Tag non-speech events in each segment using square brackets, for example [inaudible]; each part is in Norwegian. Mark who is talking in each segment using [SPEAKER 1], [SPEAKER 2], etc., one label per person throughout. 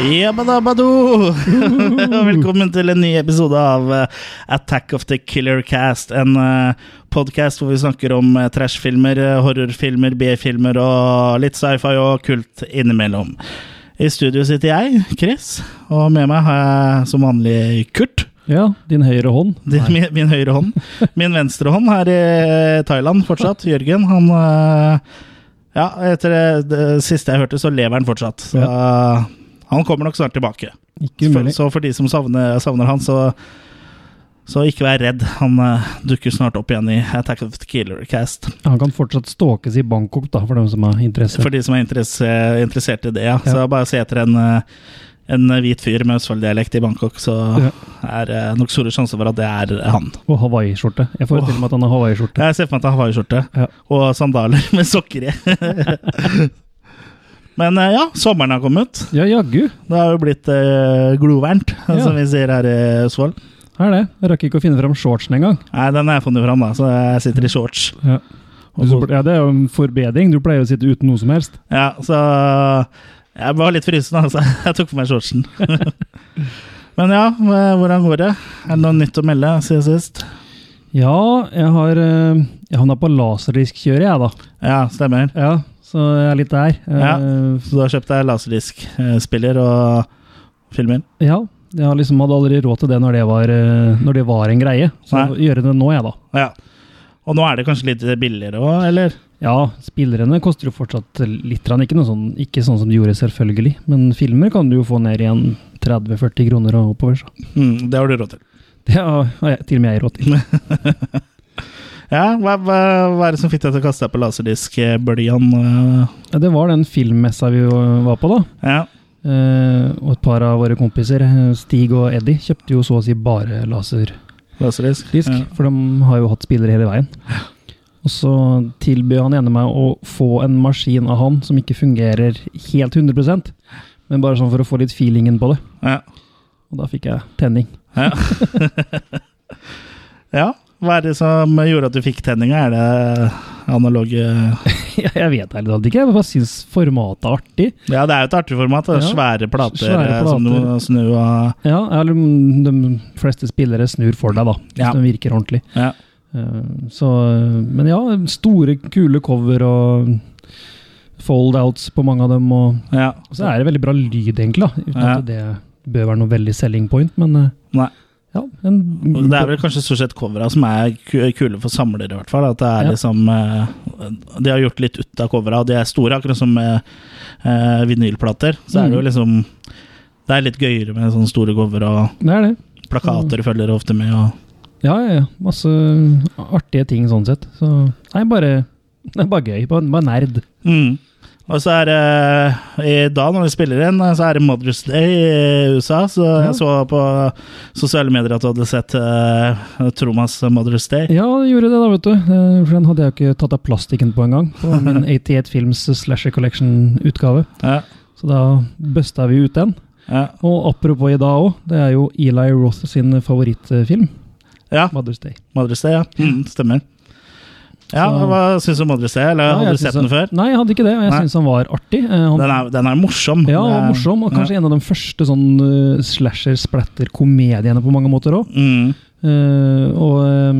[SPEAKER 1] Jabadabado! Og [laughs] Velkommen til en ny episode av eh, Attack of the Killer Cast. En uh, podkast hvor vi snakker om eh, trashfilmer, eh, horrorfilmer, B-filmer og litt sci-fi og kult innimellom. I studio sitter jeg, Chris, og med meg har jeg som vanlig Kurt.
[SPEAKER 2] Ja, din høyre hånd.
[SPEAKER 1] Det er min, min høyre hånd. Min venstre hånd er i eh, Thailand fortsatt. Jørgen, han eh, Ja, etter det, det siste jeg hørte, så lever han fortsatt. Så eh, han kommer nok snart tilbake.
[SPEAKER 2] Ikke umulig.
[SPEAKER 1] Så for de som savner, savner han, så så ikke vær redd, han eh, dukker snart opp igjen i Attack of the Killer Cast.
[SPEAKER 2] Han kan fortsatt stalkes i Bangkok, da, for dem som har interesse.
[SPEAKER 1] For de som er interesse, interessert i det, ja.
[SPEAKER 2] Ja.
[SPEAKER 1] Så bare se etter en, eh, en hvit fyr med Østfold-dialekt i Bangkok, så
[SPEAKER 2] Ja.
[SPEAKER 1] er det nok store sjanser for at det er han.
[SPEAKER 2] Og hawaiiskjorte. Jeg får jo til og med at han har hawaiiskjorte.
[SPEAKER 1] Jeg ser for meg at han har hawaiiskjorte
[SPEAKER 2] Ja.
[SPEAKER 1] og sandaler [laughs] med sokker i.
[SPEAKER 2] [laughs]
[SPEAKER 1] Men eh, ja, sommeren har kommet.
[SPEAKER 2] Ja, jaggu.
[SPEAKER 1] Det har jo blitt eh, glovarmt,
[SPEAKER 2] Ja.
[SPEAKER 1] som vi sier her i Østfold.
[SPEAKER 2] Her er det. Jeg rakk ikke å finne fram shortsen engang.
[SPEAKER 1] Nei, den har jeg funnet fram, da, så jeg sitter i shorts.
[SPEAKER 2] Ja.
[SPEAKER 1] Og
[SPEAKER 2] Du- ja, det er jo en forbedring. Du pleier jo å sitte uten noe som helst.
[SPEAKER 1] Ja, så jeg var litt frysen, [laughs] altså. Jeg tok på meg shortsen. [laughs] Men ja, eh, hvordan går det? Er det noe nytt å melde siden sist?
[SPEAKER 2] Ja, jeg har eh, Jeg havna på laserdisk-kjøret, jeg, da.
[SPEAKER 1] Ja, stemmer.
[SPEAKER 2] Ja, så jeg er litt der.
[SPEAKER 1] Ja.
[SPEAKER 2] Eh,
[SPEAKER 1] Så du har kjøpt deg laserdiskspiller og filmer?
[SPEAKER 2] ja. Jeg har liksom hadde aldri råd til det når det var, eh, når det var en greie. Så
[SPEAKER 1] Nei.
[SPEAKER 2] gjøre det nå, jeg, da.
[SPEAKER 1] Ja. Og nå er det kanskje litt billigere òg, eller?
[SPEAKER 2] Ja, spillerne koster jo fortsatt litt, grann. ikke, noe sånn, ikke sånn som de gjorde, selvfølgelig. Men filmer kan du jo få ned igjen 30-40 kroner og oppover. Så.
[SPEAKER 1] Mm, det har du råd til.
[SPEAKER 2] Det har har jeg, til og med jeg råd til.
[SPEAKER 1] Ja, hva, hva, hva er det som fikk deg til å kaste deg på eh, laserdiskbølgen? øh?
[SPEAKER 2] Ja, Det var den filmmessa vi jo var på, da.
[SPEAKER 1] Ja.
[SPEAKER 2] Eh, og et par av våre kompiser, eh, Stig og Eddie, kjøpte jo så å si bare laserdisk.
[SPEAKER 1] Laserdisk? Ja.
[SPEAKER 2] For de har jo hatt spillere hele veien. Og så tilbød han ene meg å få en maskin av han som ikke fungerer helt 100 men bare sånn for å få litt feelingen på det.
[SPEAKER 1] Ja.
[SPEAKER 2] Og da fikk jeg tenning.
[SPEAKER 1] [laughs] ja. Hva er det som gjorde at du fikk tenninga? Er det analoge
[SPEAKER 2] [laughs] Jeg, jeg vet ærlig talt ikke. Jeg bare syns formatet er artig.
[SPEAKER 1] Ja, det er jo et artig format. Det er
[SPEAKER 2] Ja.
[SPEAKER 1] svære plater, eh,
[SPEAKER 2] Svære
[SPEAKER 1] som du må snu og
[SPEAKER 2] Ja, eller mm, De fleste spillere snur for deg, da, hvis
[SPEAKER 1] Ja.
[SPEAKER 2] de virker ordentlig.
[SPEAKER 1] ja.
[SPEAKER 2] Eh, Så, men ja, store, kule cover og fold-outs på mange av dem. Og
[SPEAKER 1] ja.
[SPEAKER 2] og så er det veldig bra lyd, egentlig. da, Uten
[SPEAKER 1] Ja.
[SPEAKER 2] at det bør være noe veldig selling point, men eh,
[SPEAKER 1] Nei.
[SPEAKER 2] ja. En,
[SPEAKER 1] Og Det er vel kanskje stort sett covera som er ku- kule for samlere, i hvert fall. At det er
[SPEAKER 2] Ja.
[SPEAKER 1] liksom eh, De har gjort litt ut av covera, og de er store, akkurat som eh, eh, vinylplater. Så er det jo
[SPEAKER 2] Mm.
[SPEAKER 1] liksom Det er litt gøyere med sånne store cover, og
[SPEAKER 2] det er det. Mm.
[SPEAKER 1] plakater følger ofte med, og
[SPEAKER 2] Ja, ja, ja. Masse artige ting sånn sett. Så nei, bare, det er bare gøy. Bare, bare nerd.
[SPEAKER 1] mm. Og så er det eh, i dag, når vi spiller inn, eh, så er det Mother's Day i USA. Så
[SPEAKER 2] Ja.
[SPEAKER 1] jeg så på sosiale medier at du hadde sett eh, Tromas Mother's Day.
[SPEAKER 2] Ja, det gjorde det, da, vet du. Eh, For den hadde jeg jo ikke tatt av plastikken på engang.
[SPEAKER 1] [laughs]
[SPEAKER 2] På min 88 Films Slasher Collection-utgave.
[SPEAKER 1] Ja.
[SPEAKER 2] Så da busta vi ut den.
[SPEAKER 1] Ja.
[SPEAKER 2] Og apropos i dag òg, det er jo Eli Roth sin favorittfilm,
[SPEAKER 1] ja.
[SPEAKER 2] 'Mother's Day'.
[SPEAKER 1] Mother's Day, ja. Mm, stemmer. Ja,
[SPEAKER 2] Så-
[SPEAKER 1] Hva syns du om Mother's Day? Eller
[SPEAKER 2] Ja, jeg
[SPEAKER 1] Hadde du
[SPEAKER 2] synes
[SPEAKER 1] sett den
[SPEAKER 2] han-
[SPEAKER 1] før?
[SPEAKER 2] Nei, jeg hadde ikke det. og Jeg
[SPEAKER 1] Nei.
[SPEAKER 2] syns han var artig. Eh, Han,
[SPEAKER 1] Den er, den er morsom.
[SPEAKER 2] ja,
[SPEAKER 1] Det
[SPEAKER 2] og
[SPEAKER 1] er-
[SPEAKER 2] morsom, og kanskje en av de første sånn eh, slasher-splatter-komediene på mange måter òg.
[SPEAKER 1] Mm,
[SPEAKER 2] og eh,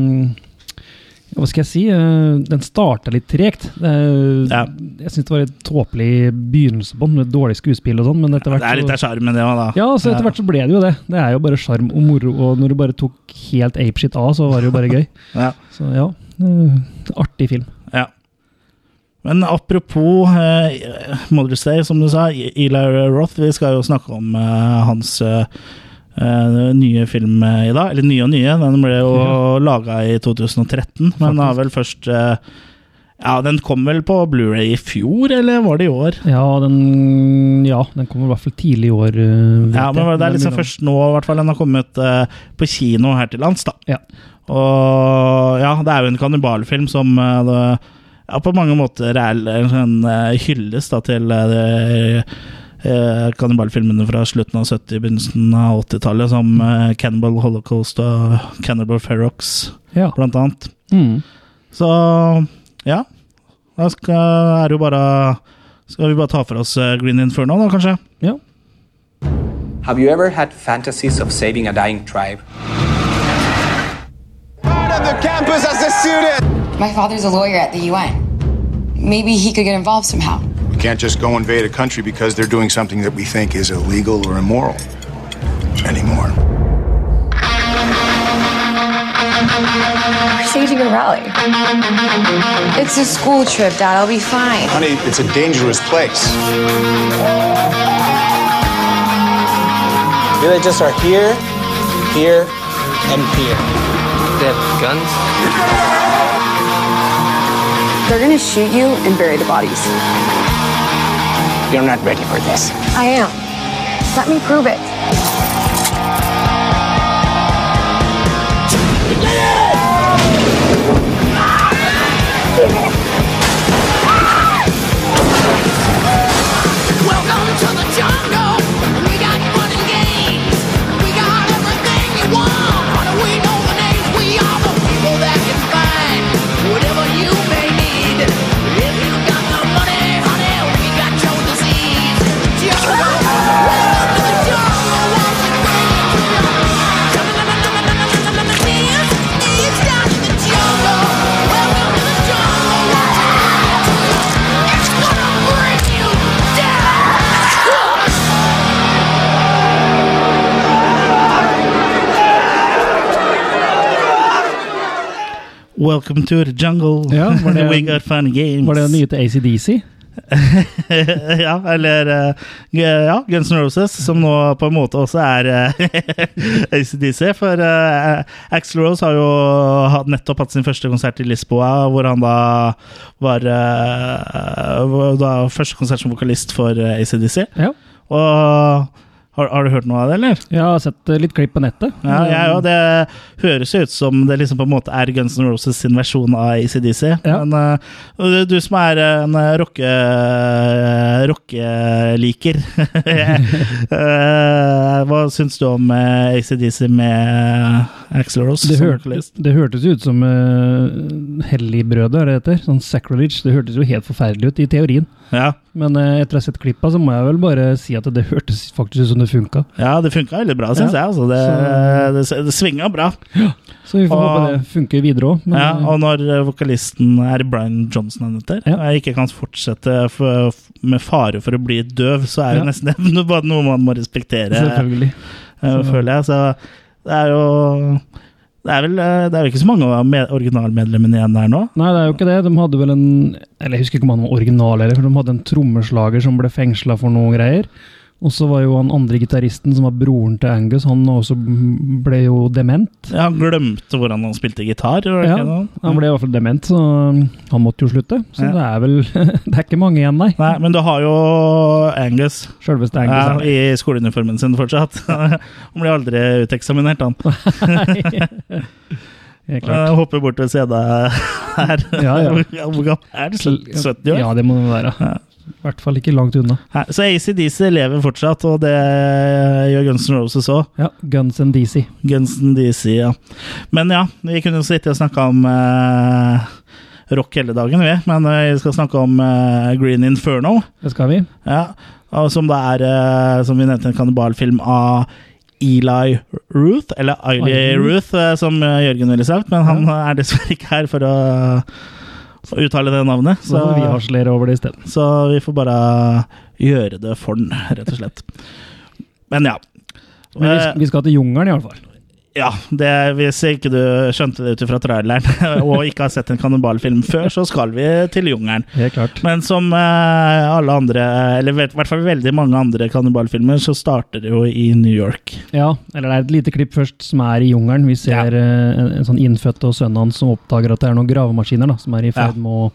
[SPEAKER 2] hva skal jeg si? Eh, den starta litt tregt. Eh,
[SPEAKER 1] Ja.
[SPEAKER 2] Jeg syns det var et tåpelig begynnelse på den, med dårlig skuespill og sånn, men etter
[SPEAKER 1] det
[SPEAKER 2] hvert
[SPEAKER 1] er litt av sjarmen, det òg, da.
[SPEAKER 2] Ja, så etter hvert så ble det jo det. Det er jo bare sjarm og moro, og når du bare tok helt apeshit av, så var det jo bare
[SPEAKER 1] [laughs]
[SPEAKER 2] gøy.
[SPEAKER 1] Ja.
[SPEAKER 2] Så ja, eh, artig film.
[SPEAKER 1] ja. Men apropos eh, Mother's Day, som du sa. Eli Roth, vi skal jo snakke om eh, hans eh, eh, nye film eh, i dag. Eller nye og nye, den ble jo
[SPEAKER 2] Ja.
[SPEAKER 1] laga i 2013. Men den har vel først eh, Ja, den kom vel på Blu-ray i fjor, eller var det i år?
[SPEAKER 2] Ja, den, ja, den kommer i hvert fall tidlig i år. eh, vet
[SPEAKER 1] Ja,
[SPEAKER 2] jeg.
[SPEAKER 1] men det er
[SPEAKER 2] Den
[SPEAKER 1] liksom
[SPEAKER 2] begynner-
[SPEAKER 1] først nå i hvert fall den har kommet eh, på kino her til lands, da.
[SPEAKER 2] Ja.
[SPEAKER 1] Og ja, det er jo en kannibalfilm som eh, det, ja, på mange måter er en sånn, eh, hyllest da, til eh, det, eh, kannibalfilmene fra slutten av 70-, begynnelsen av 80-tallet, som eh, Cannibal Holocaust og Cannibal Ferox,
[SPEAKER 2] Ja.
[SPEAKER 1] blant annet.
[SPEAKER 2] Mm.
[SPEAKER 1] Så ja, da eh, skal, er det jo bare Skal vi bare ta for oss eh, Green Inferno, da, kanskje?
[SPEAKER 2] ja.
[SPEAKER 3] Have you ever had fantasies of saving a dying tribe?
[SPEAKER 4] Part of the campus as a student.
[SPEAKER 5] My father's a lawyer at the UN. Maybe he could get involved somehow.
[SPEAKER 6] We can't just go invade a country because they're doing something that we think is illegal or immoral anymore.
[SPEAKER 5] We're staging a rally. It's a school trip, Dad. I'll be fine.
[SPEAKER 6] Honey, it's a dangerous place.
[SPEAKER 7] You really just are here, here, and here.
[SPEAKER 8] They have guns.
[SPEAKER 5] They're gonna shoot you and bury the bodies.
[SPEAKER 7] You're not ready for this.
[SPEAKER 5] I am. Let me prove it.
[SPEAKER 9] Welcome to the jungle. We got fun and games. We got everything you want. We know the names. We are the people that can find whatever you may need. If you got the money, honey, we got your disease. Jungle. Welcome to the jungle. What you bring It's down in the jungle. Welcome to the jungle. What you bring to you. It's gonna bring you down.
[SPEAKER 1] Welcome to the jungle.
[SPEAKER 2] Ja, var det-
[SPEAKER 1] We got fun games.
[SPEAKER 2] Var det nye til ACDC?
[SPEAKER 1] [laughs] ja, eller eh, ja, Guns N' Roses, som nå på en måte også er eh, [laughs] ACDC. For uh, Axel Rose har jo hatt- nettopp hatt sin første konsert i Lisboa, hvor han da var eh, hvor- da første konsert som vokalist for eh, ACDC.
[SPEAKER 2] Ja.
[SPEAKER 1] Og har, har du hørt noe av det, eller?
[SPEAKER 2] Jeg har sett eh, litt klipp på nettet.
[SPEAKER 1] Ja, jeg òg. Det høres jo ut som det liksom på en måte er Guns N' Roses sin versjon av ACDC.
[SPEAKER 2] Ja.
[SPEAKER 1] Men eh, og du- du som er en eh, rocke eh, rockeliker [laughs] eh, Hva syns du om eh, ACDC med eh, Axl Rose?
[SPEAKER 2] Det,
[SPEAKER 1] som
[SPEAKER 2] hørte-
[SPEAKER 1] vokalist?
[SPEAKER 2] det hørtes jo ut som uh, Helligbrødet, er det det heter? Sånn sacrilege. Det hørtes jo helt forferdelig ut, i teorien.
[SPEAKER 1] Ja.
[SPEAKER 2] Men eh, etter å ha sett klippa, så må jeg vel bare si at det hørtes faktisk ut som det funka.
[SPEAKER 1] ja, det funka veldig bra, syns
[SPEAKER 2] Ja.
[SPEAKER 1] jeg. Altså. Det, det, det svinga bra.
[SPEAKER 2] Så vi får
[SPEAKER 1] Og-
[SPEAKER 2] håpe det funker videre òg.
[SPEAKER 1] Ah. Ja, og når eh, vokalisten er Brian Johnson han heter,
[SPEAKER 2] Mm. Ja.
[SPEAKER 1] og ikke kan fortsette for, f- med fare for å bli døv, så er det
[SPEAKER 2] Ja.
[SPEAKER 1] nesten [laughs] noe- bare noe man må respektere,
[SPEAKER 2] selvfølgelig.
[SPEAKER 1] eh, føler jeg. Så det er jo Det er vel, eh, det er jo ikke så mange av med, originalmedlemmene igjen der nå.
[SPEAKER 2] Nei, det er jo ikke det. De hadde vel en Eller jeg husker ikke om han var original, eller, for de hadde en trommeslager som ble fengsla for noen greier. Og så var jo han andre gitaristen, som var broren til Angus, han også ble jo dement.
[SPEAKER 1] Ja, han glemte hvordan han spilte gitar. var det
[SPEAKER 2] Ja,
[SPEAKER 1] ikke noe?
[SPEAKER 2] han ble i hvert fall dement, så um, han måtte jo slutte. Så
[SPEAKER 1] Ja.
[SPEAKER 2] det er vel [laughs] Det er ikke mange igjen, nei.
[SPEAKER 1] Nei, men du har jo Angus.
[SPEAKER 2] Sjølveste
[SPEAKER 1] Ja,
[SPEAKER 2] [laughs] Angus.
[SPEAKER 1] I skoleuniformen sin fortsatt. [laughs] Han blir aldri uteksaminert, han.
[SPEAKER 2] Ja, [laughs] klart.
[SPEAKER 1] Jeg Eh, hopper bort ved sida her.
[SPEAKER 2] [laughs] Ja,
[SPEAKER 1] [laughs]
[SPEAKER 2] ja.
[SPEAKER 1] Hvor gammel er du? 70 år?
[SPEAKER 2] Ja, det må det være. I hvert fall ikke langt unna.
[SPEAKER 1] Nei, Så ACDC lever fortsatt, og det gjør Guns N' Roses òg.
[SPEAKER 2] Ja, Guns and DC.
[SPEAKER 1] Guns N' DC, ja. Men ja, vi kunne jo sitte og snakke om eh, rock hele dagen, vi. Men eh, vi skal snakke om eh, Green Inferno,
[SPEAKER 2] Det skal vi.
[SPEAKER 1] ja. Og som da er, eh, som vi nevnte, en kannibalfilm av Eli Ruth, eller Eily
[SPEAKER 2] Eli
[SPEAKER 1] Ruth, eh, som eh, Jørgen ville sagt. Men han eh, er dessverre ikke her for å å uttale det navnet.
[SPEAKER 2] Så får vi harselere over det isteden.
[SPEAKER 1] Så vi får bare gjøre det for den, rett og slett. Men ja. Eh,
[SPEAKER 2] Men vi, vi skal til jungelen, iallfall.
[SPEAKER 1] ja, det, Hvis ikke du skjønte det ut ifra traileren [laughs] og ikke har sett en kannibalfilm før, så skal vi til jungelen.
[SPEAKER 2] Helt klart.
[SPEAKER 1] Men som eh, alle andre, eh, eller i hvert fall veldig mange andre kannibalfilmer, så starter det jo i New York.
[SPEAKER 2] Ja, eller det er et lite klipp først som er i jungelen. Vi ser eh, en, en sånn innfødte og sønnen hans som oppdager at det er noen gravemaskiner da, som er i ferd med å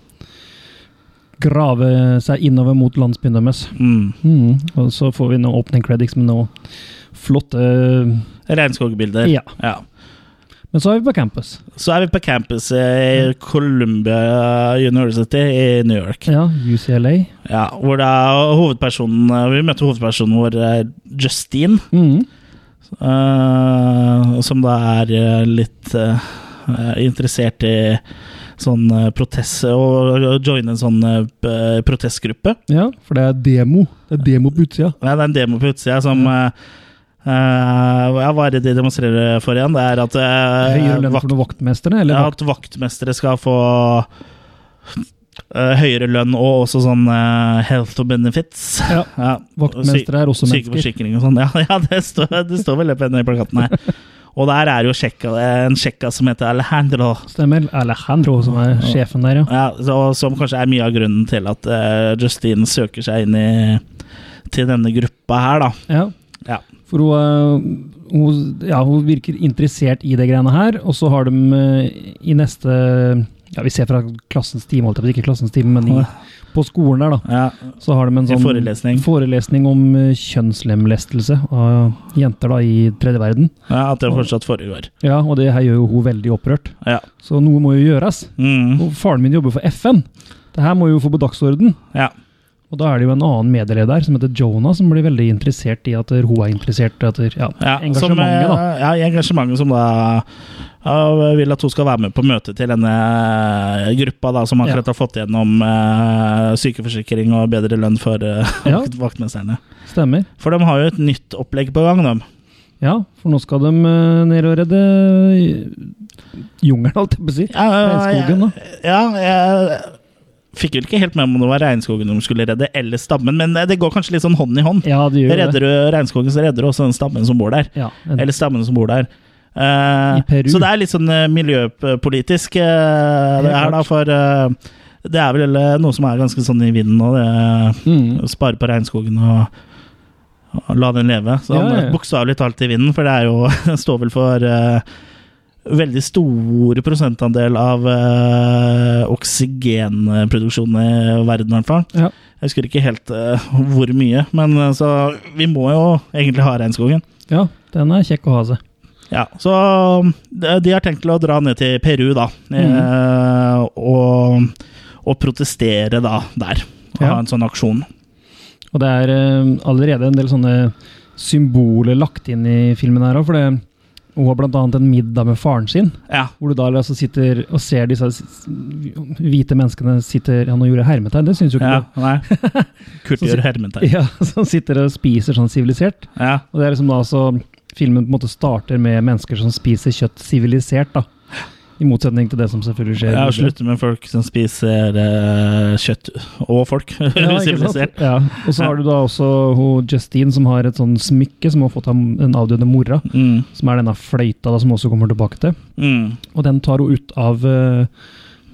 [SPEAKER 2] grave seg innover mot landsbyen deres.
[SPEAKER 1] Mm.
[SPEAKER 2] Mm. Og så får vi noen opening credits med noen flotte
[SPEAKER 1] Regnskogbilder.
[SPEAKER 2] Ja.
[SPEAKER 1] ja.
[SPEAKER 2] Men så er vi på campus.
[SPEAKER 1] Så er vi på campus eh, i Columbia University i New York.
[SPEAKER 2] Ja, UCLA.
[SPEAKER 1] Ja, hvor da hovedpersonen eh, Vi møtte hovedpersonen vår, eh, Justine,
[SPEAKER 2] Mm.
[SPEAKER 1] eh, som da er eh, litt eh, interessert i sånn eh, protest og, og joine en sånn eh, p- protestgruppe.
[SPEAKER 2] Ja, for det er demo. Det er demo på utsida.
[SPEAKER 1] Ja, det er en demo på utsida som eh, eh, ja, Hva er det de demonstrerer for igjen? Det er at, eh,
[SPEAKER 2] Høyere lønn
[SPEAKER 1] vakt,
[SPEAKER 2] for noen vaktmestere, eller?
[SPEAKER 1] ja,
[SPEAKER 2] vakt-
[SPEAKER 1] at vaktmestere skal få eh, høyere lønn og også sånn eh, health og benefits.
[SPEAKER 2] Ja.
[SPEAKER 1] [laughs] Ja,
[SPEAKER 2] Vaktmestere er også mennesker.
[SPEAKER 1] Sykeforsikring og sånn. [laughs] Ja, ja det, står, det står vel det på den plakaten
[SPEAKER 2] [laughs]
[SPEAKER 1] her. Og der er jo sjekka, eh, en sjekka som heter Alejandro.
[SPEAKER 2] Stemmer. Alejandro, som er sjefen der, ja.
[SPEAKER 1] Ja, så, som kanskje er mye av grunnen til at eh, Justine søker seg inn i, til denne gruppa her, da.
[SPEAKER 2] ja.
[SPEAKER 1] Ja.
[SPEAKER 2] For hun, eh, hun, ja, hun virker interessert i det greiene her, og så har de eh, i neste ja, Vi ser fra klassens time, holdt jeg på å si, ikke klassens time, men i, på skolen der, da.
[SPEAKER 1] Ja,
[SPEAKER 2] Så har de en
[SPEAKER 1] I
[SPEAKER 2] sånn
[SPEAKER 1] forelesning.
[SPEAKER 2] forelesning om eh, kjønnslemlestelse av jenter da i tredje verden.
[SPEAKER 1] ja At det fortsatt foregår.
[SPEAKER 2] Ja, og det her gjør jo hun veldig opprørt.
[SPEAKER 1] Ja.
[SPEAKER 2] Så noe må jo gjøres.
[SPEAKER 1] Mm,
[SPEAKER 2] Og faren min jobber for FN. Det her må jo få på dagsorden.
[SPEAKER 1] ja.
[SPEAKER 2] Og da er det jo en annen medieleder som heter Jonah, som blir veldig interessert i at hun er interessert i at, ja,
[SPEAKER 1] Ja,
[SPEAKER 2] engasjementet,
[SPEAKER 1] som,
[SPEAKER 2] da.
[SPEAKER 1] eh, Ja, i engasjementet som da ja, vil at hun skal være med på møtet til denne eh, gruppa da, som akkurat
[SPEAKER 2] Ja.
[SPEAKER 1] har fått gjennom eh, sykeforsikring og bedre lønn for eh, [laughs]
[SPEAKER 2] Ja.
[SPEAKER 1] vaktmesterne.
[SPEAKER 2] Stemmer.
[SPEAKER 1] For de har jo et nytt opplegg på gang, de.
[SPEAKER 2] Ja, for nå skal de eh, ned og redde eh, jungelen, holdt jeg på å si. Regnskogen, da.
[SPEAKER 1] Ja, jeg fikk vel ikke helt med meg om det var regnskogen de skulle redde, eller stammen, men det går kanskje litt sånn hånd i hånd.
[SPEAKER 2] Ja, de gjør
[SPEAKER 1] redder
[SPEAKER 2] det.
[SPEAKER 1] du regnskogen, så redder du også den stammen som bor der.
[SPEAKER 2] Ja, en,
[SPEAKER 1] Eller stammene som bor der. Eh,
[SPEAKER 2] I Peru.
[SPEAKER 1] Så det er litt sånn eh, miljøpolitisk, eh, det her, da,
[SPEAKER 2] klart.
[SPEAKER 1] for eh, det er vel eh, noe som er ganske sånn i vinden nå. det-
[SPEAKER 2] Mm.
[SPEAKER 1] Å spare på regnskogen og, og la den leve. Så
[SPEAKER 2] Ja,
[SPEAKER 1] han
[SPEAKER 2] ja,
[SPEAKER 1] er
[SPEAKER 2] ja.
[SPEAKER 1] Bokstavelig talt i vinden, for det er jo [laughs] den står vel for eh, veldig stor prosentandel av eh, oksygenproduksjonen i verden, i hvert fall.
[SPEAKER 2] Ja.
[SPEAKER 1] Jeg husker ikke helt eh, hvor mye, men eh, så vi må jo egentlig ha regnskogen.
[SPEAKER 2] ja, den er kjekk å ha seg.
[SPEAKER 1] Ja, så um, de de har tenkt til å dra ned til Peru, da.
[SPEAKER 2] Mm.
[SPEAKER 1] Eh, og, og protestere, da, der. Og
[SPEAKER 2] Ja.
[SPEAKER 1] ha en sånn aksjon.
[SPEAKER 2] Og det er eh, allerede en del sånne symboler lagt inn i filmen her òg, for det, hun har blant annet en middag med faren sin.
[SPEAKER 1] Ja.
[SPEAKER 2] Hvor du da altså sitter og ser disse s- hvite menneskene sitter Ja, nå gjorde jeg hermetegn, det syns jo ikke
[SPEAKER 1] ja
[SPEAKER 2] du. [laughs]
[SPEAKER 1] nei. Kurt
[SPEAKER 2] Så-
[SPEAKER 1] gjør hermetegn.
[SPEAKER 2] Ja, Som sitter og spiser sånn sivilisert.
[SPEAKER 1] Ja.
[SPEAKER 2] Og det er liksom da så Filmen på en måte starter med mennesker som spiser kjøtt sivilisert, da. I motsetning til det som selvfølgelig skjer.
[SPEAKER 1] Jeg har [laughs]
[SPEAKER 2] videre.
[SPEAKER 1] sluttet med folk som spiser eh, kjøtt og folk. [laughs]
[SPEAKER 2] Ja, ikke sant?
[SPEAKER 1] Sivilisert.
[SPEAKER 2] Ja. Og så har du da også hun Justine som har et sånn smykke som hun har fått av den avdøde mora.
[SPEAKER 1] Mm,
[SPEAKER 2] Som er denne fløyta da, som hun også kommer tilbake til.
[SPEAKER 1] mm,
[SPEAKER 2] Og den tar hun ut av eh,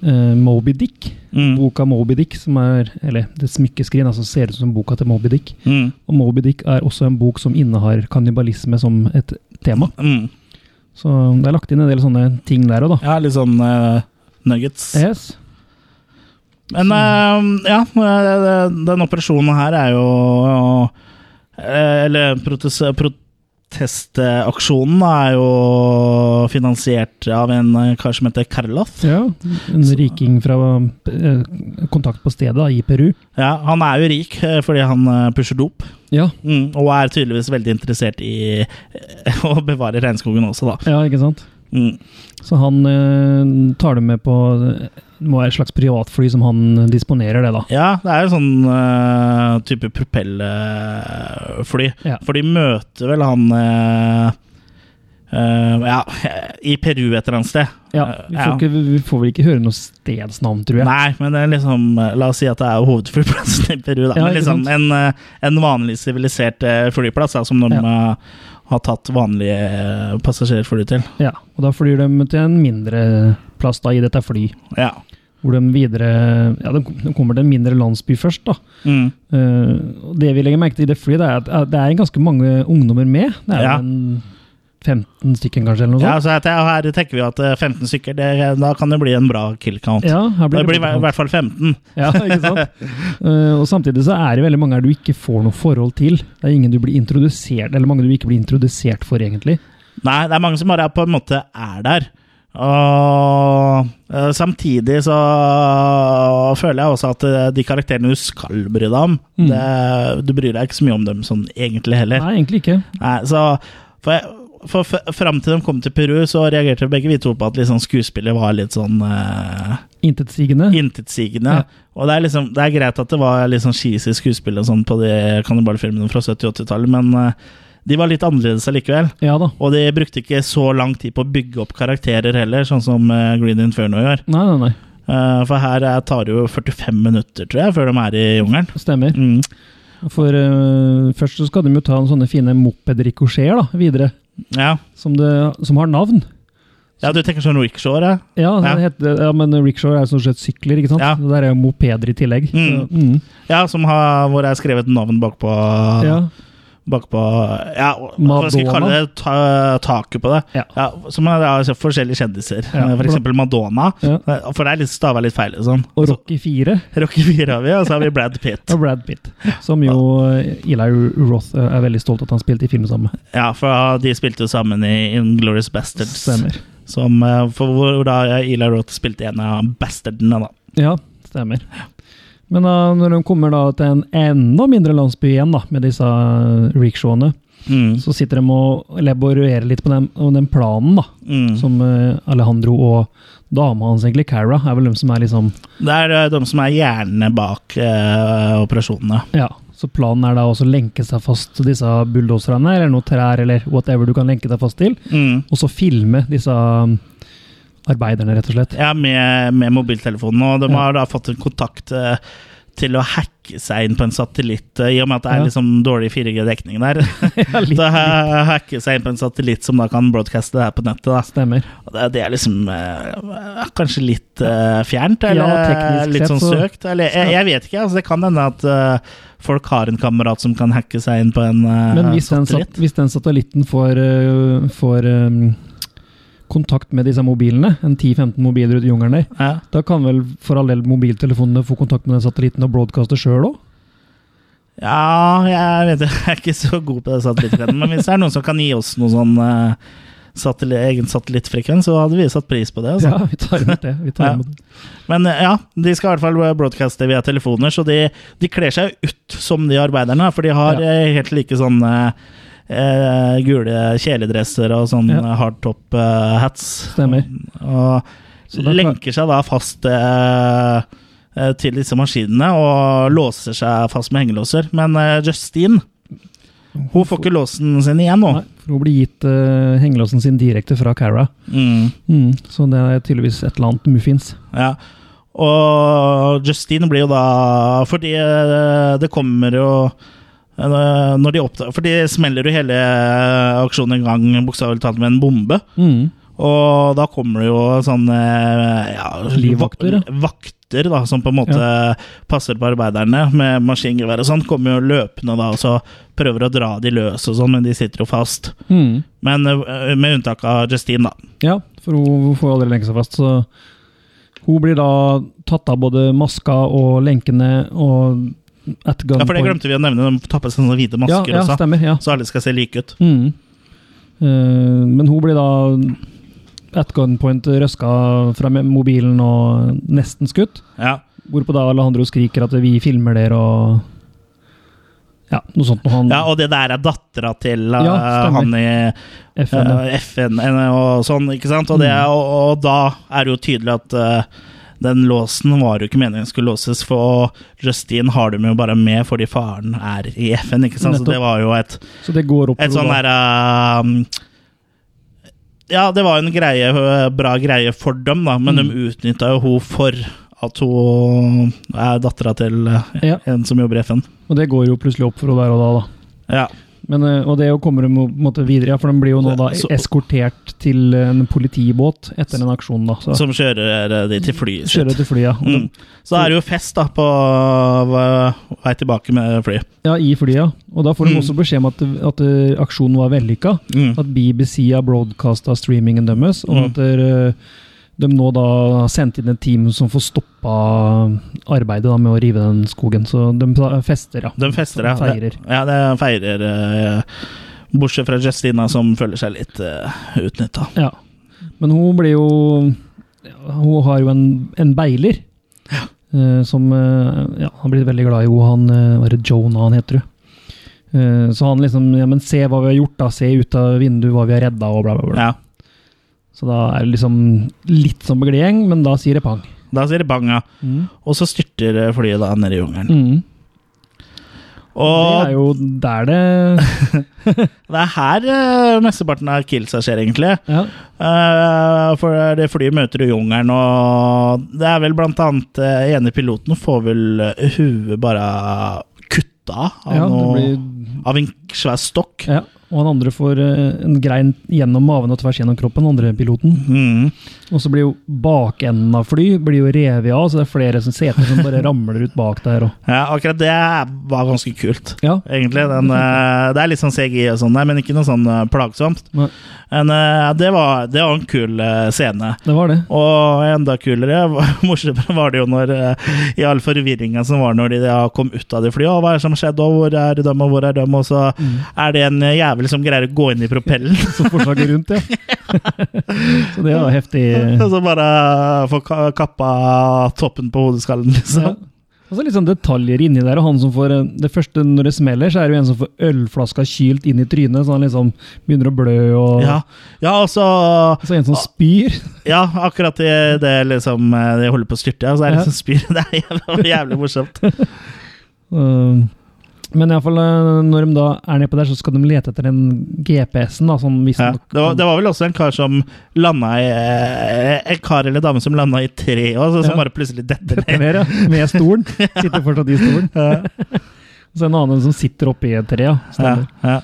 [SPEAKER 2] eh, Moby Dick.
[SPEAKER 1] mm,
[SPEAKER 2] boka Moby Dick, som er, eller det smykkeskrin altså, ser ut som boka til Moby Dick.
[SPEAKER 1] mm,
[SPEAKER 2] Og Moby Dick er også en bok som innehar kannibalisme som et tema.
[SPEAKER 1] mm.
[SPEAKER 2] Så det er lagt inn en del sånne ting der òg, da.
[SPEAKER 1] Ja, litt sånn eh, nuggets.
[SPEAKER 2] Yes.
[SPEAKER 1] Men eh, ja, eh, den operasjonen her er jo eh, Eller protes protestaksjonen er jo finansiert av en eh, kar som heter Karloff.
[SPEAKER 2] Ja, en riking fra eh, kontakt på stedet da, i Peru.
[SPEAKER 1] Ja, han er jo rik eh, fordi han eh, pusher dop,
[SPEAKER 2] Ja.
[SPEAKER 1] mm, og er tydeligvis veldig interessert i eh, [laughs] å bevare regnskogen også, da.
[SPEAKER 2] ja, ikke sant?
[SPEAKER 1] Mm.
[SPEAKER 2] Så han eh, tar det med på eh, Det må være et slags privatfly som han disponerer, det, da.
[SPEAKER 1] Ja, det er jo sånn eh, type propellfly.
[SPEAKER 2] Ja.
[SPEAKER 1] For de møter vel han eh, eh, Ja, i Peru et eller annet sted. Eh,
[SPEAKER 2] Ja, vi, får ikke, vi får vel ikke høre noe stedsnavn, tror jeg.
[SPEAKER 1] Nei, men det er liksom eh, La oss si at det er hovedflyplassen i Peru, da.
[SPEAKER 2] Ja,
[SPEAKER 1] men
[SPEAKER 2] ikke
[SPEAKER 1] liksom
[SPEAKER 2] sant?
[SPEAKER 1] en, eh, en vanlig sivilisert eh, flyplass, da, som de eh, har tatt vanlige eh, passasjerfly til.
[SPEAKER 2] Ja, og da flyr de til en mindre plass da, i dette fly,
[SPEAKER 1] Ja.
[SPEAKER 2] hvor de videre Ja, de de kommer til en mindre landsby først, da.
[SPEAKER 1] Mm.
[SPEAKER 2] Eh, og det vi legger merke til i det flyet, det er at eh, det er ganske mange ungdommer med. Det er
[SPEAKER 1] Ja.
[SPEAKER 2] jo en 15 stykker, kanskje, eller noe
[SPEAKER 1] Ja,
[SPEAKER 2] sånt.
[SPEAKER 1] så at- her tenker vi at eh, 15 stykker, det, da kan det bli en bra kill count.
[SPEAKER 2] Ja, her
[SPEAKER 1] det
[SPEAKER 2] blir
[SPEAKER 1] blir i hvert fall 15.
[SPEAKER 2] [laughs] Ja, ikke sant? Eh, og samtidig så er det veldig mange her du ikke får noe forhold til. Det er ingen du blir introdusert Eller mange du ikke blir introdusert for, egentlig.
[SPEAKER 1] Nei, det er mange som bare på en måte er der. Og eh, samtidig så føler jeg også at eh, de karakterene du skal bry deg om
[SPEAKER 2] Mm.
[SPEAKER 1] det, Du bryr deg ikke så mye om dem sånn egentlig heller.
[SPEAKER 2] Nei, egentlig ikke.
[SPEAKER 1] Nei, så for jeg, for f- Fram til de kom til Peru, så reagerte begge vi to på at liksom, skuespillet var litt sånn eh,
[SPEAKER 2] Intetsigende.
[SPEAKER 1] intetsigende.
[SPEAKER 2] Ja.
[SPEAKER 1] Og det er, liksom, det er greit at det var litt sånn cheesy skuespill og sånn på de kannibalfilmene fra 70- og 80-tallet, men eh, de var litt annerledes allikevel.
[SPEAKER 2] Ja da.
[SPEAKER 1] Og de brukte ikke så lang tid på å bygge opp karakterer heller, sånn som eh, Green Inferno gjør.
[SPEAKER 2] Nei, nei, nei.
[SPEAKER 1] Eh, For her eh, tar det jo 45 minutter, tror jeg, før de er i jungelen.
[SPEAKER 2] Stemmer.
[SPEAKER 1] Mm.
[SPEAKER 2] For eh, først så skal de jo ta en sånne fine mopedrikosjeer da, videre,
[SPEAKER 1] Ja.
[SPEAKER 2] som, det, som har navn.
[SPEAKER 1] ja, du tenker sånn rickshaw, ja?
[SPEAKER 2] Ja,
[SPEAKER 1] Ja.
[SPEAKER 2] Det heter, ja men rickshaw er jo stort sett sykler, ikke sant?
[SPEAKER 1] Ja.
[SPEAKER 2] Det der er jo mopeder i tillegg.
[SPEAKER 1] Mm.
[SPEAKER 2] Så, mm.
[SPEAKER 1] Ja, som har, hvor jeg har skrevet navn bakpå
[SPEAKER 2] Ja.
[SPEAKER 1] Bakpå Ja, hva skal vi
[SPEAKER 2] Madonna.
[SPEAKER 1] kalle det? Ta, taket på det.
[SPEAKER 2] Ja.
[SPEAKER 1] som er da altså forskjellige kjendiser. Eh,
[SPEAKER 2] Ja.
[SPEAKER 1] For eksempel Madonna. Eh,
[SPEAKER 2] Ja.
[SPEAKER 1] For det er litt stava litt feil. Sånn.
[SPEAKER 2] Og Rocky 4
[SPEAKER 1] Rocky 4 har vi, og så har vi Brad Pitt.
[SPEAKER 2] og Brad Pitt, som jo eh, Eli Roth eh, er veldig stolt at han spilte i film sammen med.
[SPEAKER 1] Ja, for de spilte jo sammen i Inglorious Bastards.
[SPEAKER 2] Stemmer.
[SPEAKER 1] Som, eh, for hvor da Eli Roth spilte en av bastardene, da.
[SPEAKER 2] Ja, stemmer. Men da, når de kommer da til en enda mindre landsby igjen da, med disse rickshawene,
[SPEAKER 1] Mm.
[SPEAKER 2] så sitter de og elaborerer litt på den, om den planen da,
[SPEAKER 1] Mm.
[SPEAKER 2] som eh, Alejandro og dama hans egentlig, Cara, er vel dem som er liksom
[SPEAKER 1] Det er eh, de som er hjernene bak eh, operasjonene.
[SPEAKER 2] Ja, så planen er da også å lenke seg fast til disse bulldoserne, eller noe trær, eller whatever du kan lenke deg fast til,
[SPEAKER 1] Mm.
[SPEAKER 2] og så filme disse um, arbeiderne, rett og
[SPEAKER 1] [laughs]
[SPEAKER 2] slett.
[SPEAKER 1] Ja, med, med mobiltelefonen, og de
[SPEAKER 2] Ja.
[SPEAKER 1] har da fått en kontakt eh, til å hacke seg inn på en satellitt, eh, i og med at det er
[SPEAKER 2] Ja.
[SPEAKER 1] liksom dårlig 4G-dekning
[SPEAKER 2] [laughs]
[SPEAKER 1] der. [laughs]
[SPEAKER 2] litt,
[SPEAKER 1] så ha- hacke seg inn på en satellitt som da kan broadcaste det her på nettet. da.
[SPEAKER 2] Stemmer.
[SPEAKER 1] Og det, det er liksom eh, kanskje litt eh, fjernt,
[SPEAKER 2] Ja,
[SPEAKER 1] eller
[SPEAKER 2] teknisk
[SPEAKER 1] litt
[SPEAKER 2] sett
[SPEAKER 1] sånn
[SPEAKER 2] så-
[SPEAKER 1] søkt. Eller jeg, jeg vet ikke, altså det kan hende at eh, folk har en kamerat som kan hacke seg inn på en eh,
[SPEAKER 2] Men hvis den, sat
[SPEAKER 1] satellitt.
[SPEAKER 2] hvis den satellitten får, uh, får um, kontakt med disse mobilene, en 10-15 mobiler ute i jungelen der,
[SPEAKER 1] Ja.
[SPEAKER 2] da kan vel for all del mobiltelefonene få kontakt med den satellitten og broadcaste sjøl òg?
[SPEAKER 1] Ja, jeg vet ikke, [laughs] jeg er ikke så god på det satellittgreiene, men hvis det er noen som kan gi oss noe sånn eh, satelli- egen satellittfrekvens, så hadde vi satt pris på det. Altså.
[SPEAKER 2] Ja, vi tar imot det. Vi tar
[SPEAKER 1] Ja.
[SPEAKER 2] imot det.
[SPEAKER 1] Men eh, ja, de skal i hvert fall broadcaste via telefoner, så de, de kler seg ut som de arbeiderne, for de har
[SPEAKER 2] Ja.
[SPEAKER 1] eh, helt like sånne eh, gule kjeledresser og sånn
[SPEAKER 2] Ja.
[SPEAKER 1] eh, hardtop eh, hats.
[SPEAKER 2] Stemmer. Så
[SPEAKER 1] Og
[SPEAKER 2] da-
[SPEAKER 1] lenker seg da fast eh, eh, til disse maskinene og låser seg fast med hengelåser. Men eh, Justine hun får ikke låsen sin igjen nå.
[SPEAKER 2] Nei, for hun blir gitt uh, hengelåsen sin direkte fra Cara.
[SPEAKER 1] Mm,
[SPEAKER 2] Mm, så det er tydeligvis et eller annet muffins.
[SPEAKER 1] ja. Og Justine blir jo da Fordi eh, det kommer jo eh, når de oppdager, For de smeller jo hele eh, aksjonen i gang, bokstavelig talt, med en bombe.
[SPEAKER 2] Mm.
[SPEAKER 1] Og da kommer det jo sånne eh, ja,
[SPEAKER 2] Livvakter, ja.
[SPEAKER 1] vakter da, som på en måte passer på arbeiderne med maskingevær og sånn. Kommer jo løpende da og så prøver å dra de løs og sånn, men de sitter jo fast. Men eh, med unntak av Justine, da.
[SPEAKER 2] Mm. Ja, for hun får jo aldri lenke seg fast, så hun blir da tatt av både maska og lenkene og at
[SPEAKER 1] Ja, For det glemte vi å nevne, de tar på seg sånne hvite
[SPEAKER 2] ja,
[SPEAKER 1] masker
[SPEAKER 2] ja,
[SPEAKER 1] også.
[SPEAKER 2] stemmer, ja.
[SPEAKER 1] Så alle skal se like ut.
[SPEAKER 2] Mm. Eh, men hun blir da at gunpoint røska fra me- mobilen og nesten skutt.
[SPEAKER 1] Ja.
[SPEAKER 2] Hvorpå da Alejandro skriker at vi filmer dere og Ja, noe sånt. Og han
[SPEAKER 1] ja, Og det der er dattera til eh,
[SPEAKER 2] Ja, stemmer.
[SPEAKER 1] han i
[SPEAKER 2] FN, ja. Mm.
[SPEAKER 1] Eh, FN og sånn, ikke sant? Og, det, er- og, og da er det jo tydelig at eh, den låsen var jo ikke meningen skulle låses, for Justine har dem jo bare med fordi faren er i FN, ikke sant? Så
[SPEAKER 2] Nettopp.
[SPEAKER 1] det var jo et,
[SPEAKER 2] Så det går opp
[SPEAKER 1] et
[SPEAKER 2] til
[SPEAKER 1] sånn
[SPEAKER 2] henne da.
[SPEAKER 1] der eh, Ja, det var jo en greie, eh, bra greie for dem, da,
[SPEAKER 2] Mm.
[SPEAKER 1] men de utnytta jo hun for at hun er dattera til eh,
[SPEAKER 2] Ja.
[SPEAKER 1] en som jobber i FN.
[SPEAKER 2] Og det går jo plutselig opp for henne der og da. da.
[SPEAKER 1] Ja.
[SPEAKER 2] Men, eh, og det jo kommer de jo på en måte videre, ja, for de blir jo nå da
[SPEAKER 1] Så-
[SPEAKER 2] eskortert til en politibåt etter den aksjonen. da. Så
[SPEAKER 1] Som kjører eh, de til flyet sitt.
[SPEAKER 2] kjører til flyet. ja. Og de-
[SPEAKER 1] Mm. Så er det jo fest da på v- vei tilbake med fly.
[SPEAKER 2] Ja, i flyet. ja. Og da får de
[SPEAKER 1] Mm.
[SPEAKER 2] også beskjed om at, at eh, aksjonen var vellykka.
[SPEAKER 1] Mm.
[SPEAKER 2] At BBC har broadcasta streamingen deres, og
[SPEAKER 1] Mm.
[SPEAKER 2] at eh, de nå da har sendt inn et team som får stoppa arbeidet da, med å rive den skogen. Så de da fester, ja.
[SPEAKER 1] De fester, ja.
[SPEAKER 2] Feirer.
[SPEAKER 1] Ja, de feirer. eh, Bortsett fra Justina, som føler seg litt uh, utnytta.
[SPEAKER 2] Ja. Men hun blir jo Hun har jo en, en beiler. eh, som eh, ja, han blir veldig glad i henne. Han eh, var det Jonah han heter. du? Eh, Så han liksom Ja, men se hva vi har gjort, da. Se ut av vinduet hva vi har redda, og bla, bla, bla.
[SPEAKER 1] Ja.
[SPEAKER 2] Så da er det liksom litt som beglegjeng, men da sier det pang.
[SPEAKER 1] Da sier det bang, ja. Og så styrter eh, flyet da ned i jungelen.
[SPEAKER 2] Mm. Det er
[SPEAKER 1] Og
[SPEAKER 2] jo der det
[SPEAKER 1] det er her eh, mesteparten av killsa skjer, egentlig. [laughs]
[SPEAKER 2] Ja.
[SPEAKER 1] Eh, for det flyet møter jo jungelen, og det er vel blant annet uh, ene piloten får vel eh, huet bare kutta av,
[SPEAKER 2] Ja, det
[SPEAKER 1] noe,
[SPEAKER 2] blir-
[SPEAKER 1] av en svær stokk.
[SPEAKER 2] ja. Og han andre får eh, en grein gjennom maven og tvers gjennom kroppen, den andre piloten.
[SPEAKER 1] Mhm.
[SPEAKER 2] Og så blir jo bakenden av fly blir jo revet av, så det er flere som seter som bare ramler ut bak der. Og.
[SPEAKER 1] Ja, akkurat det var ganske kult.
[SPEAKER 2] Ja.
[SPEAKER 1] Egentlig,
[SPEAKER 2] [laughs]
[SPEAKER 1] den, eh, Det er litt sånn CGI og sånn, der, men ikke noe sånn eh, plagsomt.
[SPEAKER 2] Nei.
[SPEAKER 1] Men eh, det var, det var en kul eh, scene.
[SPEAKER 2] Det var det.
[SPEAKER 1] Og enda kulere, [laughs] morsommere var det jo når eh, i all forvirringa som var når de da kom ut av det flyet, og hva er det som skjedde, og hvor er dem, og hvor er dem, og så er det en jævel som greier å gå inn i propellen.
[SPEAKER 2] [laughs]
[SPEAKER 1] [laughs]
[SPEAKER 2] Som forslaget rundt, ja. så det var heftig.
[SPEAKER 1] Og så bare får ka- kappa toppen på hodeskallen, liksom.
[SPEAKER 2] Ja. Og så litt sånn detaljer inni der. og han som får, eh, Det første når det smeller, så er det jo en som får ølflaska kylt inn i trynet, så han liksom begynner å blø. og...
[SPEAKER 1] Ja, ja og så
[SPEAKER 2] Så en som spyr.
[SPEAKER 1] Ja, akkurat det, det liksom eh, De holder på å styrte, og så er det
[SPEAKER 2] Ja.
[SPEAKER 1] liksom spyr. [laughs] Det er jævlig, jævlig morsomt.
[SPEAKER 2] Uh, Men iallfall eh, når de da er nede på der, så skal de lete etter den GPS-en. da, som
[SPEAKER 1] Ja.
[SPEAKER 2] visstnok-
[SPEAKER 1] Det, var, det var vel også en kar som landa i eh, En kar eller dame som landa i tre også, som
[SPEAKER 2] Ja.
[SPEAKER 1] bare plutselig detter
[SPEAKER 2] Dette
[SPEAKER 1] ned.
[SPEAKER 2] ned, [laughs] ja. Med stolen. Sitter fortsatt i stolen. Og så en annen som sitter oppi et tre. Ja.
[SPEAKER 1] Ja,
[SPEAKER 2] Stemmer.
[SPEAKER 1] ja,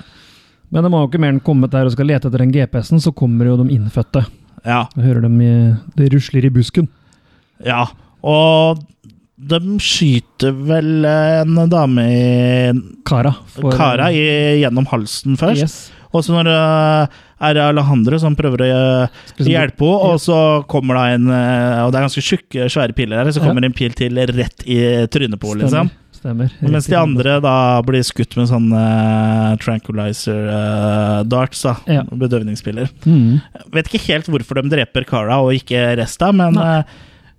[SPEAKER 2] Men de har jo ikke mer enn kommet der og skal lete etter den GPS-en, så kommer jo de innfødte.
[SPEAKER 1] ja,
[SPEAKER 2] Jeg hører dem i, Det rusler i busken.
[SPEAKER 1] ja. Og de skyter vel eh, en dame i
[SPEAKER 2] Kara. for-
[SPEAKER 1] Kara i, gjennom halsen først.
[SPEAKER 2] Yes.
[SPEAKER 1] Og så når det er det Alejandro som prøver å eh,
[SPEAKER 2] Skal-
[SPEAKER 1] hjelpe henne, og så kommer da en eh, Og det er ganske tjukke, svære piler her, så
[SPEAKER 2] Ja.
[SPEAKER 1] kommer det en pil til rett i trynet på henne, liksom.
[SPEAKER 2] Stemmer. Stemmer.
[SPEAKER 1] Mens de andre da blir skutt med sånn eh, tranquilizer eh, darts, da.
[SPEAKER 2] Ja.
[SPEAKER 1] Bedøvningspiller.
[SPEAKER 2] Mm.
[SPEAKER 1] Vet ikke helt hvorfor de dreper Cara og ikke resta, men
[SPEAKER 2] Nei.
[SPEAKER 1] eh,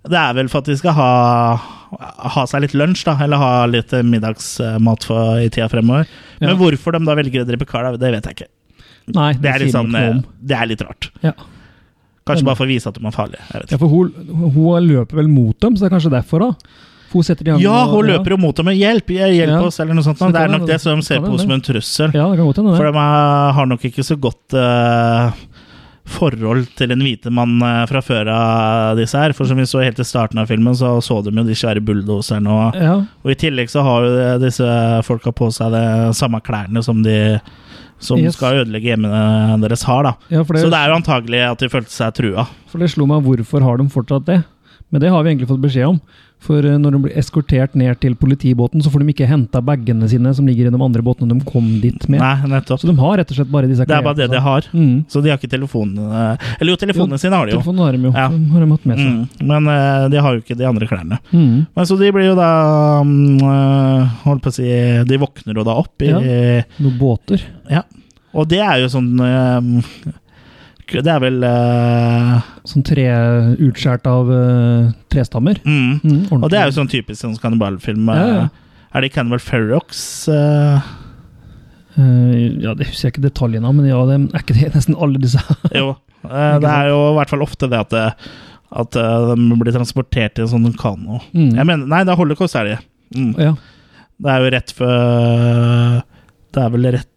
[SPEAKER 1] det er vel for at de skal ha, ha seg litt lunsj, da. Eller ha litt eh, middagsmat for, i tida fremover.
[SPEAKER 2] Ja.
[SPEAKER 1] Men hvorfor de da velger å drepe Cara, det vet jeg ikke.
[SPEAKER 2] Nei,
[SPEAKER 1] Det er, litt
[SPEAKER 2] sier
[SPEAKER 1] sånn,
[SPEAKER 2] noe om.
[SPEAKER 1] eh, det er litt rart.
[SPEAKER 2] Ja.
[SPEAKER 1] Kanskje bare for å vise at de er farlige. Jeg vet
[SPEAKER 2] Ja,
[SPEAKER 1] ikke.
[SPEAKER 2] for hun, hun løper vel mot dem, så det er kanskje derfor, da? For hun setter de
[SPEAKER 1] Ja, hun løper jo mot dem med 'hjelp, eh, hjelp
[SPEAKER 2] Ja.
[SPEAKER 1] oss', eller noe sånt.
[SPEAKER 2] Så
[SPEAKER 1] det er
[SPEAKER 2] kan
[SPEAKER 1] nok
[SPEAKER 2] det-
[SPEAKER 1] det som de ser
[SPEAKER 2] kan
[SPEAKER 1] på
[SPEAKER 2] det
[SPEAKER 1] som en trussel.
[SPEAKER 2] Ja, det kan godt hende.
[SPEAKER 1] For
[SPEAKER 2] det.
[SPEAKER 1] de er- har nok ikke så godt eh, forhold til en hvite mann eh, fra før av disse her. For som vi så helt i starten av filmen, så så de jo de svære bulldoserne. Og,
[SPEAKER 2] Ja,
[SPEAKER 1] og i tillegg så har jo de- disse folka på seg de samme klærne som de som
[SPEAKER 2] Yes.
[SPEAKER 1] skal ødelegge hjemmene deres har, da.
[SPEAKER 2] ja for,
[SPEAKER 1] Så det
[SPEAKER 2] det,
[SPEAKER 1] er jo antagelig at de følte seg trua.
[SPEAKER 2] for det slo meg hvorfor har de fortsatt det. Men det har vi egentlig fått beskjed om. For eh, når de blir eskortert ned til politibåten, så får de ikke henta bagene sine som ligger i de andre båtene de kom dit med.
[SPEAKER 1] Nei, nettopp.
[SPEAKER 2] Så de har rett og slett bare disse
[SPEAKER 1] Det er bare det de har.
[SPEAKER 2] Mm.
[SPEAKER 1] Så de har ikke telefonene Eller jo, telefonene
[SPEAKER 2] Jo,
[SPEAKER 1] sine har de jo.
[SPEAKER 2] Telefonen har de jo.
[SPEAKER 1] Ja.
[SPEAKER 2] De har de hatt med seg.
[SPEAKER 1] Mm, men eh, de har jo ikke de andre klærne.
[SPEAKER 2] Mm.
[SPEAKER 1] Men Så de blir jo da mm, eh, Holdt på å si De våkner jo da opp i
[SPEAKER 2] Noen båter.
[SPEAKER 1] Ja. Og det er jo sånn eh, Det er vel eh,
[SPEAKER 2] Sånn tre utskåret av eh, trestammer.
[SPEAKER 1] mm.
[SPEAKER 2] Mm,
[SPEAKER 1] Og det er jo sånn typisk sånn kannibalfilm. eh,
[SPEAKER 2] Ja, ja.
[SPEAKER 1] Er det Cannibal Ferrox? eh,
[SPEAKER 2] Eh, ja, det husker jeg ikke detaljene av, men ja, det er ikke det [laughs] nesten alle disse [laughs]
[SPEAKER 1] jo. eh, det er jo i hvert fall ofte det at, det, at eh, de blir transportert i en sånn kano.
[SPEAKER 2] Mm.
[SPEAKER 1] Jeg mener, nei, det er holocaust, er det. Mm.
[SPEAKER 2] Ja.
[SPEAKER 1] Det er jo rett før Det er vel rett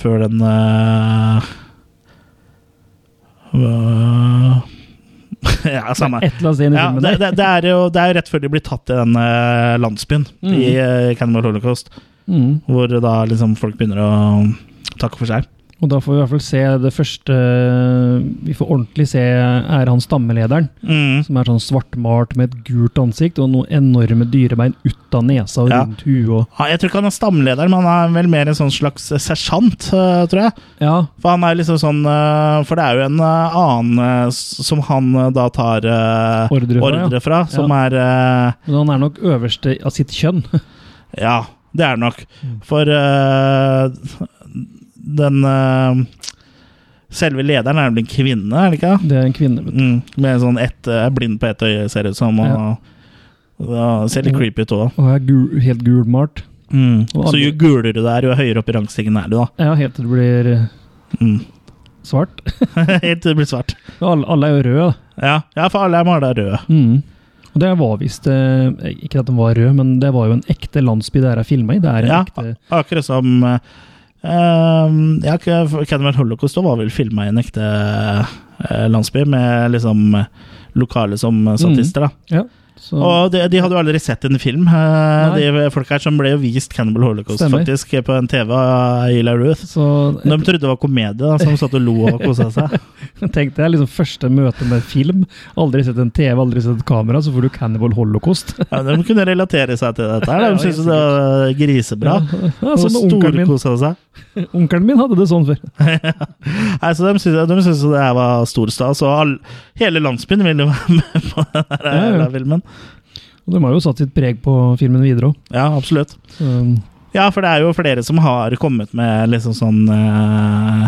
[SPEAKER 1] før den eh, øh, [laughs] Ja, samme.
[SPEAKER 2] Et eller annet sted i
[SPEAKER 1] Ja,
[SPEAKER 2] filmen
[SPEAKER 1] det,
[SPEAKER 2] der.
[SPEAKER 1] det, det er jo det er jo rett før de blir tatt i den eh, landsbyen i eh, Cannibal Holocaust,
[SPEAKER 2] Mm.
[SPEAKER 1] hvor da liksom folk begynner å takke for seg.
[SPEAKER 2] Og da får vi i hvert fall se det første Vi får ordentlig se er han stammelederen,
[SPEAKER 1] Mm.
[SPEAKER 2] som er sånn svartmalt med et gult ansikt og noen enorme dyrebein ut av nesa og
[SPEAKER 1] Ja.
[SPEAKER 2] rundt huet og
[SPEAKER 1] Ja, Jeg tror ikke han er stamleder, men han er vel mer en sånn slags sersjant, eh, tror jeg.
[SPEAKER 2] Ja,
[SPEAKER 1] For han er liksom sånn eh, For det er jo en eh, annen eh, s- som han eh, da tar eh,
[SPEAKER 2] Ordre fra, ja.
[SPEAKER 1] ordre fra, som
[SPEAKER 2] Ja.
[SPEAKER 1] er eh,
[SPEAKER 2] men han er nok øverste av sitt kjønn. [laughs]
[SPEAKER 1] Ja, det er det nok.
[SPEAKER 2] Mm.
[SPEAKER 1] For eh, den eh, Selve lederen er vel en kvinne, er det ikke?
[SPEAKER 2] Det er en kvinne. vet du.
[SPEAKER 1] Mm, med sånn ett, eh, blind på ett øye, ser det ut som. Og, og, ser litt creepy ut òg.
[SPEAKER 2] Og er gul, helt gulmalt.
[SPEAKER 1] Mm.
[SPEAKER 2] Og
[SPEAKER 1] Så jo
[SPEAKER 2] andre-
[SPEAKER 1] gulere du er, jo høyere opp i rangstigen er du, da. [laughs]
[SPEAKER 2] Ja, helt til det blir eh,
[SPEAKER 1] Mm.
[SPEAKER 2] svart. [laughs]
[SPEAKER 1] Helt til det blir svart.
[SPEAKER 2] Ja, Alle, alle er jo røde, da.
[SPEAKER 1] Ja, ja for alle er mala røde.
[SPEAKER 2] Mm. Og det var visst eh, Ikke at den var rød, men det var jo en ekte landsby det her er filma i. Det er en
[SPEAKER 1] Ja,
[SPEAKER 2] ekte
[SPEAKER 1] ak- akkurat som eh, ehm, ja, K- Cannibal Holocaust da var vel filma i en ekte eh, landsby, med liksom eh, lokale som statister. da.
[SPEAKER 2] Mm. Ja, så
[SPEAKER 1] Og de, de hadde jo aldri sett en film, eh, de folk her som ble jo vist Cannibal Holocaust
[SPEAKER 2] Stemmer.
[SPEAKER 1] faktisk på en TV av Ila Ruth.
[SPEAKER 2] så
[SPEAKER 1] De trodde det var komedie, da, som satt og lo og kosa seg.
[SPEAKER 2] [laughs] Tenk det er liksom første møte med film. Aldri sett en TV, aldri sett et kamera, så får du Cannibal Holocaust.
[SPEAKER 1] Ja, de kunne relatere seg til dette. her,
[SPEAKER 2] Ja,
[SPEAKER 1] De syntes det var grisebra.
[SPEAKER 2] [laughs] Ja,
[SPEAKER 1] Og
[SPEAKER 2] sånn onkelen min,
[SPEAKER 1] storkosa seg.
[SPEAKER 2] onkelen min hadde det sånn før.
[SPEAKER 1] Nei, så de syntes, de syntes det her var stor stas, og all, hele landsbyen ville jo være [laughs] med på den her
[SPEAKER 2] Ja, ja.
[SPEAKER 1] jævla filmen.
[SPEAKER 2] Og de har jo satt sitt preg på filmen videre um, òg.
[SPEAKER 1] Ja, absolutt. Ja, for det er jo flere som har kommet med liksom sånn eh,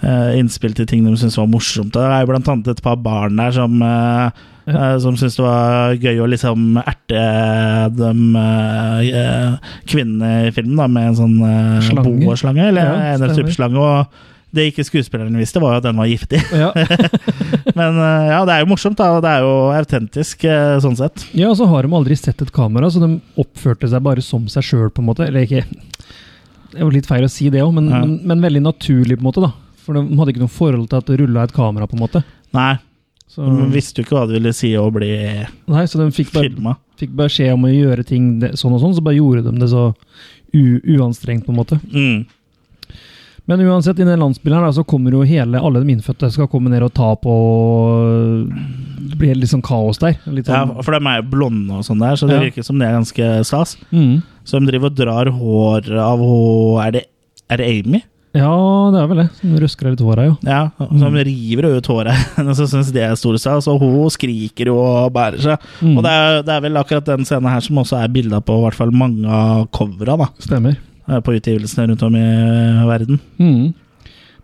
[SPEAKER 1] eh, innspill til ting de syns var morsomt. Det er jo blant annet et par barn der som uh, som syntes det var gøy å liksom erte de eh, kvinnene i filmen da, med en sånn uh,
[SPEAKER 2] Slange.
[SPEAKER 1] boaslange, eller
[SPEAKER 2] Ja,
[SPEAKER 1] en eller annen type slange. Og det ikke skuespilleren visste, var jo at den var giftig.
[SPEAKER 2] [laughs] Ja.
[SPEAKER 1] Men eh, ja, det er jo morsomt, da, og det er jo autentisk eh, sånn sett.
[SPEAKER 2] ja, og så har de aldri sett et kamera, så de oppførte seg bare som seg sjøl, på en måte. Eller ikke Det var litt feil å si det òg, men,
[SPEAKER 1] Ja.
[SPEAKER 2] men, men veldig naturlig, på en måte. da. For de hadde ikke noe forhold til at det rulla et kamera, på en måte.
[SPEAKER 1] Nei,
[SPEAKER 2] Så,
[SPEAKER 1] de visste jo ikke hva det ville si å bli
[SPEAKER 2] Mm. nei, så de fikk bare,
[SPEAKER 1] filma.
[SPEAKER 2] fikk beskjed om å gjøre ting det- sånn og sånn, så bare gjorde de det så u uanstrengt, på en måte.
[SPEAKER 1] Mm.
[SPEAKER 2] Men uansett, i den landsbyen her da, så kommer jo hele, alle de innfødte skal komme ned og ta på Det blir litt sånn kaos der. Litt
[SPEAKER 1] Ja,
[SPEAKER 2] sånn,
[SPEAKER 1] for de er jo blonde og sånn der, så det
[SPEAKER 2] Ja.
[SPEAKER 1] virker som det er ganske stas.
[SPEAKER 2] Mm.
[SPEAKER 1] Så de driver og drar hår av hå- Er det, er det Amy?
[SPEAKER 2] ja det er vel det. Som røsker litt håra, jo.
[SPEAKER 1] Ja, som
[SPEAKER 2] Mm.
[SPEAKER 1] river ut håret [laughs] hennes og syns det er stor stas, og hun skriker jo og bærer seg.
[SPEAKER 2] Mm.
[SPEAKER 1] Og det er, det er vel akkurat den scenen her som også er bilda på i hvert fall mange av covera da, eh,
[SPEAKER 2] Stemmer.
[SPEAKER 1] på utgivelsene rundt om i verden.
[SPEAKER 2] Mm.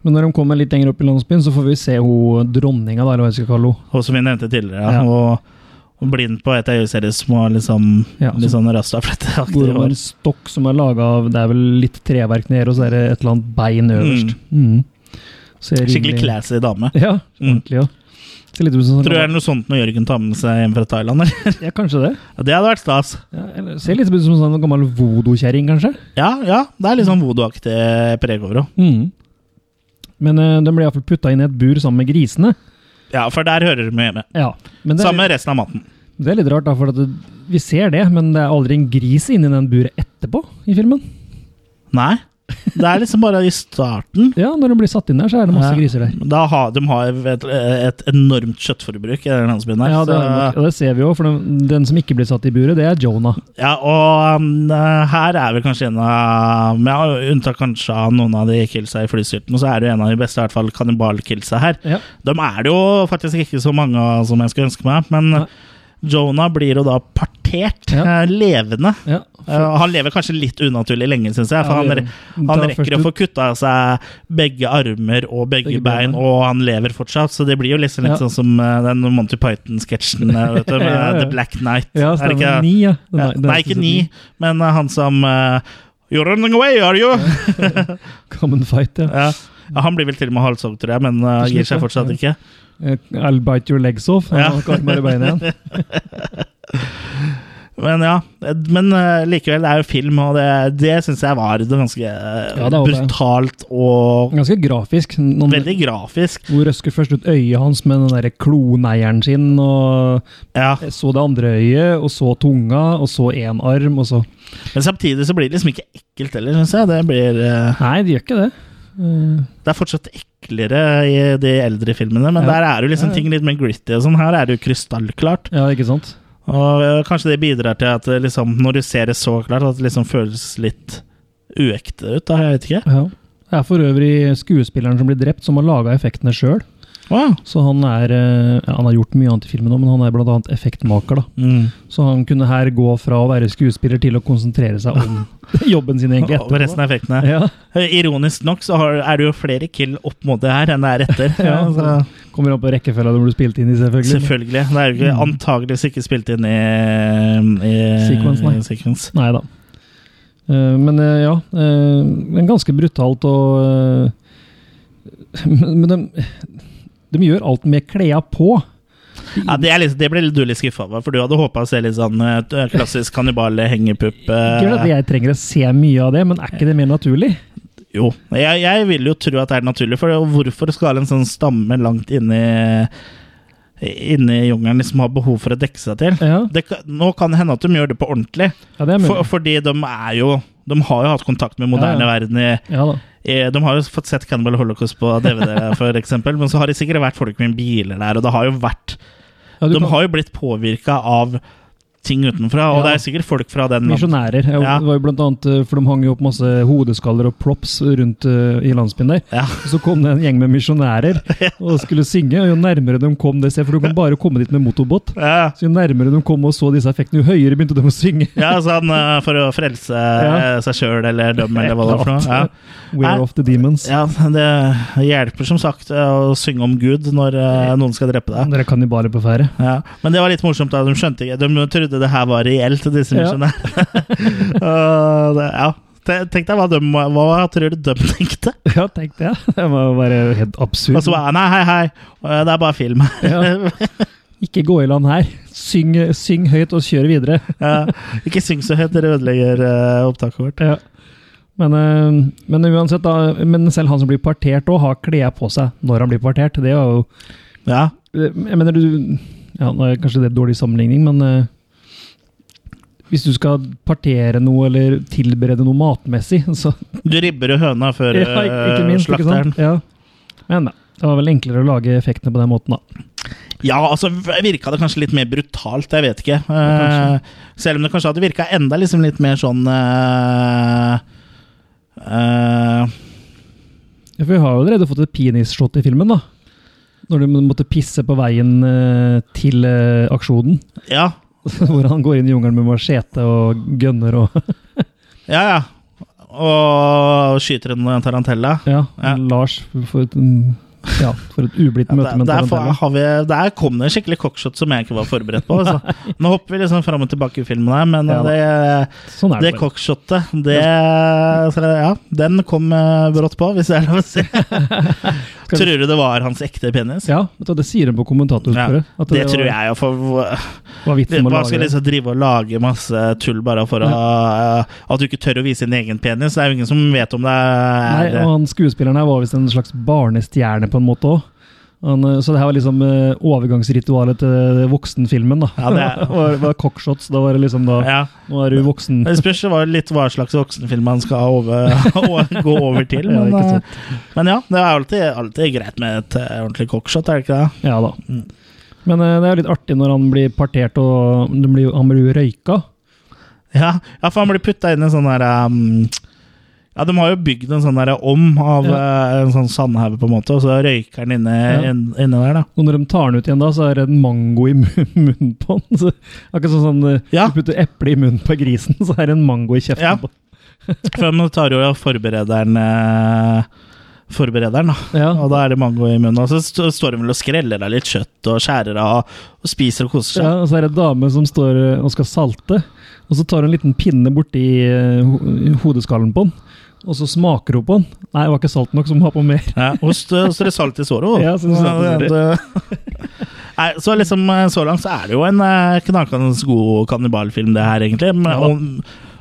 [SPEAKER 2] Men når de kommer litt lenger opp i landsbyen, så får vi se hun dronninga, da, eller hva jeg skal kalle henne.
[SPEAKER 1] Og som vi nevnte tidligere,
[SPEAKER 2] Ja.
[SPEAKER 1] og, og blind på et øye deres som har liksom,
[SPEAKER 2] Ja,
[SPEAKER 1] litt
[SPEAKER 2] som-
[SPEAKER 1] sånn
[SPEAKER 2] Går
[SPEAKER 1] rastafletteaktig
[SPEAKER 2] over
[SPEAKER 1] hår.
[SPEAKER 2] en stokk som er laga av Det er vel litt treverk nede, og så er det et eller annet bein øverst. Mm. Ser
[SPEAKER 1] Skikkelig
[SPEAKER 2] rimelig-
[SPEAKER 1] classy dame.
[SPEAKER 2] Ja,
[SPEAKER 1] Mm.
[SPEAKER 2] ordentlig, ja. Ser litt ut
[SPEAKER 1] Tror
[SPEAKER 2] som
[SPEAKER 1] du det
[SPEAKER 2] sånn,
[SPEAKER 1] er noe sånt når Jørgen tar med seg hjem fra Thailand? Eller? [laughs]
[SPEAKER 2] ja, kanskje det.
[SPEAKER 1] Ja, Det hadde vært stas.
[SPEAKER 2] Ja, eller, ser litt ut som en sånn gammel vodokjerring, kanskje.
[SPEAKER 1] Ja, ja, det er litt sånn voodoo-aktig preg over henne.
[SPEAKER 2] Mm. Men eh, den ble iallfall putta inn i et bur sammen med grisene.
[SPEAKER 1] Ja, for der hører du mye hjemme.
[SPEAKER 2] Ja, men det, er-
[SPEAKER 1] Samme resten av maten.
[SPEAKER 2] det er litt rart, da, for at det, vi ser det, men det er aldri en gris inni den buret etterpå i filmen.
[SPEAKER 1] Nei. Det er liksom bare i
[SPEAKER 2] [laughs]
[SPEAKER 1] starten.
[SPEAKER 2] Ja, Når den blir satt inn der, så er det masse
[SPEAKER 1] Ja.
[SPEAKER 2] griser der.
[SPEAKER 1] Da har, de har et, et enormt kjøttforbruk i den landsbyen der.
[SPEAKER 2] Ja, det, er det nok.
[SPEAKER 1] så,
[SPEAKER 2] og det ser vi jo, for den, den som ikke blir satt i buret, det er Jonah.
[SPEAKER 1] ja, og um, her er vel kanskje en av Med unntak kanskje av noen av de killsa i flystyrten, så er det jo en av de beste, i hvert fall kannibalkillsa her.
[SPEAKER 2] Ja.
[SPEAKER 1] De er det jo faktisk ikke så mange av som jeg skulle ønske meg, men
[SPEAKER 2] Nei.
[SPEAKER 1] Jonah blir jo da partert
[SPEAKER 2] Ja.
[SPEAKER 1] eh, levende.
[SPEAKER 2] Ja.
[SPEAKER 1] Eh, han lever kanskje litt unaturlig lenge, syns jeg. For
[SPEAKER 2] Ja,
[SPEAKER 1] han,
[SPEAKER 2] det gjør han.
[SPEAKER 1] han
[SPEAKER 2] Da
[SPEAKER 1] rekker
[SPEAKER 2] først
[SPEAKER 1] å
[SPEAKER 2] du-
[SPEAKER 1] få kutta av seg begge armer og begge,
[SPEAKER 2] Begge
[SPEAKER 1] bein,
[SPEAKER 2] beina.
[SPEAKER 1] og han lever fortsatt. Så det blir jo liksom litt
[SPEAKER 2] Ja.
[SPEAKER 1] sånn som eh, den Monty Python-sketsjen eh, vet du, med
[SPEAKER 2] [laughs] Ja, ja.
[SPEAKER 1] The Black Knight.
[SPEAKER 2] Ja,
[SPEAKER 1] Er det
[SPEAKER 2] stemmer.
[SPEAKER 1] ikke-
[SPEAKER 2] Ni, ja. Den
[SPEAKER 1] Ja,
[SPEAKER 2] er- den
[SPEAKER 1] nei,
[SPEAKER 2] er
[SPEAKER 1] ikke
[SPEAKER 2] sesong
[SPEAKER 1] ni, men eh, han som eh, You're running away, are you?
[SPEAKER 2] Common fight, ja.
[SPEAKER 1] [laughs] Ja. Ja, han blir vel til og med halshogd, tror jeg, men eh,
[SPEAKER 2] Til
[SPEAKER 1] gir
[SPEAKER 2] slutt,
[SPEAKER 1] seg
[SPEAKER 2] ja.
[SPEAKER 1] fortsatt
[SPEAKER 2] Ja.
[SPEAKER 1] ikke.
[SPEAKER 2] Eh, I'll bite your legs off. Han
[SPEAKER 1] Ja.
[SPEAKER 2] har ikke armer i beina [laughs] igjen.
[SPEAKER 1] Men ja, men eh, likevel, det er jo film, og det, det syns jeg var det ganske eh,
[SPEAKER 2] Ja, det var det.
[SPEAKER 1] brutalt og
[SPEAKER 2] Ganske grafisk. Noen,
[SPEAKER 1] veldig grafisk.
[SPEAKER 2] Hun røsker først ut øyet hans med den der kloneieren sin, og
[SPEAKER 1] Ja.
[SPEAKER 2] så det andre øyet, og så tunga, og så én arm, og så
[SPEAKER 1] Men samtidig så blir det liksom ikke ekkelt heller, syns jeg. Det, blir, eh,
[SPEAKER 2] Nei, det gjør ikke det.
[SPEAKER 1] det er fortsatt eklere i de eldre filmene, men
[SPEAKER 2] Ja.
[SPEAKER 1] der er jo liksom ting litt mer gritty og sånn. Her er det jo krystallklart.
[SPEAKER 2] Ja, ikke sant?
[SPEAKER 1] Og eh, kanskje det bidrar til at eh, liksom, når du ser det så klart, at det liksom føles litt uekte ut, da. Jeg vet ikke.
[SPEAKER 2] Ja. Det er for øvrig skuespilleren som blir drept, som har laga effektene sjøl.
[SPEAKER 1] Wow.
[SPEAKER 2] Så han er eh, ja, Han har gjort mye annet i filmen òg, men han er blant annet effektmaker, da.
[SPEAKER 1] Mm.
[SPEAKER 2] Så han kunne her gå fra å være skuespiller til å konsentrere seg om [laughs] jobben sin, egentlig.
[SPEAKER 1] Og
[SPEAKER 2] Etterpå.
[SPEAKER 1] resten av effektene.
[SPEAKER 2] Ja.
[SPEAKER 1] Eh, Ironisk nok så har, er det jo flere kill opp mot det her enn det er etter.
[SPEAKER 2] [laughs] Ja,
[SPEAKER 1] Ja, så,
[SPEAKER 2] Kommer an på rekkefølga det blir spilt inn i, selvfølgelig. Mm.
[SPEAKER 1] selvfølgelig. Det er jo ikke, antageligvis ikke spilt inn i, i
[SPEAKER 2] Sequence, nei.
[SPEAKER 1] i sequence.
[SPEAKER 2] Nei da. Eh, Men eh, ja, eh, men ganske brutalt og eh, [laughs] Men men de, de gjør alt med klærne på.
[SPEAKER 1] Ja, det, er litt, det ble litt du litt skuffa over, for du hadde håpa å se litt sånn eh, klassisk kannibal-hengepupp.
[SPEAKER 2] Ikke
[SPEAKER 1] eh,
[SPEAKER 2] at jeg trenger å se mye av det, men er ikke det mer naturlig?
[SPEAKER 1] Jo. Jeg, jeg vil jo tro at det er naturlig, for det, og hvorfor skal en sånn stamme langt inni Inni jungelen liksom ha behov for å dekke seg til?
[SPEAKER 2] Ja.
[SPEAKER 1] Det, kan- nå kan det hende at de gjør det på ordentlig,
[SPEAKER 2] Ja, det er
[SPEAKER 1] for,
[SPEAKER 2] mulig.
[SPEAKER 1] fordi de er jo De har jo hatt kontakt med moderne
[SPEAKER 2] Ja, ja.
[SPEAKER 1] verden i
[SPEAKER 2] Ja da.
[SPEAKER 1] Eh, De har jo fått sett Cannibal Holocaust på
[SPEAKER 2] [laughs]
[SPEAKER 1] DVD, for eksempel, men så har det sikkert vært folk med biler der, og det har jo vært
[SPEAKER 2] Ja, du
[SPEAKER 1] De
[SPEAKER 2] kan-
[SPEAKER 1] har jo blitt påvirka av ting utenfra, og
[SPEAKER 2] Ja.
[SPEAKER 1] det er sikkert folk fra den
[SPEAKER 2] Misjonærer. Ja.
[SPEAKER 1] Ja.
[SPEAKER 2] Det var jo blant annet, eh, for de hang jo opp masse hodeskaller og props rundt eh, i landsbyen der.
[SPEAKER 1] Ja.
[SPEAKER 2] Og Så kom det en gjeng
[SPEAKER 1] [laughs]
[SPEAKER 2] med misjonærer og skulle synge, og jo nærmere de kom det stedet, for du kan bare komme dit med motorbåt.
[SPEAKER 1] Ja.
[SPEAKER 2] Så jo nærmere de kom og så disse effektene, jo høyere begynte de å synge.
[SPEAKER 1] Ja, sånn eh, for å frelse eh, seg sjøl eller dem, eller hva det er for noe. Ja.
[SPEAKER 2] We're
[SPEAKER 1] Nei.
[SPEAKER 2] off the demons.
[SPEAKER 1] Ja, det hjelper som sagt eh, å synge om Gud når eh, noen skal drepe deg.
[SPEAKER 2] Dere er kannibaler på ferde. [laughs]
[SPEAKER 1] Ja. Men det var litt morsomt, da. De skjønte ikke De trodde det her var reelt, disse
[SPEAKER 2] Ja.
[SPEAKER 1] misjonærene. [laughs] Og det- ja. Te- Tenk deg hva de Hva tror du de tenkte?
[SPEAKER 2] Ja, tenk det. Det må jo være helt absurd.
[SPEAKER 1] Og så bare Nei, hei, hei, eh, det er bare film. [laughs]
[SPEAKER 2] Ja. Ikke gå i land her. Syng, syng høyt og kjør videre.
[SPEAKER 1] Ja. Ikke syng så høyt, dere ødelegger eh, opptaket vårt.
[SPEAKER 2] Ja. Men, eh, men uansett, da. Men selv han som blir partert òg, har klær på seg når han blir partert. Det er jo
[SPEAKER 1] Ja.
[SPEAKER 2] Jeg mener du ja, nå er Kanskje det er dårlig sammenligning, men eh, hvis du skal partere noe eller tilberede noe matmessig, så
[SPEAKER 1] Du ribber jo høna før
[SPEAKER 2] ja, ikke, ikke
[SPEAKER 1] eh,
[SPEAKER 2] minst, ikke
[SPEAKER 1] slakter den.
[SPEAKER 2] sant? Ja. Men da. Det var vel enklere å lage effektene på den måten, da.
[SPEAKER 1] Ja, altså virka det kanskje litt mer brutalt, jeg vet ikke.
[SPEAKER 2] kanskje.
[SPEAKER 1] Eh, selv om det kanskje hadde virka enda liksom litt mer sånn eh, eh,
[SPEAKER 2] Ja, For vi har jo allerede fått et penisshot i filmen, da. Når du måtte pisse på veien eh, til eh, aksjonen. [laughs]
[SPEAKER 1] Ja,
[SPEAKER 2] Hvor han går inn i jungelen med machete og gønner og [laughs]
[SPEAKER 1] ja, ja. Og skyter en tarantella.
[SPEAKER 2] Ja,
[SPEAKER 1] Ja.
[SPEAKER 2] Lars for et, mm, ja, for et ublidt
[SPEAKER 1] Ja,
[SPEAKER 2] møte
[SPEAKER 1] der,
[SPEAKER 2] med en
[SPEAKER 1] der,
[SPEAKER 2] tarantella.
[SPEAKER 1] fa- har vi, der kom det en skikkelig cockshot som jeg ikke var forberedt på.
[SPEAKER 2] [laughs]
[SPEAKER 1] Altså. Nå hopper vi liksom fram og tilbake i filmen her, men eh,
[SPEAKER 2] Ja da.
[SPEAKER 1] det,
[SPEAKER 2] Sånn er
[SPEAKER 1] det
[SPEAKER 2] det. bare.
[SPEAKER 1] cockshotet, det Ja, den kom eh, brått på, hvis det er lov å si.
[SPEAKER 2] [laughs] Skal vi-
[SPEAKER 1] Tror du det var hans ekte penis?
[SPEAKER 2] Ja, vet du, det sier de på kommentatorsporet.
[SPEAKER 1] Ja,
[SPEAKER 2] at
[SPEAKER 1] det tror
[SPEAKER 2] var-
[SPEAKER 1] jeg jo, for
[SPEAKER 2] var vitsen med å
[SPEAKER 1] man
[SPEAKER 2] lage
[SPEAKER 1] skal
[SPEAKER 2] det.
[SPEAKER 1] liksom drive og lage masse tull bare for å, at du ikke tør å vise din egen penis. Det er jo ingen som vet om det
[SPEAKER 2] Nei,
[SPEAKER 1] er
[SPEAKER 2] og han Skuespilleren her var visst en slags barnestjerne på en måte òg. Så det her var liksom eh, overgangsritualet til eh, voksenfilmen. da.
[SPEAKER 1] Ja, det er-
[SPEAKER 2] [laughs] var, var cockshots. Da var det liksom da
[SPEAKER 1] ja.
[SPEAKER 2] Nå er du voksen.
[SPEAKER 1] Det spørs jo hva- litt hva slags voksenfilm han skal over, [laughs] å- gå over til.
[SPEAKER 2] Ja,
[SPEAKER 1] Men
[SPEAKER 2] ikke
[SPEAKER 1] ja,
[SPEAKER 2] sant.
[SPEAKER 1] men ja det er alltid, alltid greit med et eh, ordentlig cockshot, er det ikke det?
[SPEAKER 2] Ja da.
[SPEAKER 1] Mm.
[SPEAKER 2] Men eh, det er jo litt artig når han blir partert og den blir, han blir jo røyka.
[SPEAKER 1] Ja, ja for han blir putta inn i en sånn der um, ja, De har jo bygd en sånn der om av eh, en sånn sandhaug, på en måte, og så røyker han inne,
[SPEAKER 2] Ja.
[SPEAKER 1] inn- inne der, da.
[SPEAKER 2] Og når de tar den ut igjen da, så er det en mango i [laughs] mun- munnen på den. Så, akkurat sånn sånn, eh,
[SPEAKER 1] Ja.
[SPEAKER 2] du putter eple i munnen på grisen, [laughs] så er det en mango i kjeften
[SPEAKER 1] Ja.
[SPEAKER 2] på den.
[SPEAKER 1] For man tar jo forberederen eh, Forberederen, da.
[SPEAKER 2] Ja.
[SPEAKER 1] Og da er det mango i munnen. Og så st står hun vel og skreller av litt kjøtt og skjærer av og spiser og koser seg.
[SPEAKER 2] Ja, og så er det en dame som står eh, og skal salte, og så tar hun en liten pinne borti eh, ho i hodeskallen på den, og så smaker hun på den. Nei, det var ikke salt nok, så må hun ha på mer.
[SPEAKER 1] Ja, og så så er det salt i såret også.
[SPEAKER 2] Ja, så det er salt i såret.
[SPEAKER 1] det- Nei, så liksom eh, så langt så er det jo en eh, knakende god kannibalfilm, det her, egentlig. Men,
[SPEAKER 2] Ja da.
[SPEAKER 1] om,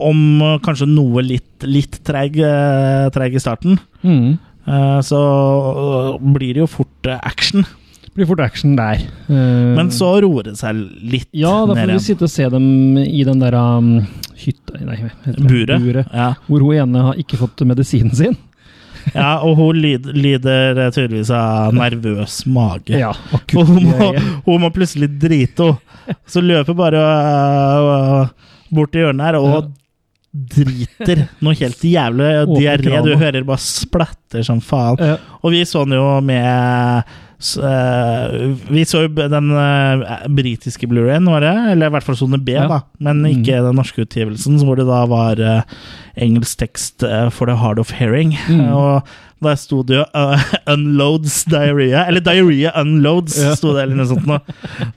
[SPEAKER 1] om eh, kanskje noe litt, litt treig, eh, treig i starten. eh, Så eh, blir det jo fort eh, action.
[SPEAKER 2] Blir fort action der. Eh,
[SPEAKER 1] Men så roer det seg litt
[SPEAKER 2] Ja, da får
[SPEAKER 1] ned
[SPEAKER 2] vi
[SPEAKER 1] igjen.
[SPEAKER 2] sitte og se dem i den der um, hytta Nei, hva heter det?
[SPEAKER 1] Buret.
[SPEAKER 2] Buret.
[SPEAKER 1] Ja.
[SPEAKER 2] Hvor hun ene har ikke fått medisinen sin.
[SPEAKER 1] ja, og hun lid, lider eh, tydeligvis av nervøs mage.
[SPEAKER 2] Ja,
[SPEAKER 1] For
[SPEAKER 2] akutt.
[SPEAKER 1] hun må,
[SPEAKER 2] greie.
[SPEAKER 1] hun må plutselig drite henne. Så løper bare øh, bort til hjørnet her og driter noe helt jævlig
[SPEAKER 2] Åpne
[SPEAKER 1] diaré. Du
[SPEAKER 2] krana. Eh,
[SPEAKER 1] hører bare splatter som faen.
[SPEAKER 2] Ja.
[SPEAKER 1] Og vi så den jo med Så, eh, vi så jo b- den eh, britiske Blu-rayen, var det? Eller i hvert fall sone B,
[SPEAKER 2] Ja. Mm.
[SPEAKER 1] da. Men ikke den norske utgivelsen, så hvor det da var eh, engelsk tekst eh, for The Hard of Hearing.
[SPEAKER 2] Mm.
[SPEAKER 1] [laughs] Og der sto det jo eh, [laughs] 'Unloads Diarrhea', eller 'Diarrhea Unloads',
[SPEAKER 2] Ja.
[SPEAKER 1] sto det, eller noe sånt noe.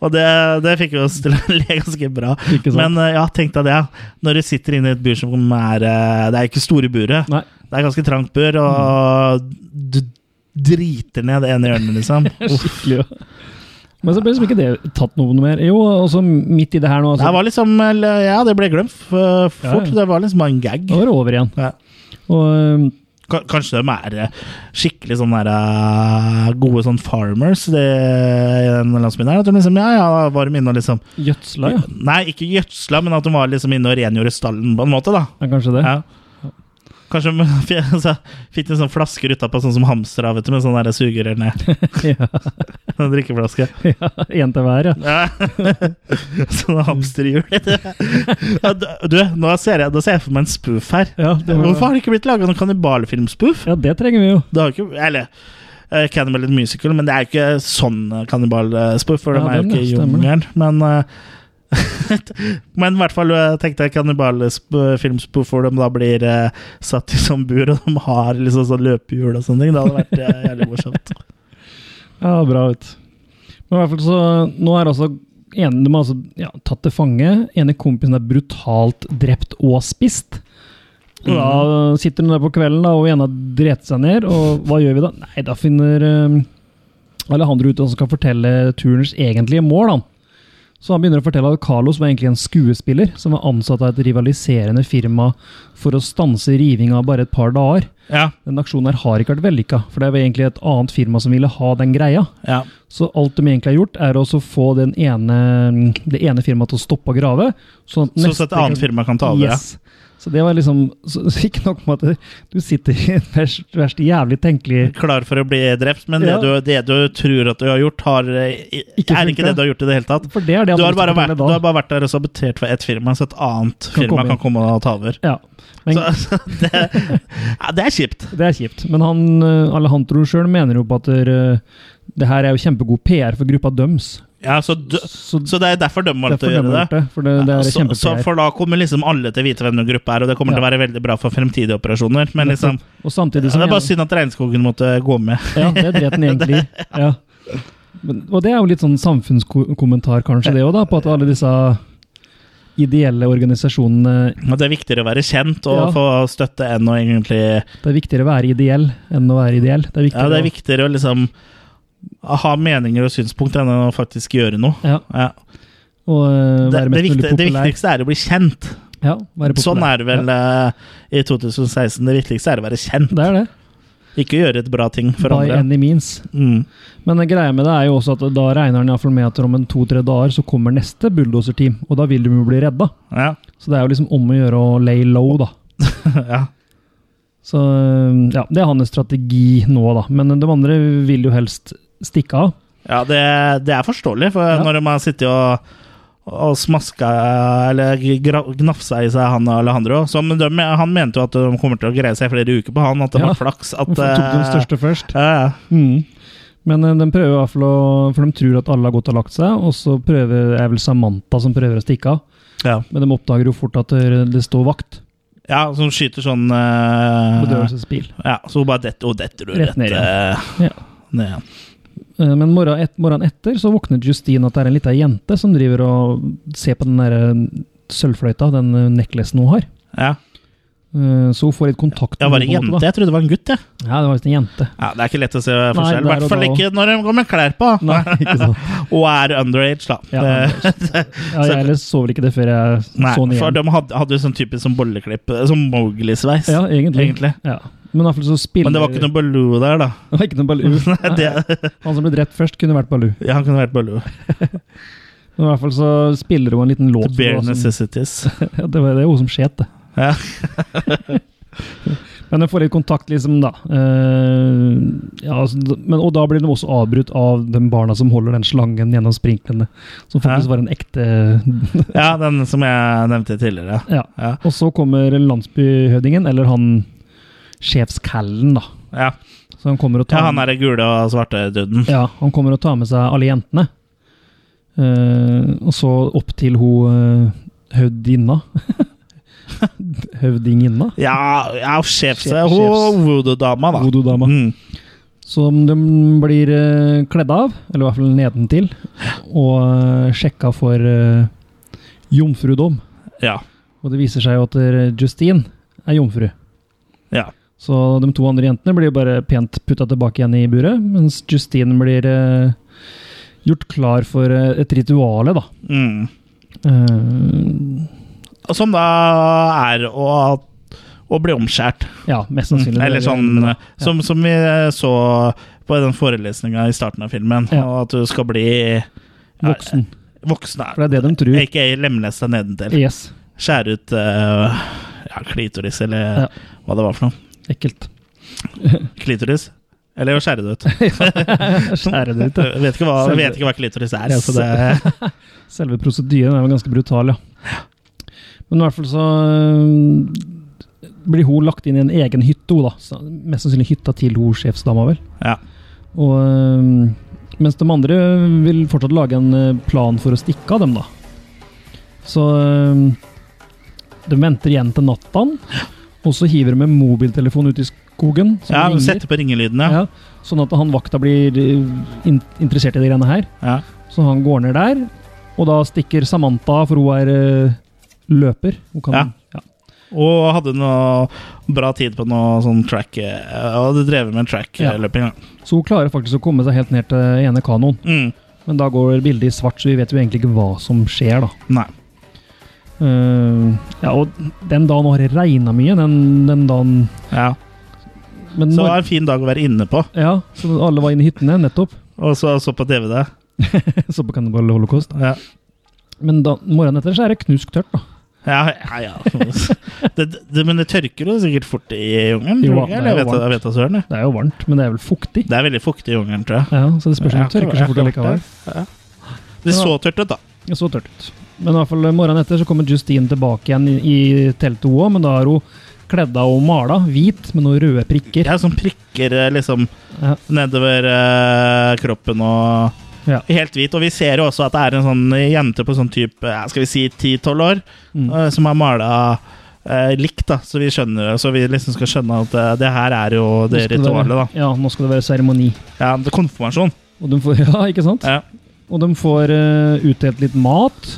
[SPEAKER 1] Og det, det fikk jo oss til å [laughs] le ganske bra.
[SPEAKER 2] Ikke sant?
[SPEAKER 1] Men eh, ja, tenk deg det. Når du sitter inne i et bur som er eh, Det er ikke store buret.
[SPEAKER 2] Nei.
[SPEAKER 1] Det er ganske trangt bur,
[SPEAKER 2] Mm.
[SPEAKER 1] og du driter ned det ene hjørnet,
[SPEAKER 2] [laughs]
[SPEAKER 1] liksom. Uff.
[SPEAKER 2] Skikkelig, ja. Men så ble liksom ikke det tatt noe noe mer. Jo, også midt i det her nå.
[SPEAKER 1] Det
[SPEAKER 2] Altså,
[SPEAKER 1] var liksom eller, Ja, det ble glemt f- fort.
[SPEAKER 2] Ja, ja.
[SPEAKER 1] Det var liksom bare en gag.
[SPEAKER 2] da var det over igjen.
[SPEAKER 1] Ja.
[SPEAKER 2] Og um, øhm,
[SPEAKER 1] Ka- Kanskje de er eh, skikkelig sånn der eh, gode sånn farmers det, i den landsbyen her. At de liksom Ja, ja, da var de inne og liksom
[SPEAKER 2] gjødsla, ja.
[SPEAKER 1] Nei, ikke gjødsla, men at de var liksom inne og rengjorde stallen på en måte, da.
[SPEAKER 2] ja. Kanskje det. [laughs]
[SPEAKER 1] Ja. Kanskje de [laughs] f- så fikk de sånne flasker utapå, sånn som hamstere, vet du, med sånne der sugerør ned.
[SPEAKER 2] [laughs] Ja.
[SPEAKER 1] [laughs] Sånn drikkeflaske.
[SPEAKER 2] Ja, En til hver, ja.
[SPEAKER 1] Ja.
[SPEAKER 2] [laughs]
[SPEAKER 1] Sånne Sånn hamsterhjul. Ja, d- Du, nå ser jeg, da ser jeg for meg en spoof her.
[SPEAKER 2] Ja, det var-
[SPEAKER 1] Hvorfor har det ikke blitt laga noen kannibalfilmspoof?
[SPEAKER 2] Ja, det trenger vi jo.
[SPEAKER 1] Det har jo ikke Eller eh, Cannibal and Musical, men det er jo ikke sånn eh, kannibalspoof, for
[SPEAKER 2] Ja,
[SPEAKER 1] de er jo
[SPEAKER 2] den,
[SPEAKER 1] ikke i
[SPEAKER 2] ja, stemmer det.
[SPEAKER 1] jungelen. Men eh, [laughs] men i hvert fall eh, tenkte jeg kannibalfilmspoof hvor de da blir eh, satt i sånn bur, og de har liksom sånn løpehjul og sånne ting. Det hadde vært eh, jævlig morsomt.
[SPEAKER 2] Ja, bra ut. Men i hvert fall så, nå er altså en, de har altså ja, tatt til fange. Ene kompisen er brutalt drept og spist. Og
[SPEAKER 1] Mm.
[SPEAKER 2] Da sitter hun der på kvelden, da, og ene har drept seg ned. Og hva gjør vi da? Nei, da finner eh, Alejandro ut hva som skal fortelle turens egentlige mål. Da. Så han begynner å fortelle at Carlos var egentlig en skuespiller som var ansatt av et rivaliserende firma for å stanse rivinga bare et par dager.
[SPEAKER 1] Ja,
[SPEAKER 2] Den aksjonen her har ikke vært vellykka, for det er jo egentlig et annet firma som ville ha den greia.
[SPEAKER 1] ja.
[SPEAKER 2] Så alt de egentlig har gjort, er også å få den ene, det ene firmaet til å stoppe å grave. Sånn at,
[SPEAKER 1] Så, så et annet firma kan ta over. ja.
[SPEAKER 2] Yes. Så det var liksom så, så Ikke nok med at du sitter i et verst, verst jævlig tenkelig
[SPEAKER 1] klar for å bli drept, men det,
[SPEAKER 2] Ja.
[SPEAKER 1] du, det du tror at du har gjort, har,
[SPEAKER 2] Ikke
[SPEAKER 1] ikke er ikke
[SPEAKER 2] funka.
[SPEAKER 1] det du har gjort i det hele tatt.
[SPEAKER 2] For det er det
[SPEAKER 1] Du har,
[SPEAKER 2] han har lyst til
[SPEAKER 1] bare
[SPEAKER 2] å
[SPEAKER 1] vært,
[SPEAKER 2] fortelle
[SPEAKER 1] du
[SPEAKER 2] da.
[SPEAKER 1] har bare vært der og sabotert for ett firma, så et annet
[SPEAKER 2] Kan
[SPEAKER 1] firma
[SPEAKER 2] komme
[SPEAKER 1] kan komme og ta over.
[SPEAKER 2] Ja. Men,
[SPEAKER 1] Så, så [laughs] det, ja, det er kjipt.
[SPEAKER 2] Det er kjipt. Men han, eh, Alejandro sjøl mener jo på at eh, det her er jo kjempegod PR for gruppa døms.
[SPEAKER 1] Ja, så, du,
[SPEAKER 2] Så
[SPEAKER 1] så det er derfor de valgte å
[SPEAKER 2] derfor de har
[SPEAKER 1] gjøre
[SPEAKER 2] gjort
[SPEAKER 1] det.
[SPEAKER 2] det. For det, det er
[SPEAKER 1] Så,
[SPEAKER 2] kjempe-PR.
[SPEAKER 1] så for da kommer liksom alle til å vite hvem den gruppa er, og det kommer til å
[SPEAKER 2] Ja.
[SPEAKER 1] være veldig bra for fremtidige operasjoner. Men liksom,
[SPEAKER 2] og samtidig
[SPEAKER 1] det
[SPEAKER 2] som
[SPEAKER 1] er bare
[SPEAKER 2] ene-
[SPEAKER 1] synd at regnskogen måtte gå med.
[SPEAKER 2] Ja, det dret den egentlig i. Ja. Men, og det er jo litt sånn samfunnskommentar, kanskje, det òg, på at alle disse ideelle organisasjonene
[SPEAKER 1] Og det er viktigere å være kjent og
[SPEAKER 2] Ja.
[SPEAKER 1] få støtte enn å egentlig
[SPEAKER 2] Det er viktigere å være ideell enn å være ideell. Det er
[SPEAKER 1] Ja,
[SPEAKER 2] viktigere,
[SPEAKER 1] det er
[SPEAKER 2] å-
[SPEAKER 1] viktigere å liksom ha meninger og synspunkter enn å faktisk gjøre noe.
[SPEAKER 2] Ja.
[SPEAKER 1] Ja.
[SPEAKER 2] å eh,
[SPEAKER 1] Det, det,
[SPEAKER 2] være mest mulig
[SPEAKER 1] viktig, det
[SPEAKER 2] populær.
[SPEAKER 1] viktigste er å bli kjent.
[SPEAKER 2] ja, være populær.
[SPEAKER 1] Sånn er det vel
[SPEAKER 2] Ja,
[SPEAKER 1] eh, i 2016. Det viktigste er å være kjent,
[SPEAKER 2] det er det.
[SPEAKER 1] ikke gjøre et bra ting for
[SPEAKER 2] By
[SPEAKER 1] andre.
[SPEAKER 2] any means.
[SPEAKER 1] Mm.
[SPEAKER 2] Men det greia med det er jo også at da regner han i hvert fall med at om en to-tre dager så kommer neste bulldoserteam, og da vil de jo bli redda.
[SPEAKER 1] Ja. [laughs]
[SPEAKER 2] Så det er jo liksom om å gjøre å lay low, da.
[SPEAKER 1] ja.
[SPEAKER 2] Så um, ja, det er hans strategi nå, da. Men de andre vil jo helst stikke av.
[SPEAKER 1] ja det, det er forståelig, for
[SPEAKER 2] Ja.
[SPEAKER 1] når man sitter og, og smaska eller gra- gnafsa i seg han og Alejandro som de, Han mente jo at de kommer til å greie seg i flere uker på han, at det
[SPEAKER 2] Ja.
[SPEAKER 1] var flaks at
[SPEAKER 2] Hvorfor tok de den
[SPEAKER 1] eh,
[SPEAKER 2] største først?
[SPEAKER 1] Ja, ja.
[SPEAKER 2] Mm. Men eh, de prøver i hvert fall å For de tror at alle har gått og lagt seg, og så prøver, er vel Samantha som prøver å stikke av.
[SPEAKER 1] Ja.
[SPEAKER 2] Men de oppdager jo fort at det det står vakt.
[SPEAKER 1] ja, som skyter sånn eh,
[SPEAKER 2] Bedøvelsesbil.
[SPEAKER 1] Ja, så hun bare detter, hun detter jo
[SPEAKER 2] Rett
[SPEAKER 1] rett,
[SPEAKER 2] ned
[SPEAKER 1] ned,
[SPEAKER 2] Ja.
[SPEAKER 1] ned igjen.
[SPEAKER 2] Eh, Men morgenen et, morgenen etter så våkner Justine at det er en lita jente som driver og ser på den der eh, sølvfløyta, den eh, necklacen hun har.
[SPEAKER 1] Ja.
[SPEAKER 2] Eh, Så hun får litt kontakt
[SPEAKER 1] Jeg var en
[SPEAKER 2] henne på en
[SPEAKER 1] jente,
[SPEAKER 2] måte,
[SPEAKER 1] jeg trodde det var en gutt. Jeg.
[SPEAKER 2] da. Ja, det var visst en jente.
[SPEAKER 1] Ja, det er ikke lett å se forskjell. I
[SPEAKER 2] der
[SPEAKER 1] hvert
[SPEAKER 2] og
[SPEAKER 1] fall
[SPEAKER 2] da
[SPEAKER 1] ikke når de går med klær på.
[SPEAKER 2] Nei, ikke sant.
[SPEAKER 1] Og er underage, da.
[SPEAKER 2] Ja,
[SPEAKER 1] Eh,
[SPEAKER 2] [laughs] Ja, jeg ellers så vel ikke det før jeg
[SPEAKER 1] Nei,
[SPEAKER 2] så den
[SPEAKER 1] for
[SPEAKER 2] igjen.
[SPEAKER 1] de hadde, hadde jo sånn typisk sånn bolleklipp, eh, sånn Mowgli-sveis.
[SPEAKER 2] Ja, egentlig.
[SPEAKER 1] egentlig.
[SPEAKER 2] Ja. Men i hvert fall så spiller
[SPEAKER 1] Men det var ikke noe Baloo der, da. [laughs]
[SPEAKER 2] Det var ikke noe Baloo. Nei,
[SPEAKER 1] Det,
[SPEAKER 2] Han som ble drept først, kunne vært Baloo.
[SPEAKER 1] ja, han kunne vært Baloo.
[SPEAKER 2] Men i hvert fall så spiller hun en liten låt.
[SPEAKER 1] The bare
[SPEAKER 2] som-
[SPEAKER 1] necessities.
[SPEAKER 2] ja, det var det er hun som skjet, det.
[SPEAKER 1] Ja.
[SPEAKER 2] Men hun får litt kontakt, liksom, da. Eh, ja, altså, d- men, og da blir de også avbrutt av de barna som holder den slangen gjennom sprinklene. Som faktisk
[SPEAKER 1] Ja.
[SPEAKER 2] var en ekte
[SPEAKER 1] ja, den som jeg nevnte tidligere.
[SPEAKER 2] Ja.
[SPEAKER 1] Ja.
[SPEAKER 2] Og så kommer landsbyhøvdingen, eller han sjefskallen, da.
[SPEAKER 1] Ja.
[SPEAKER 2] Så han kommer og
[SPEAKER 1] ja,
[SPEAKER 2] tar
[SPEAKER 1] han derre gule og svarte duden.
[SPEAKER 2] Ja, han kommer og tar med seg alle jentene. Eh, og så opp til hun eh, høvdinna. [laughs] Høvdinginna.
[SPEAKER 1] Ja, ja sjefs,
[SPEAKER 2] Sjef-
[SPEAKER 1] hun
[SPEAKER 2] sjefs.
[SPEAKER 1] voodoo-dama, da.
[SPEAKER 2] Voodoo-dama.
[SPEAKER 1] Mm.
[SPEAKER 2] Som de blir eh, kledd av, eller i hvert fall nedentil, og eh, sjekka for eh, jomfrudom.
[SPEAKER 1] Ja.
[SPEAKER 2] Og det viser seg jo at eh, Justine er jomfru.
[SPEAKER 1] ja.
[SPEAKER 2] Så de to andre jentene blir jo bare pent putta tilbake igjen i buret, mens Justine blir eh, gjort klar for eh, et rituale, da.
[SPEAKER 1] Mm.
[SPEAKER 2] Eh,
[SPEAKER 1] Og Som da er å, å bli omskjært.
[SPEAKER 2] ja, mest sannsynlig.
[SPEAKER 1] Mm. Eller
[SPEAKER 2] Det er-
[SPEAKER 1] sånn eh,
[SPEAKER 2] ja.
[SPEAKER 1] som, som vi eh, så på den forelesninga i starten av filmen,
[SPEAKER 2] Ja.
[SPEAKER 1] og at du skal bli ja,
[SPEAKER 2] Voksen.
[SPEAKER 1] voksen.
[SPEAKER 2] For det er det de tror.
[SPEAKER 1] Ikke lemleste nedentil.
[SPEAKER 2] Yes.
[SPEAKER 1] Skjære ut eh, ja, klitoris, eller
[SPEAKER 2] Ja.
[SPEAKER 1] hva det var for noe.
[SPEAKER 2] Ekkelt.
[SPEAKER 1] Klitoris? Eller å skjære det ut.
[SPEAKER 2] [laughs] Skjære det ut,
[SPEAKER 1] [laughs]
[SPEAKER 2] ja.
[SPEAKER 1] Jeg vet ikke hva,
[SPEAKER 2] Selve-
[SPEAKER 1] vet ikke hva klitoris er. Altså det,
[SPEAKER 2] [laughs] Selve prosedyren er jo ganske brutal, ja. Men i hvert fall så øh, blir hun lagt inn i en egen hytte, hun da. Så mest sannsynlig hytta til hun sjefsdama, vel.
[SPEAKER 1] [laughs] ja.
[SPEAKER 2] Og øh, mens de andre vil fortsatt lage en øh, plan for å stikke av dem, da. Så øh, de venter igjen til nattaen, og så hiver de en mobiltelefon ut i skogen. som
[SPEAKER 1] ja,
[SPEAKER 2] ringer.
[SPEAKER 1] Sette på ringelydene.
[SPEAKER 2] Ja, sånn at han vakta blir øh, in interessert i de greiene her.
[SPEAKER 1] Ja.
[SPEAKER 2] Så han går ned der, og da stikker Samantha, for hun er eh, løper. Hun kan,
[SPEAKER 1] Ja.
[SPEAKER 2] ja.
[SPEAKER 1] Og hadde noe bra tid på noe sånn track eh, Og hadde drevet med eh,
[SPEAKER 2] Ja.
[SPEAKER 1] track-løping.
[SPEAKER 2] Så hun klarer faktisk å komme seg helt ned til ene kanoen.
[SPEAKER 1] Mm.
[SPEAKER 2] Men da går bildet i svart, så vi vet jo egentlig ikke hva som skjer, da.
[SPEAKER 1] Nei.
[SPEAKER 2] Eh, ja, og den dagen har det regna mye, den, den dagen
[SPEAKER 1] Ja. Så
[SPEAKER 2] men
[SPEAKER 1] det
[SPEAKER 2] når-
[SPEAKER 1] var en fin dag å være inne på.
[SPEAKER 2] Ja, så alle var inne i hyttene,
[SPEAKER 1] [laughs]
[SPEAKER 2] nettopp.
[SPEAKER 1] Og så så på DVD.
[SPEAKER 2] Så på Cannibal Holocaust.
[SPEAKER 1] Ja,
[SPEAKER 2] Men da, morgenen etter så er det knusk tørt, da.
[SPEAKER 1] ja, ja.
[SPEAKER 2] [laughs]
[SPEAKER 1] ja. Det, det, men det tørker jo sikkert fort i jungelen.
[SPEAKER 2] Jo,
[SPEAKER 1] tror du ikke?
[SPEAKER 2] det er
[SPEAKER 1] Eller jeg
[SPEAKER 2] jo
[SPEAKER 1] vet, jeg
[SPEAKER 2] varmt.
[SPEAKER 1] vet da søren. jeg.
[SPEAKER 2] Det er jo varmt, men det er vel fuktig.
[SPEAKER 1] Det er veldig fuktig i jungelen, tror jeg.
[SPEAKER 2] Ja, så det spørs om
[SPEAKER 1] Jeg har ikke-
[SPEAKER 2] det
[SPEAKER 1] jeg
[SPEAKER 2] tørker så
[SPEAKER 1] har
[SPEAKER 2] fort
[SPEAKER 1] ikke vært
[SPEAKER 2] allikevel.
[SPEAKER 1] der. Ja. Det så tørt ut, da.
[SPEAKER 2] Det så tørt ut. Men i hvert fall eh, morgenen etter så kommer Justine tilbake igjen i, i teltet hun òg, men da er hun kledd av og mala. Hvit med noen røde prikker.
[SPEAKER 1] Ja, som prikker eh, liksom
[SPEAKER 2] Ja.
[SPEAKER 1] nedover eh, kroppen og
[SPEAKER 2] Ja.
[SPEAKER 1] Helt hvit. Og vi ser jo også at det er en sånn jente på sånn type eh, skal vi si 10-12 år
[SPEAKER 2] Mm.
[SPEAKER 1] eh, som har mala eh, likt, da. Så vi skjønner Så vi liksom skal skjønne at eh, det her er jo
[SPEAKER 2] Nå
[SPEAKER 1] det
[SPEAKER 2] skal
[SPEAKER 1] ritualet, da.
[SPEAKER 2] være, ja, nå skal det være seremoni.
[SPEAKER 1] Ja, det er konfirmasjon.
[SPEAKER 2] Og de får, [laughs] ja, ikke sant?
[SPEAKER 1] Ja.
[SPEAKER 2] Og de får eh, utdelt litt mat.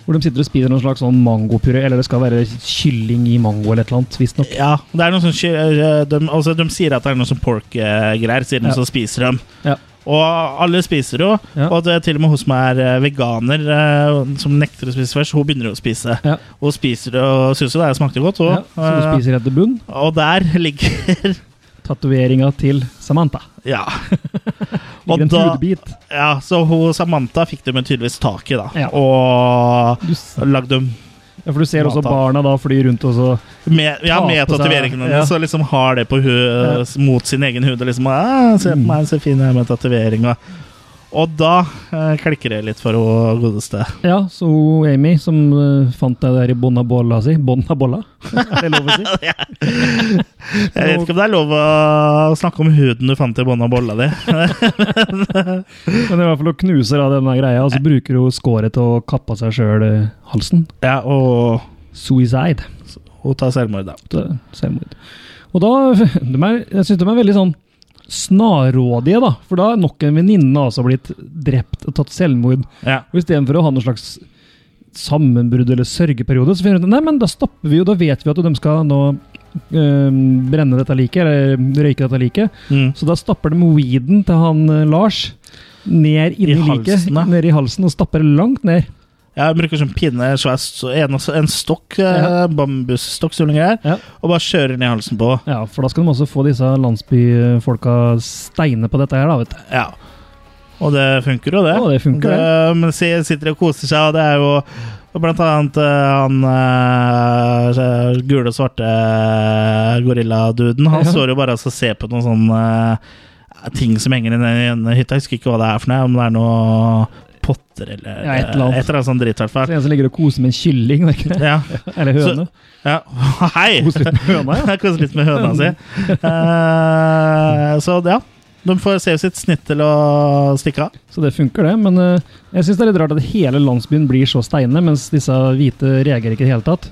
[SPEAKER 2] Hvor de sitter og spiser noen slags sånn mangopuré, eller det skal være kylling i mango eller et eller annet, visstnok.
[SPEAKER 1] ja det er noe sånn ky- eh, de, altså, de sier at det er noe sånn pork-greier, siden
[SPEAKER 2] Ja.
[SPEAKER 1] så spiser de.
[SPEAKER 2] Ja.
[SPEAKER 1] Og alle spiser jo,
[SPEAKER 2] Ja.
[SPEAKER 1] og det er til og med hun som er eh, veganer, eh, som nekter å spise først, hun begynner jo å spise.
[SPEAKER 2] Ja.
[SPEAKER 1] Og spiser det, og syns jo det smakte godt. Og,
[SPEAKER 2] Ja, så du
[SPEAKER 1] eh,
[SPEAKER 2] spiser etter bunn.
[SPEAKER 1] og der [laughs] ligger
[SPEAKER 2] Tatoveringa til Samantha. [laughs]
[SPEAKER 1] Ja.
[SPEAKER 2] Ligger
[SPEAKER 1] og
[SPEAKER 2] en
[SPEAKER 1] da,
[SPEAKER 2] hudebit.
[SPEAKER 1] ja så hun, Samantha fikk dem tydeligvis tak i, da.
[SPEAKER 2] Ja.
[SPEAKER 1] Og
[SPEAKER 2] Du, s-
[SPEAKER 1] lagde dem
[SPEAKER 2] ja, for du ser også
[SPEAKER 1] Mata.
[SPEAKER 2] barna da fly rundt og så
[SPEAKER 1] med, ja,
[SPEAKER 2] Ta
[SPEAKER 1] med
[SPEAKER 2] på seg-
[SPEAKER 1] tatoveringene
[SPEAKER 2] ja.
[SPEAKER 1] hennes, så liksom har det på hu mot sin egen hud. Og liksom «Ah, 'Se
[SPEAKER 2] Mm.
[SPEAKER 1] på meg, så fin jeg er med tatoveringa'. Og da eh, klikker det litt for hun godeste.
[SPEAKER 2] Ja, så hun Amy, som eh, fant deg der i Bonabolla si Bonabolla? Er [laughs] det lov
[SPEAKER 1] [laughs]
[SPEAKER 2] å si?
[SPEAKER 1] Jeg vet ikke om det er lov å snakke om huden du fant i bånn av bolla di.
[SPEAKER 2] [laughs] Men i hvert fall hun knuser av denne greia, og så bruker hun skåret til å kappe av seg sjøl halsen.
[SPEAKER 1] Ja, og
[SPEAKER 2] Suicide.
[SPEAKER 1] hun tar selvmord, da.
[SPEAKER 2] Det er Selvmord. Og da [laughs] de er, Jeg syns de er veldig sånn snarrådige, da. For da er nok en venninne altså blitt drept og tatt selvmord.
[SPEAKER 1] Ja.
[SPEAKER 2] Og istedenfor å ha noen slags sammenbrudd eller sørgeperiode, så finner de ut Nei, men da stopper vi jo, da vet vi at de skal nå eh, brenne dette liket, eller røyke dette liket.
[SPEAKER 1] Mm.
[SPEAKER 2] Så da stapper de weeden til han eh, Lars ned inni
[SPEAKER 1] I
[SPEAKER 2] liket,
[SPEAKER 1] halsen, da.
[SPEAKER 2] ned i halsen, og stapper langt ned.
[SPEAKER 1] Jeg bruker sånn pinne, svær, så en, en stokk,
[SPEAKER 2] Ja.
[SPEAKER 1] eh, bambusstokk, som det er,
[SPEAKER 2] Ja.
[SPEAKER 1] og bare kjører ned halsen på.
[SPEAKER 2] Ja, for da skal de også få disse landsbyfolka steine på dette her, da, vet du.
[SPEAKER 1] Ja. Og det funker jo, det.
[SPEAKER 2] Å, det funker,
[SPEAKER 1] Men si- sitter og koser seg, og det er jo og blant annet eh, han eh, gule og svarte eh, gorilladuden. Han
[SPEAKER 2] Ja.
[SPEAKER 1] står jo bare og så ser på noen sånne eh, ting som henger i den ene hytta. Jeg husker ikke hva det er for noe, om det er noe potter eller
[SPEAKER 2] Ja, et eller annet.
[SPEAKER 1] eh, eller annet sånt dritt, i hvert
[SPEAKER 2] Så
[SPEAKER 1] fall.
[SPEAKER 2] en som ligger og koser med en kylling, var det ikke det?
[SPEAKER 1] Ja.
[SPEAKER 2] [laughs] Eller høne.
[SPEAKER 1] ja. [laughs] Hei!
[SPEAKER 2] Koser litt med høna, ja.
[SPEAKER 1] [laughs] Jeg koser litt med høna si. Eh, så ja. De får se sitt snitt til å stikke av.
[SPEAKER 2] Så det funker, det. Men eh, jeg syns det er litt rart at hele landsbyen blir så steine, mens disse hvite reagerer ikke i det hele tatt.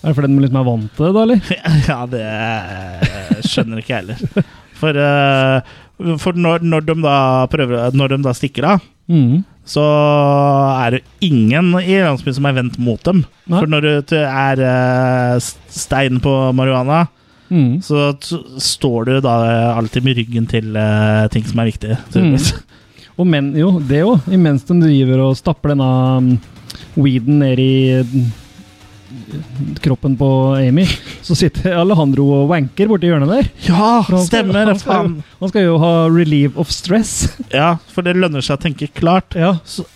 [SPEAKER 2] Er det fordi de liksom er vant til det, da, eller?
[SPEAKER 1] [laughs] Ja, det eh, skjønner ikke jeg heller. For, eh, for når, når, de da prøver, når de da stikker av,
[SPEAKER 2] Mhm.
[SPEAKER 1] så er det ingen i landsbyen som er vendt mot dem.
[SPEAKER 2] Nei.
[SPEAKER 1] For når det er eh, s- stein på marihuana,
[SPEAKER 2] Mhm.
[SPEAKER 1] så t står du da alltid med ryggen til eh, ting som er viktige. tydeligvis.
[SPEAKER 2] Og men, jo, det òg. Imens de driver og stapper denne mm, weeden ned i mm, kroppen på Amy, så sitter Alejandro og wanker borti hjørnet der.
[SPEAKER 1] Ja,
[SPEAKER 2] For han skal-
[SPEAKER 1] [laughs] stemmer!
[SPEAKER 2] han skal,
[SPEAKER 1] faen.
[SPEAKER 2] jo- han skal jo ha relief of stress.
[SPEAKER 1] Ja, for det lønner seg å tenke klart.
[SPEAKER 2] Ja, [laughs]
[SPEAKER 1] Så-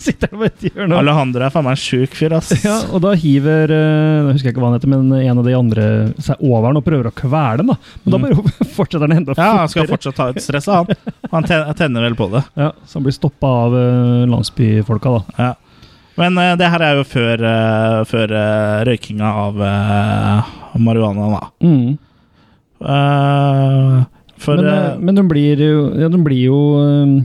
[SPEAKER 2] sitter han borti hjørnet.
[SPEAKER 1] Alejandro er faen meg en sjuk fyr, ass.
[SPEAKER 2] Ja, og da hiver eh, Jeg husker ikke hva han heter, men en av de andre seg over den og prøver å kvele den. da. Men da bare [laughs] fortsetter han enda
[SPEAKER 1] Ja, han skal fortsatt ha et stress, han. Han ten- tenner vel på det.
[SPEAKER 2] Ja, så han blir stoppa av eh, landsbyfolka, da.
[SPEAKER 1] Ja. Men eh, det her er jo før, eh, før eh, røykinga av uh, marihuana, da. Eh, for
[SPEAKER 2] Mm. men, eh,
[SPEAKER 1] eh,
[SPEAKER 2] men de blir jo, ja, de blir jo eh,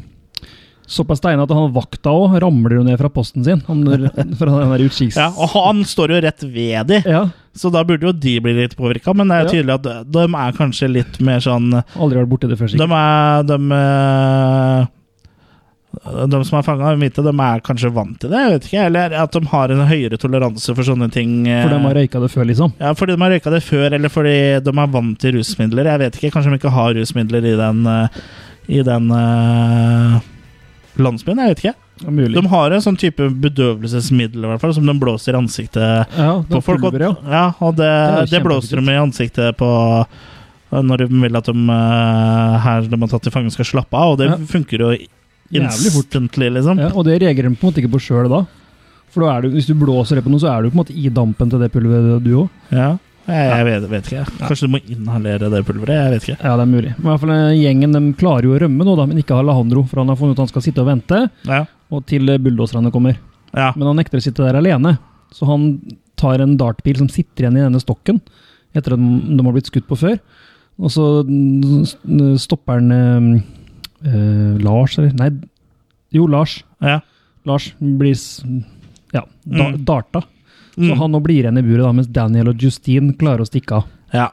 [SPEAKER 2] såpass steina at han vakta òg ramler jo ned fra posten sin. Han, [laughs] fra den der utkiks...
[SPEAKER 1] ja, Og han står jo rett ved de,
[SPEAKER 2] Ja,
[SPEAKER 1] så da burde jo de bli litt påvirka. Men det er jo tydelig at de er kanskje litt mer sånn
[SPEAKER 2] Aldri vært borti det før,
[SPEAKER 1] De
[SPEAKER 2] sikkert.
[SPEAKER 1] er De, eh, de som er fanga i midten, de er kanskje vant til det? Jeg vet ikke, Eller at de har en høyere toleranse for sånne ting? eh.
[SPEAKER 2] For de har røyka det før, liksom.
[SPEAKER 1] Ja, fordi de har røyka det før, eller fordi de er vant til rusmidler. Jeg vet ikke, Kanskje de ikke har rusmidler i den, eh, i den eh, landsbyen? Jeg vet ikke.
[SPEAKER 2] Ja, mulig.
[SPEAKER 1] De har en sånn type bedøvelsesmiddel i hvert fall, som de blåser i ansiktet
[SPEAKER 2] ja, det
[SPEAKER 1] på
[SPEAKER 2] er
[SPEAKER 1] folk. Og,
[SPEAKER 2] pulver, ja.
[SPEAKER 1] ja, og det,
[SPEAKER 2] er jo
[SPEAKER 1] det blåser de i ansiktet på eh, når de vil at de eh, her de har tatt til fange, skal slappe av. Og det
[SPEAKER 2] Ja.
[SPEAKER 1] funker jo
[SPEAKER 2] Jævlig fort.
[SPEAKER 1] instantly, liksom.
[SPEAKER 2] Ja, og det reagerer de på en måte ikke på sjøl da. For da er du, hvis du blåser det på noe, så er du på en måte i dampen til det pulveret du òg.
[SPEAKER 1] Ja. Jeg, jeg vet, vet ikke. Kanskje du må inhalere det pulveret? Jeg vet ikke.
[SPEAKER 2] Ja, det er mulig. Men i hvert fall eh, gjengen de klarer jo å rømme nå, da, men ikke Alejandro. For han har funnet ut at han skal sitte og vente
[SPEAKER 1] Ja.
[SPEAKER 2] og til eh, bulldoserne kommer.
[SPEAKER 1] ja.
[SPEAKER 2] Men han nekter å sitte der alene. Så han tar en dartpil som sitter igjen i denne stokken, etter at de de har blitt skutt på før. Og så mm, s- n- stopper han eh, eh, Lars, eller? Nei, jo, Lars.
[SPEAKER 1] ja.
[SPEAKER 2] Lars blir s- ja, da,
[SPEAKER 1] Mm.
[SPEAKER 2] darta. Så
[SPEAKER 1] Mm.
[SPEAKER 2] han nå blir igjen i buret, da, mens Daniel og Justine klarer å stikke av.
[SPEAKER 1] ja.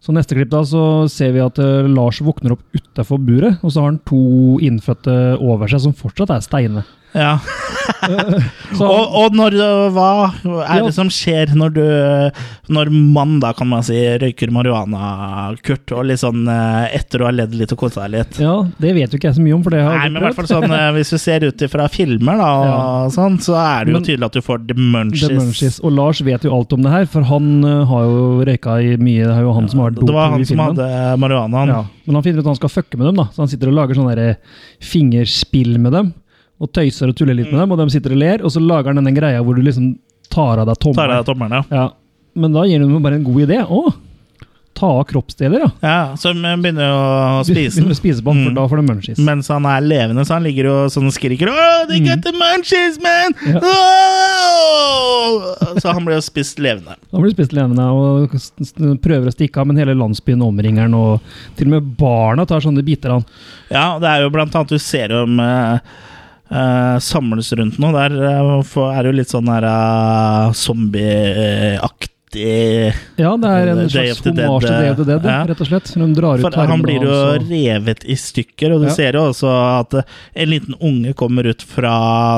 [SPEAKER 2] Så neste klipp da, så ser vi at eh, Lars våkner opp utafor buret, og så har han to innfødte over seg som fortsatt er steine.
[SPEAKER 1] ja.
[SPEAKER 2] Så
[SPEAKER 1] Og,
[SPEAKER 2] han,
[SPEAKER 1] og når, eh, hva er
[SPEAKER 2] Ja.
[SPEAKER 1] det som skjer når du eh, Når mann, da kan man si, røyker marihuana, Kurt, og litt sånn eh, etter å ha ledd litt og kosa deg litt?
[SPEAKER 2] ja, det vet jo ikke jeg så mye om, for det har
[SPEAKER 1] Nei,
[SPEAKER 2] jeg
[SPEAKER 1] men i
[SPEAKER 2] aldri
[SPEAKER 1] hvert fall sånn eh, Hvis du ser ut ifra filmer, da, og sånn, så er det jo
[SPEAKER 2] Men-
[SPEAKER 1] tydelig at du får
[SPEAKER 2] The Munchies.
[SPEAKER 1] demunchies.
[SPEAKER 2] Og Lars vet jo alt om det her, for han eh, har jo røyka i mye. Det er jo han som har vært
[SPEAKER 1] Det var
[SPEAKER 2] doping
[SPEAKER 1] han
[SPEAKER 2] i
[SPEAKER 1] som
[SPEAKER 2] filmen.
[SPEAKER 1] hadde marihuanaen.
[SPEAKER 2] Ja, men han finner ut at han skal fucke med dem, da. Så han sitter og lager sånne der eh, fingerspill med dem. Og tøyser og tuller litt
[SPEAKER 1] Mm.
[SPEAKER 2] med dem, og de sitter og ler. Og så lager han denne greia hvor du liksom tar av deg
[SPEAKER 1] Tar av
[SPEAKER 2] tommelen.
[SPEAKER 1] deg tommelen, ja.
[SPEAKER 2] Ja, men da gir hun bare en god idé. Å, ta av kroppsdeler, ja.
[SPEAKER 1] ja. Så de begynner jo å spise
[SPEAKER 2] Begynner
[SPEAKER 1] den.
[SPEAKER 2] å spise på den,
[SPEAKER 1] Mm.
[SPEAKER 2] for da får du munchies.
[SPEAKER 1] Mens han er levende, så han ligger jo sånn og skriker Åh, they got the munchies, man!
[SPEAKER 2] Mm. Ja.
[SPEAKER 1] Åh!» Så han ble jo spist levende.
[SPEAKER 2] Da blir du spist levende og s- s- prøver å stikke av, men hele landsbyen omringer den, og til og med barna tar sånne biter av den.
[SPEAKER 1] Ja, det er jo blant annet du ser om eh, eh, samles rundt noe. Der eh, for- er det jo litt sånn der eh, zombieaktig
[SPEAKER 2] Ja, det er en
[SPEAKER 1] Day
[SPEAKER 2] slags
[SPEAKER 1] of the Dead,
[SPEAKER 2] hommage til Day of the Dead,
[SPEAKER 1] ja.
[SPEAKER 2] rett og slett. De drar ut
[SPEAKER 1] For han
[SPEAKER 2] tarmene
[SPEAKER 1] blir jo
[SPEAKER 2] hans, og-
[SPEAKER 1] revet i stykker, og du
[SPEAKER 2] Ja.
[SPEAKER 1] ser jo også at eh, en liten unge kommer ut fra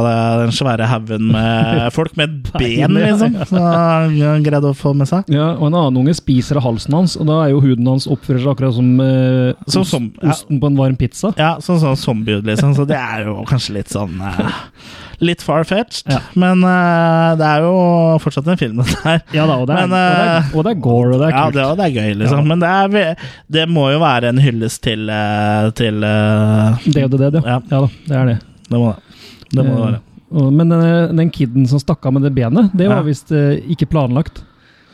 [SPEAKER 1] eh, den svære haugen
[SPEAKER 2] [laughs]
[SPEAKER 1] med folk med et
[SPEAKER 2] Bein,
[SPEAKER 1] ben,
[SPEAKER 2] ja. [laughs]
[SPEAKER 1] liksom. Så han greide å få med seg.
[SPEAKER 2] Ja, og en annen unge spiser av halsen hans, og da er jo huden hans oppfører seg akkurat som, eh,
[SPEAKER 1] Som-
[SPEAKER 2] ost-
[SPEAKER 1] som- ja.
[SPEAKER 2] osten på en varm pizza.
[SPEAKER 1] Ja, sånn sånn zombie liksom. Så det er jo kanskje litt sånn eh, Litt far-fetched,
[SPEAKER 2] Ja.
[SPEAKER 1] men eh, det er jo fortsatt en [laughs] film, dette her.
[SPEAKER 2] Ja da, og det er,
[SPEAKER 1] Men, eh,
[SPEAKER 2] og det er, og det er gore, og det er
[SPEAKER 1] Ja,
[SPEAKER 2] kult.
[SPEAKER 1] det, og det er gøy, liksom.
[SPEAKER 2] Ja.
[SPEAKER 1] Men det, er, ve- det må jo være en hyllest til, eh, til eh,
[SPEAKER 2] Day of the Dead, ja.
[SPEAKER 1] Ja.
[SPEAKER 2] Ja da, det er det.
[SPEAKER 1] Det må det. Det må det
[SPEAKER 2] Eh,
[SPEAKER 1] være.
[SPEAKER 2] og- Men den, den kiden som stakk av med det benet, det var
[SPEAKER 1] Ja. [laughs]
[SPEAKER 2] visst eh, ikke planlagt.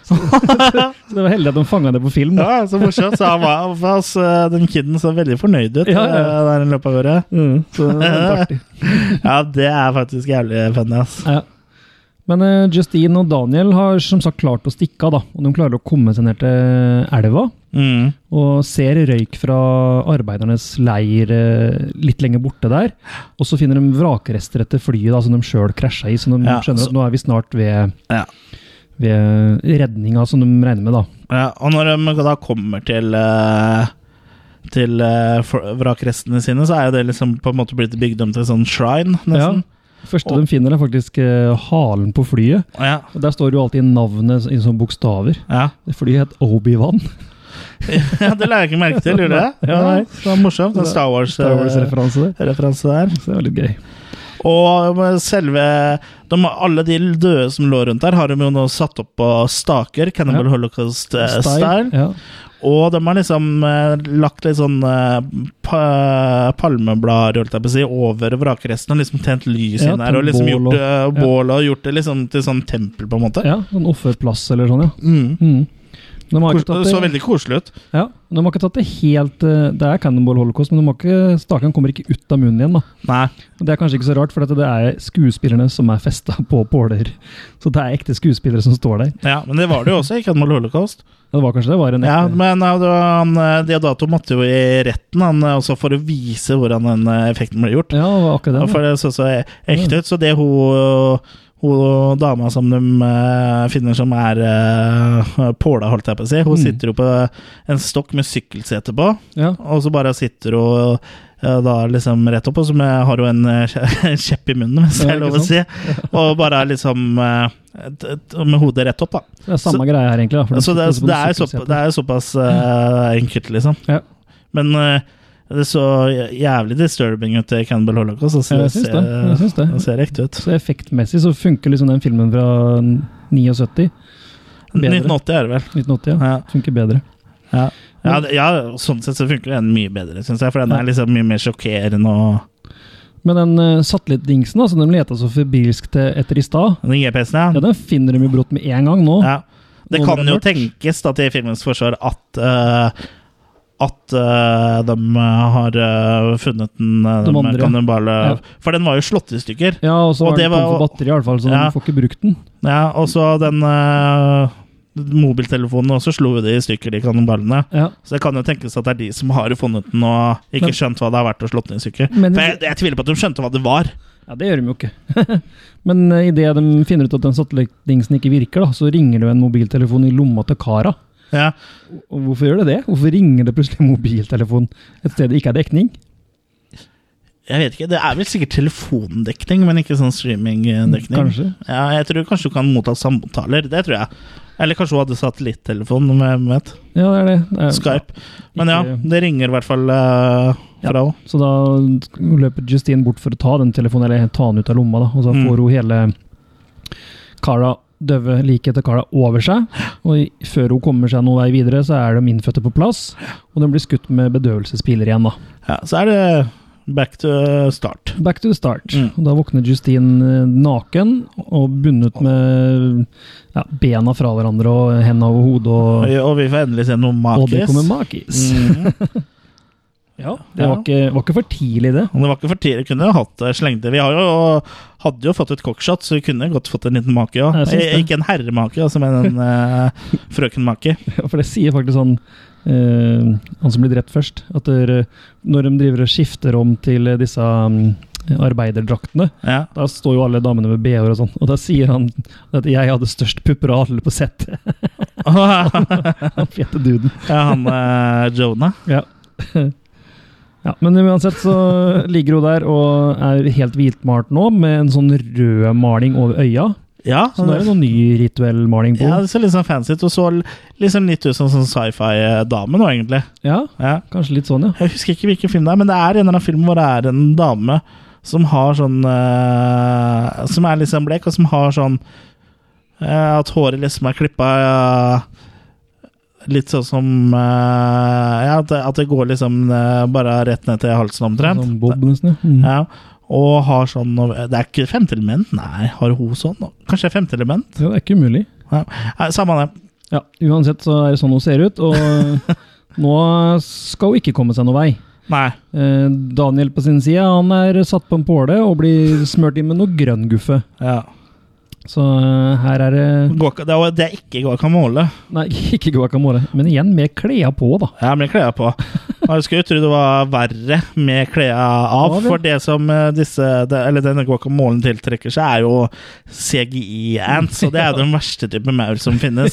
[SPEAKER 2] Så det var heldig at de fanga det på film. da.
[SPEAKER 1] Ja, så morsomt. Så han var, for oss, eh, den kiden så veldig fornøyd ut
[SPEAKER 2] Ja, ja.
[SPEAKER 1] eh, der i løpet av året.
[SPEAKER 2] Mm, så det var litt
[SPEAKER 1] [laughs]
[SPEAKER 2] artig.
[SPEAKER 1] Ja, det er faktisk jævlig funny, ass.
[SPEAKER 2] Ja. Men eh, Justine og Daniel har som sagt klart å stikke av, da. Og de klarer å komme seg ned til eh, elva.
[SPEAKER 1] Mm.
[SPEAKER 2] Og ser røyk fra arbeidernes leir eh, litt lenger borte der. Og så finner de vrakrester etter flyet da, som de sjøl krasja i. Så de
[SPEAKER 1] Ja,
[SPEAKER 2] skjønner
[SPEAKER 1] så-
[SPEAKER 2] at nå er vi snart ved,
[SPEAKER 1] Ja.
[SPEAKER 2] ved redninga som de regner med, da.
[SPEAKER 1] Ja, og når de da kommer til eh, til eh, for- vrakrestene sine, så er jo det liksom på en måte blitt bygd om til sånn shrine, nesten.
[SPEAKER 2] Ja. Første de finner, er faktisk eh, halen på flyet.
[SPEAKER 1] Ja.
[SPEAKER 2] Og Der står jo alltid navnet i sånne bokstaver.
[SPEAKER 1] Ja. [laughs]
[SPEAKER 2] Det Flyet het Obi-Wan. [laughs]
[SPEAKER 1] ja, det la jeg ikke merke til, gjorde jeg?
[SPEAKER 2] Ja, nei.
[SPEAKER 1] det var morsomt. En Star
[SPEAKER 2] Star
[SPEAKER 1] Wars-referanse
[SPEAKER 2] Wars-referanse der.
[SPEAKER 1] der.
[SPEAKER 2] Så det var litt gøy.
[SPEAKER 1] Og selve de, Alle de døde som lå rundt der, har de jo nå satt opp på staker, Cannibal
[SPEAKER 2] Ja.
[SPEAKER 1] Holocaust-style.
[SPEAKER 2] Ja.
[SPEAKER 1] Og de har liksom eh, lagt litt sånn eh, pa palmeblader holdt jeg på å si, over vrakresten og liksom tent lys
[SPEAKER 2] Ja,
[SPEAKER 1] inn der og
[SPEAKER 2] tent
[SPEAKER 1] liksom
[SPEAKER 2] bål
[SPEAKER 1] gjort
[SPEAKER 2] og-
[SPEAKER 1] eh, bål og gjort det liksom til sånn tempel, på en måte.
[SPEAKER 2] ja, sånn offerplass eller sånn, ja.
[SPEAKER 1] Mm.
[SPEAKER 2] Mm. De har
[SPEAKER 1] Kos
[SPEAKER 2] ikke tatt
[SPEAKER 1] det så
[SPEAKER 2] det,
[SPEAKER 1] veldig koselig ut.
[SPEAKER 2] ja, de har ikke tatt det helt eh, Det er Cannonball Holocaust, men de har ikke, staken kommer ikke ut av munnen igjen. da.
[SPEAKER 1] Nei.
[SPEAKER 2] Og Det er kanskje ikke så rart, for at det er skuespillerne som er festa på påler. Så det er ekte skuespillere som står der.
[SPEAKER 1] Ja, Men det var det jo også i Cannibal Holocaust.
[SPEAKER 2] Ja, det var kanskje det var en ekte
[SPEAKER 1] Ja, men ja, det var han, eh, Deodato måtte jo i retten han, eh, også for å vise hvordan den eh, effekten ble gjort.
[SPEAKER 2] Ja, det var akkurat
[SPEAKER 1] Ja,
[SPEAKER 2] den.
[SPEAKER 1] For
[SPEAKER 2] Ja.
[SPEAKER 1] det så så e- ekte ut. Så det hun, hun dama som de eh, finner som er eh, påla, holdt jeg på å si, hun
[SPEAKER 2] Mm.
[SPEAKER 1] sitter jo på en stokk med sykkelsete på,
[SPEAKER 2] Ja.
[SPEAKER 1] og så bare sitter hun eh, da liksom rett opp, og så med- har hun en eh, kje- [laughs] kjepp i munnen, hvis
[SPEAKER 2] Ja,
[SPEAKER 1] det er lov å
[SPEAKER 2] ikke
[SPEAKER 1] si, og bare liksom eh, t- t- med hodet rett opp, da.
[SPEAKER 2] Det er samme
[SPEAKER 1] Så-
[SPEAKER 2] greia her, egentlig. da, for de
[SPEAKER 1] Så Altså, det,
[SPEAKER 2] sitter på
[SPEAKER 1] det, er,
[SPEAKER 2] en
[SPEAKER 1] så,
[SPEAKER 2] sykkelsete.
[SPEAKER 1] det er såpass eh, enkelt, liksom.
[SPEAKER 2] Ja.
[SPEAKER 1] Men eh, det så jævlig disturbing ut i Cannibal Holocaust. og så
[SPEAKER 2] Ja, jeg syns det. Jeg syns det.
[SPEAKER 1] det sånn ser ekte ut.
[SPEAKER 2] Så effektmessig så funker liksom den filmen fra 79. Bedre.
[SPEAKER 1] 1980 er det vel.
[SPEAKER 2] 1980, ja.
[SPEAKER 1] Ja.
[SPEAKER 2] Funker bedre.
[SPEAKER 1] Ja. Ja, det- ja, sånn sett så funker den mye bedre, syns jeg. For den
[SPEAKER 2] Ja.
[SPEAKER 1] er liksom mye mer sjokkerende. Og
[SPEAKER 2] Men den uh, satellittdingsen da, som de leta så febrilsk til etter i stad,
[SPEAKER 1] den GPS-en,
[SPEAKER 2] ja,
[SPEAKER 1] ja.
[SPEAKER 2] den finner de jo brått med en gang nå.
[SPEAKER 1] ja. Det
[SPEAKER 2] Nå
[SPEAKER 1] kan
[SPEAKER 2] ble
[SPEAKER 1] jo
[SPEAKER 2] det mørkt.
[SPEAKER 1] tenkes da til filmens forsvar at eh, at eh, de eh, har eh, funnet den eh,
[SPEAKER 2] De
[SPEAKER 1] de
[SPEAKER 2] andre, ja.
[SPEAKER 1] kannibale
[SPEAKER 2] Ja.
[SPEAKER 1] For den var jo slått i stykker.
[SPEAKER 2] Ja, og så
[SPEAKER 1] Og
[SPEAKER 2] har den
[SPEAKER 1] det var
[SPEAKER 2] tom for
[SPEAKER 1] jo-
[SPEAKER 2] batteri, i alle fall, så
[SPEAKER 1] Ja.
[SPEAKER 2] de får ikke brukt den.
[SPEAKER 1] Ja, og så den eh, mobiltelefonen også slo jo de i stykker, de kannibalene.
[SPEAKER 2] Ja.
[SPEAKER 1] Så det kan jo tenkes at det er de som har funnet den og ikke
[SPEAKER 2] Men-
[SPEAKER 1] skjønt hva det har vært å slått den i stykker.
[SPEAKER 2] Men-
[SPEAKER 1] For jeg, jeg tviler på at de skjønte hva det var.
[SPEAKER 2] ja, det gjør de jo ikke. [laughs] Men uh, idet de finner ut at den satellittdingsen ikke virker, da, så ringer det jo en mobiltelefon i lomma til kara.
[SPEAKER 1] Ja,
[SPEAKER 2] Og hvorfor gjør det det? Hvorfor ringer det plutselig en mobiltelefon et sted det ikke er dekning?
[SPEAKER 1] jeg vet ikke, Det er vel sikkert telefondekning, men ikke sånn streamingdekning.
[SPEAKER 2] Kanskje.
[SPEAKER 1] Ja, jeg tror kanskje du kan motta samtaler. Det tror jeg. Eller kanskje hun hadde satellittelefon. Hvem vet.
[SPEAKER 2] Ja, det er det. det er,
[SPEAKER 1] Skype. Men ja,
[SPEAKER 2] Ikke-
[SPEAKER 1] det ringer i hvert fall eh, fra henne.
[SPEAKER 2] Så da løper Justine bort for å ta den telefonen, eller ta den ut av lomma, da. Og så
[SPEAKER 1] Mm.
[SPEAKER 2] får hun hele Cara, døve liket til Cara over seg. Og i- før hun kommer seg noen vei videre, så er de innfødte på plass. Og de blir skutt med bedøvelsespiler igjen, da.
[SPEAKER 1] Ja, så er det back to start.
[SPEAKER 2] Back to the start.
[SPEAKER 1] Mm.
[SPEAKER 2] Og da våkner Justine eh, naken og bundet med ja, bena fra hverandre og hendene over hodet.
[SPEAKER 1] Og,
[SPEAKER 2] Og,
[SPEAKER 1] og vi får endelig se noe
[SPEAKER 2] og det
[SPEAKER 1] makis.
[SPEAKER 2] kommer makis.
[SPEAKER 1] Mhm.
[SPEAKER 2] Ja, det var ikke, var ikke for tidlig, det.
[SPEAKER 1] Og det var ikke for tidlig. Kunne jo hatt eh, slengte. Vi har jo, hadde jo fått et cockshot, så vi kunne godt fått en liten make òg.
[SPEAKER 2] Jeg syns det.
[SPEAKER 1] Ikke en herremake, altså, men en uh, frøkenmake.
[SPEAKER 2] Ja, for det sier faktisk han eh, Han som blir drept først, at der, eh, når de driver og skifter om til eh, disse mm, arbeiderdraktene, [laughs]
[SPEAKER 1] Ja.
[SPEAKER 2] da står jo alle damene med BH-er og sånn, og da sier han at 'jeg hadde størst pupper av alle på settet'. [laughs] Han fete duden.
[SPEAKER 1] Ja, han eh, Jonah.
[SPEAKER 2] Ja. ja. Men uansett så ligger hun der og er helt hvitmalt nå, med en sånn rød maling over øya.
[SPEAKER 1] Ja,
[SPEAKER 2] Så nå er det noen ny rituell maling på.
[SPEAKER 1] ja, det ser litt sånn fancy ut. Og så liksom litt ut som sånn sci-fi-dame nå, egentlig.
[SPEAKER 2] Ja,
[SPEAKER 1] Ja.
[SPEAKER 2] kanskje litt sånn, ja.
[SPEAKER 1] Jeg husker ikke hvilken film det er, men det er en eller annen film hvor det er en dame som har sånn eh, Som er liksom blek, og som har sånn eh, At håret liksom er klippa Litt sånn som eh, Ja, at det, at det går liksom eh, bare rett ned til halsen omtrent.
[SPEAKER 2] Sånn bob, nesten. Ja. Mm.
[SPEAKER 1] Ja, og har sånn Det er ikke femte element, nei. Har hun sånn? Kanskje femte element?
[SPEAKER 2] Ja, det er ikke umulig.
[SPEAKER 1] Ja. Nei, Samme det.
[SPEAKER 2] Ja, uansett så er det sånn hun ser ut,
[SPEAKER 1] [laughs]
[SPEAKER 2] og nå skal hun ikke komme seg noen vei.
[SPEAKER 1] Nei.
[SPEAKER 2] Eh, Daniel på sin side, han er satt på en påle og blir smørt inn med noe grønnguffe.
[SPEAKER 1] Ja.
[SPEAKER 2] Så eh, her er det
[SPEAKER 1] Guaca- Det er- det er ikke guacamole.
[SPEAKER 2] Nei, ikke guacamole, men igjen med klærne på,
[SPEAKER 1] [laughs]
[SPEAKER 2] da.
[SPEAKER 1] Ja, med klærne på. Og Jeg skulle jo tro det var verre med klærne av,
[SPEAKER 2] Av, ja.
[SPEAKER 1] for det som eh, disse, det- eller denne guacamolen tiltrekker seg, er jo CGI-ants, og det er jo den verste type maur som finnes.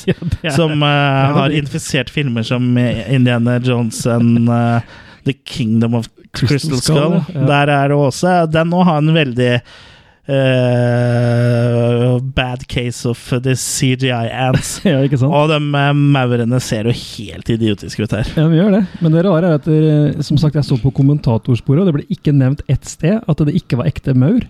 [SPEAKER 1] Som eh, har infisert filmer som eh, Indiana Jones and eh, The Kingdom of Crystal,
[SPEAKER 2] Crystal
[SPEAKER 1] Skull.
[SPEAKER 2] Skull, ja.
[SPEAKER 1] Der er det også. Den nå har en veldig eh, bad case of the CGI ants.
[SPEAKER 2] [laughs] Ja, ikke sant?
[SPEAKER 1] Og de eh, maurene ser jo helt idiotiske ut her.
[SPEAKER 2] Ja, vi gjør det. Men det rare er at det, som sagt, jeg så på kommentatorsporet, og det ble ikke nevnt ett sted at det ikke var ekte maur.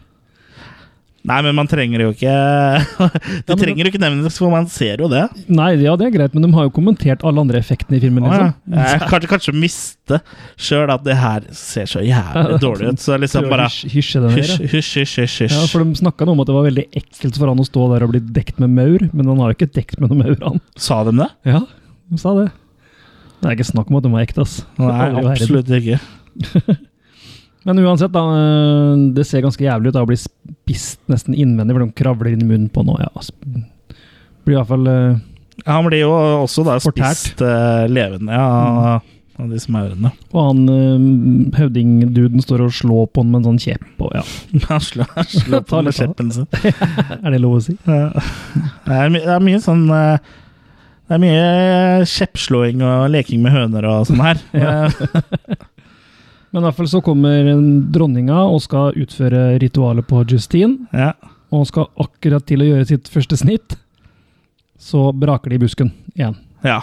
[SPEAKER 1] Nei, men man trenger jo ikke [laughs] Du
[SPEAKER 2] men det-
[SPEAKER 1] trenger jo ikke nevne det, for man ser jo det.
[SPEAKER 2] Nei, ja, det er greit, men de har jo kommentert alle andre effektene i filmen.
[SPEAKER 1] Å, ja.
[SPEAKER 2] Liksom.
[SPEAKER 1] Eh, Kanskje, kanskje miste sjøl at det her ser så
[SPEAKER 2] Ja,
[SPEAKER 1] jævlig dårlig ut. Så
[SPEAKER 2] Prøver
[SPEAKER 1] liksom
[SPEAKER 2] å
[SPEAKER 1] bare
[SPEAKER 2] hysj- hysje den
[SPEAKER 1] Hysj,
[SPEAKER 2] her. ja.
[SPEAKER 1] hysj, hysj. hysj,
[SPEAKER 2] Ja,
[SPEAKER 1] hysj.
[SPEAKER 2] for De snakka om at det var veldig ekkelt for han å stå der og bli dekt med maur, men han har jo ikke dekt med noen maur, han.
[SPEAKER 1] Sa de det?
[SPEAKER 2] Ja, de sa det. Det er ikke snakk om at de var ekte, ass.
[SPEAKER 1] Nei,
[SPEAKER 2] Aldri vært.
[SPEAKER 1] absolutt ikke.
[SPEAKER 2] Men uansett, da, øh, det ser ganske jævlig ut da, å bli spist nesten innvendig, for de kravler inn i munnen på noe. Ja, sp- blir i hvert fall øh,
[SPEAKER 1] Han blir jo også da
[SPEAKER 2] Fortært.
[SPEAKER 1] spist eh, levende ja, av disse maurene.
[SPEAKER 2] Og han eh, høvdingduden står og slår på han med en sånn kjepp. Og ja,
[SPEAKER 1] [laughs] Han slår
[SPEAKER 2] [laughs]
[SPEAKER 1] han slår
[SPEAKER 2] Ta
[SPEAKER 1] på med
[SPEAKER 2] litt av
[SPEAKER 1] kjeppen sin.
[SPEAKER 2] er det lov å si?
[SPEAKER 1] Ja. Det er, my det er mye sånn eh, Det er mye eh, kjeppslåing og leking med høner og sånn her. Eh,
[SPEAKER 2] Men i hvert fall så kommer en dronninga og skal utføre ritualet på Justine.
[SPEAKER 1] ja.
[SPEAKER 2] Og skal akkurat til å gjøre sitt første snitt. Så braker det i busken igjen.
[SPEAKER 1] ja.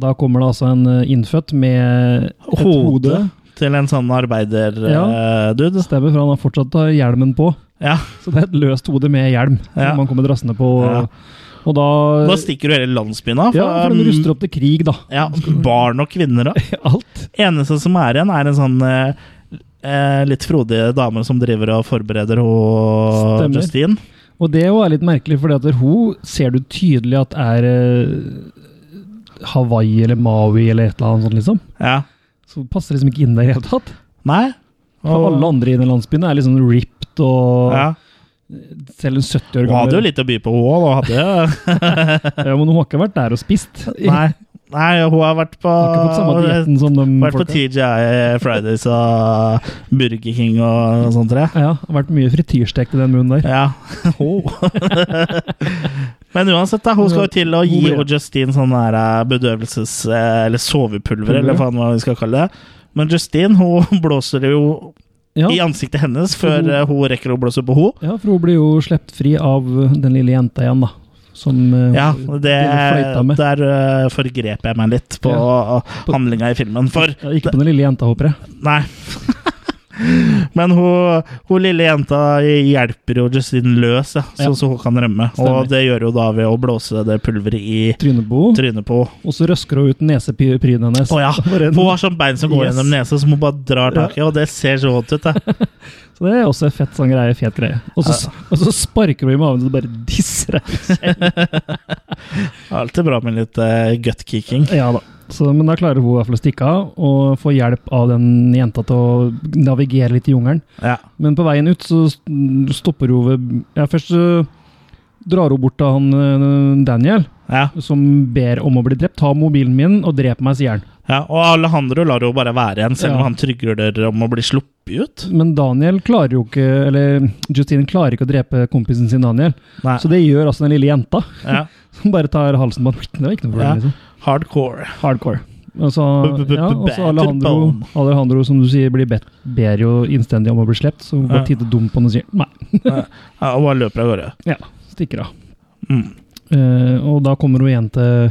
[SPEAKER 2] Da kommer det altså en eh, innfødt med et hode.
[SPEAKER 1] Hodet til en sånn arbeiderdude.
[SPEAKER 2] Stemmer, for han har fortsatt da hjelmen på.
[SPEAKER 1] Ja.
[SPEAKER 2] Så det er et løst hode med hjelm
[SPEAKER 1] Ja.
[SPEAKER 2] som han kommer drassende på.
[SPEAKER 1] Ja. um,
[SPEAKER 2] Og, og da,
[SPEAKER 1] Da stikker du hele landsbyen av.
[SPEAKER 2] ja, for de ruster opp til krig,
[SPEAKER 1] [laughs]
[SPEAKER 2] da.
[SPEAKER 1] ja, barn og kvinner
[SPEAKER 2] [laughs]
[SPEAKER 1] òg.
[SPEAKER 2] Alt.
[SPEAKER 1] Eneste som er igjen, er en sånn eh, eh, litt frodig dame som driver og forbereder
[SPEAKER 2] Stemmer.
[SPEAKER 1] henne Justine.
[SPEAKER 2] Og det jo er litt merkelig, fordi at hun ser du tydelig at er eh, Hawaii eller Maui eller et eller annet sånt, liksom.
[SPEAKER 1] Ja.
[SPEAKER 2] Så hun passer liksom ikke inn der i det hele tatt.
[SPEAKER 1] Nei?
[SPEAKER 2] For alle andre i den landsbyen er liksom ripped og
[SPEAKER 1] ja.
[SPEAKER 2] Selv en 70 år
[SPEAKER 1] Hun hadde jo litt å by på, hun òg.
[SPEAKER 2] [laughs] Ja, men hun har ikke vært der og spist.
[SPEAKER 1] Nei. Nei, hun har vært på
[SPEAKER 2] Har ikke fått samme dietten som de
[SPEAKER 1] Vært på
[SPEAKER 2] folka.
[SPEAKER 1] TGI Fridays og Burger King og sånt, tror jeg.
[SPEAKER 2] Ja, det har vært mye frityrstekt i den munnen der.
[SPEAKER 1] Ja. Men uansett, da, hun skal jo til å gi
[SPEAKER 2] Hun blir-
[SPEAKER 1] og Justine sånn der eh, bedøvelses- eh, Eller sovepulver, eller faen hva vi skal kalle det. Men Justine hun [laughs] blåser det jo
[SPEAKER 2] Ja.
[SPEAKER 1] i ansiktet hennes før eh, hun rekker å blåse på henne.
[SPEAKER 2] ja, for hun blir jo sluppet fri av den lille jenta igjen, da. Som eh,
[SPEAKER 1] Ja,
[SPEAKER 2] hun
[SPEAKER 1] det,
[SPEAKER 2] fløyta med.
[SPEAKER 1] der eh, forgrep jeg meg litt på [laughs] handlinga i filmen. For
[SPEAKER 2] Ja, Ikke på den lille jenta, håper jeg.
[SPEAKER 1] Nei. [laughs] Men hun, hun lille jenta hjelper jo Justine løs, ja, så,
[SPEAKER 2] Ja.
[SPEAKER 1] så hun kan rømme.
[SPEAKER 2] Stemmer.
[SPEAKER 1] Og det gjør hun da ved å blåse det pulveret i
[SPEAKER 2] Trynebo.
[SPEAKER 1] trynet på henne.
[SPEAKER 2] Og så røsker hun ut nesepryden hennes.
[SPEAKER 1] Å ja!
[SPEAKER 2] [laughs] Bare en-
[SPEAKER 1] Hun har sånn bein som går
[SPEAKER 2] Yes.
[SPEAKER 1] gjennom nesa, som hun bare drar tak i, og det ser så vondt ut.
[SPEAKER 2] [laughs]
[SPEAKER 1] Da.
[SPEAKER 2] Så det er også en fett sånn greie, fet greie. Og så, og så sparker hun i magen, og det bare
[SPEAKER 1] [laughs]
[SPEAKER 2] disser deg.
[SPEAKER 1] Alltid bra med litt uh, gut-kicking.
[SPEAKER 2] Ja da. Så, men da klarer hun i hvert fall å stikke av, og få hjelp av den jenta til å navigere litt i jungelen.
[SPEAKER 1] Ja.
[SPEAKER 2] Men på veien ut så st- stopper hun ved Ja, først så drar hun bort til han eh, Daniel,
[SPEAKER 1] Ja.
[SPEAKER 2] som ber om å bli drept. Ta mobilen min og drep meg, sier han.
[SPEAKER 1] ja. Og Alejandro lar henne bare være igjen, selv om
[SPEAKER 2] Ja.
[SPEAKER 1] han trygler om å bli sluppet ut.
[SPEAKER 2] Men Daniel klarer jo ikke Eller Justine klarer ikke å drepe kompisen sin Daniel.
[SPEAKER 1] Nei.
[SPEAKER 2] Så det gjør altså den lille jenta. [laughs]
[SPEAKER 1] Ja.
[SPEAKER 2] Som bare tar halsen på han. Det var ikke noe problem,
[SPEAKER 1] Ja.
[SPEAKER 2] liksom.
[SPEAKER 1] Hardcore.
[SPEAKER 2] Hardcore. Og så,
[SPEAKER 1] B- b- b-
[SPEAKER 2] ja, og så
[SPEAKER 1] battered
[SPEAKER 2] Alejandro,
[SPEAKER 1] bone.
[SPEAKER 2] Alejandro, som du sier, blir bedt, ber jo innstendig om å bli sluppet. Så hun bare
[SPEAKER 1] Ja.
[SPEAKER 2] titter dumt på han og sier nei.
[SPEAKER 1] Ja, og bare løper av gårde.
[SPEAKER 2] Ja, stikker av.
[SPEAKER 1] Mm.
[SPEAKER 2] Eh, og da kommer hun igjen til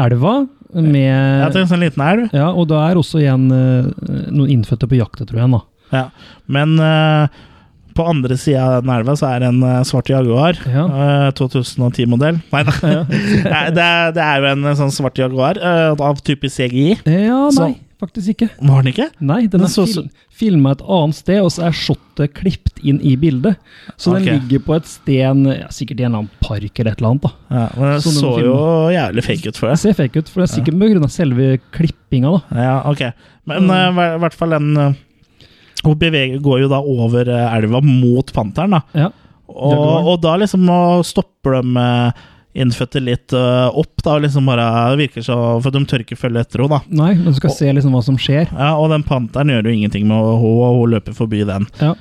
[SPEAKER 2] elva
[SPEAKER 1] Ja, til
[SPEAKER 2] med
[SPEAKER 1] en sånn liten elv.
[SPEAKER 2] ja, Og da er også igjen eh, noen innfødte på jakt, tror jeg. Da.
[SPEAKER 1] Ja, men eh, på andre sida av den elva så er det en eh, svart Jaguar.
[SPEAKER 2] Ja.
[SPEAKER 1] eh, 2010-modell. [laughs] Nei da. Nei, det, er- det er jo en eh, sånn svart Jaguar eh, av type CGI.
[SPEAKER 2] Eh, Ja,
[SPEAKER 1] Så
[SPEAKER 2] nei, faktisk ikke.
[SPEAKER 1] Var den ikke?
[SPEAKER 2] Nei, den
[SPEAKER 1] Men
[SPEAKER 2] er
[SPEAKER 1] så-
[SPEAKER 2] fil filma et annet sted, og så er shotet klippet inn i bildet. Så
[SPEAKER 1] Ok.
[SPEAKER 2] den ligger på et sted, en- ja, sikkert i en eller annen park eller et eller annet. da.
[SPEAKER 1] Ja, men den
[SPEAKER 2] Så den
[SPEAKER 1] så,
[SPEAKER 2] filmen-
[SPEAKER 1] jo jævlig fake ut for
[SPEAKER 2] Det
[SPEAKER 1] deg.
[SPEAKER 2] ser fake ut, for det er sikkert pga. selve klippinga. da.
[SPEAKER 1] Ja, ok.
[SPEAKER 2] Mm.
[SPEAKER 1] Men eh, i hvert fall den eh, Hun beveger, går jo da over eh, elva mot panteren, da.
[SPEAKER 2] Ja.
[SPEAKER 1] Og,
[SPEAKER 2] Jaguar.
[SPEAKER 1] og da liksom å stoppe dem eh, innfødte litt eh, opp, da, og liksom bare det virker så For de tør ikke følge etter henne, da.
[SPEAKER 2] Nei, men du skal se liksom hva som skjer.
[SPEAKER 1] Ja, og den panteren gjør jo ingenting med henne, og hun løper forbi den.
[SPEAKER 2] Ja.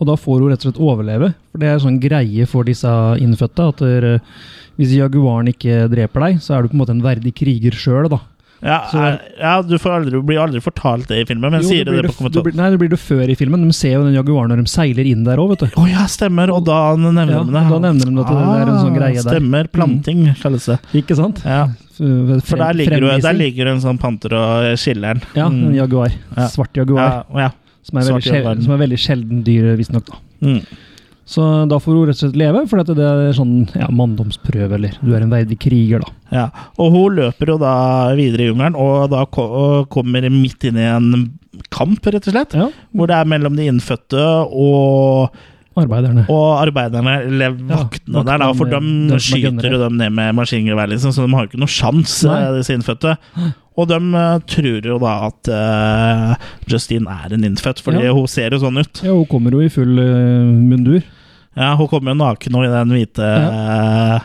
[SPEAKER 2] Og da får hun rett og slett overleve. For det er sånn greie for disse innfødte. At der, eh, hvis jaguaren ikke dreper deg, så er du på en måte en verdig kriger sjøl, da.
[SPEAKER 1] Ja,
[SPEAKER 2] Så-
[SPEAKER 1] eh, ja du får aldri, blir aldri fortalt det i filmen, men
[SPEAKER 2] Jo,
[SPEAKER 1] sier det,
[SPEAKER 2] blir
[SPEAKER 1] det på
[SPEAKER 2] du
[SPEAKER 1] kommentaren.
[SPEAKER 2] blir, Nei, det blir det før i filmen. De ser jo den jaguaren når de seiler inn der òg, vet du.
[SPEAKER 1] Å ja, stemmer, og da nevner
[SPEAKER 2] Ja,
[SPEAKER 1] de det. Ah,
[SPEAKER 2] da nevner de at det er en sånn greie der. Mm.
[SPEAKER 1] Stemmer. Planting, kalles det.
[SPEAKER 2] Ikke sant?
[SPEAKER 1] Ja,
[SPEAKER 2] Frem,
[SPEAKER 1] for der ligger, jo, der
[SPEAKER 2] fremvisning.
[SPEAKER 1] ligger en sånn panter og skiller'n.
[SPEAKER 2] Ja, en jaguar.
[SPEAKER 1] Ja.
[SPEAKER 2] Svart
[SPEAKER 1] ja,
[SPEAKER 2] jaguar.
[SPEAKER 1] ja.
[SPEAKER 2] Som, er
[SPEAKER 1] svart
[SPEAKER 2] veldig
[SPEAKER 1] jaguar.
[SPEAKER 2] sjelden, som er veldig sjelden dyr, visstnok. da.
[SPEAKER 1] Mm.
[SPEAKER 2] Så da får hun rett og slett leve, for at det er sånn ja, manndomsprøve, eller du er en verdig kriger, da.
[SPEAKER 1] Ja, og hun løper jo da videre i jungelen, og da ko- og kommer midt inn i en kamp, rett og slett.
[SPEAKER 2] Ja,
[SPEAKER 1] Hvor det er mellom de innfødte og,
[SPEAKER 2] Arbeiderne.
[SPEAKER 1] og arbeiderne, eller
[SPEAKER 2] Ja,
[SPEAKER 1] vaktene der, da,
[SPEAKER 2] vaktene
[SPEAKER 1] for
[SPEAKER 2] med- de som
[SPEAKER 1] de
[SPEAKER 2] er
[SPEAKER 1] skyter jo
[SPEAKER 2] gunnere.
[SPEAKER 1] dem ned med maskingevær, liksom, så de har jo ikke noe sjans,
[SPEAKER 2] Nei.
[SPEAKER 1] eh, disse innfødte. Og de eh, tror jo da at eh, Justine er en innfødt, fordi
[SPEAKER 2] Ja.
[SPEAKER 1] hun ser jo sånn ut.
[SPEAKER 2] Ja, hun kommer jo i full eh, mundur.
[SPEAKER 1] Ja, hun kommer jo naken og i den hvite ja.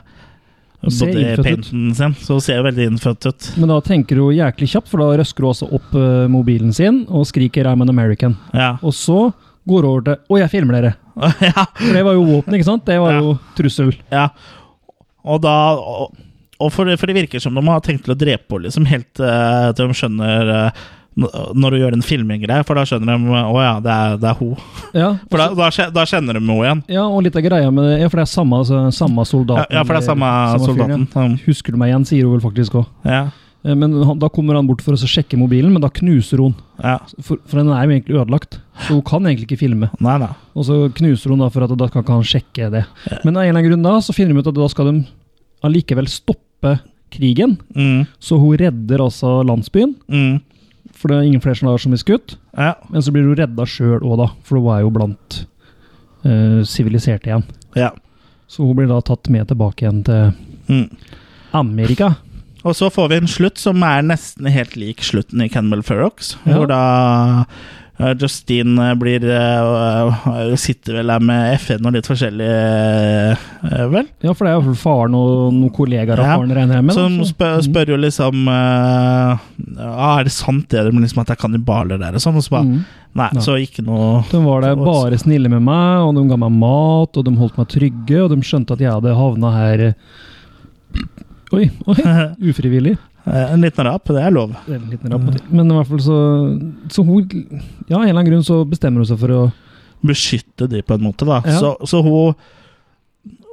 [SPEAKER 2] ser innfødt ut.
[SPEAKER 1] bodypainten sin, så hun ser jo veldig innfødt ut.
[SPEAKER 2] Men da tenker hun jæklig kjapt, for da røsker hun også opp eh, mobilen sin og skriker 'I'm an American'.
[SPEAKER 1] Ja. [laughs]
[SPEAKER 2] Og så går hun over til 'Å, jeg filmer dere'.
[SPEAKER 1] ja.
[SPEAKER 2] For det var jo våpen, ikke sant? Det var
[SPEAKER 1] Ja.
[SPEAKER 2] jo trussel.
[SPEAKER 1] Ja, og da Og, og for, for det virker som de har tenkt til å drepe henne, liksom, helt eh, til de skjønner eh, n- når hun gjør den filminggreia, for da skjønner de Å ja, det er, det er hun.
[SPEAKER 2] Ja,
[SPEAKER 1] For da, da, skje- da kjenner de henne igjen.
[SPEAKER 2] Ja, og litt av greia med det Ja, for det er samme, altså, samme soldaten.
[SPEAKER 1] Ja, ja, for det er samme
[SPEAKER 2] fyren, ja.
[SPEAKER 1] soldaten, som-
[SPEAKER 2] Husker du meg igjen, sier hun vel faktisk òg.
[SPEAKER 1] Ja,
[SPEAKER 2] Men han, da kommer han bort for å så sjekke mobilen, men da knuser hun.
[SPEAKER 1] ja.
[SPEAKER 2] For, for den er jo egentlig ødelagt, så hun kan egentlig ikke filme.
[SPEAKER 1] Nei, nei.
[SPEAKER 2] Og så knuser hun da for at da kan ikke han sjekke det. Men av en eller annen grunn da, så finner de ut at da skal de allikevel stoppe krigen.
[SPEAKER 1] Mm,
[SPEAKER 2] Så hun redder altså landsbyen,
[SPEAKER 1] mm,
[SPEAKER 2] for det er ingen flere som har så mye skutt.
[SPEAKER 1] ja,
[SPEAKER 2] Men så blir hun redda sjøl òg, da, for hun er jo blant eh, siviliserte igjen.
[SPEAKER 1] ja.
[SPEAKER 2] Så hun blir da tatt med tilbake igjen til
[SPEAKER 1] Mm.
[SPEAKER 2] Amerika.
[SPEAKER 1] Og så får vi en slutt som er nesten helt lik slutten i Cannibal Ferox,
[SPEAKER 2] Ja.
[SPEAKER 1] hvor da eh, Justine eh, blir eh, eh, Sitter vel der med FN og litt forskjellig, eh, vel?
[SPEAKER 2] Ja, for det er jo faren og noen kollegaer av
[SPEAKER 1] Ja,
[SPEAKER 2] faren, regner jeg med. da,
[SPEAKER 1] Som
[SPEAKER 2] så-
[SPEAKER 1] spør, spør jo liksom eh, Ja, Er det sant det de liksom, at det er kannibaler der og sånn? Og så bare
[SPEAKER 2] Mm.
[SPEAKER 1] Nei,
[SPEAKER 2] Nei.
[SPEAKER 1] så ikke noe [laughs]
[SPEAKER 2] De var der
[SPEAKER 1] Så-
[SPEAKER 2] bare snille med meg, og de ga meg mat, og de holdt meg trygge, og de skjønte at jeg hadde havna her eh, Oi, oi, ufrivillig.
[SPEAKER 1] eh, En liten rap, det er lov.
[SPEAKER 2] Det er en liten rapp på det. Men i hvert fall så Så hun Ja, av en eller annen grunn så bestemmer hun seg for å
[SPEAKER 1] Beskytte de på en måte, da.
[SPEAKER 2] Ja.
[SPEAKER 1] Så, så hun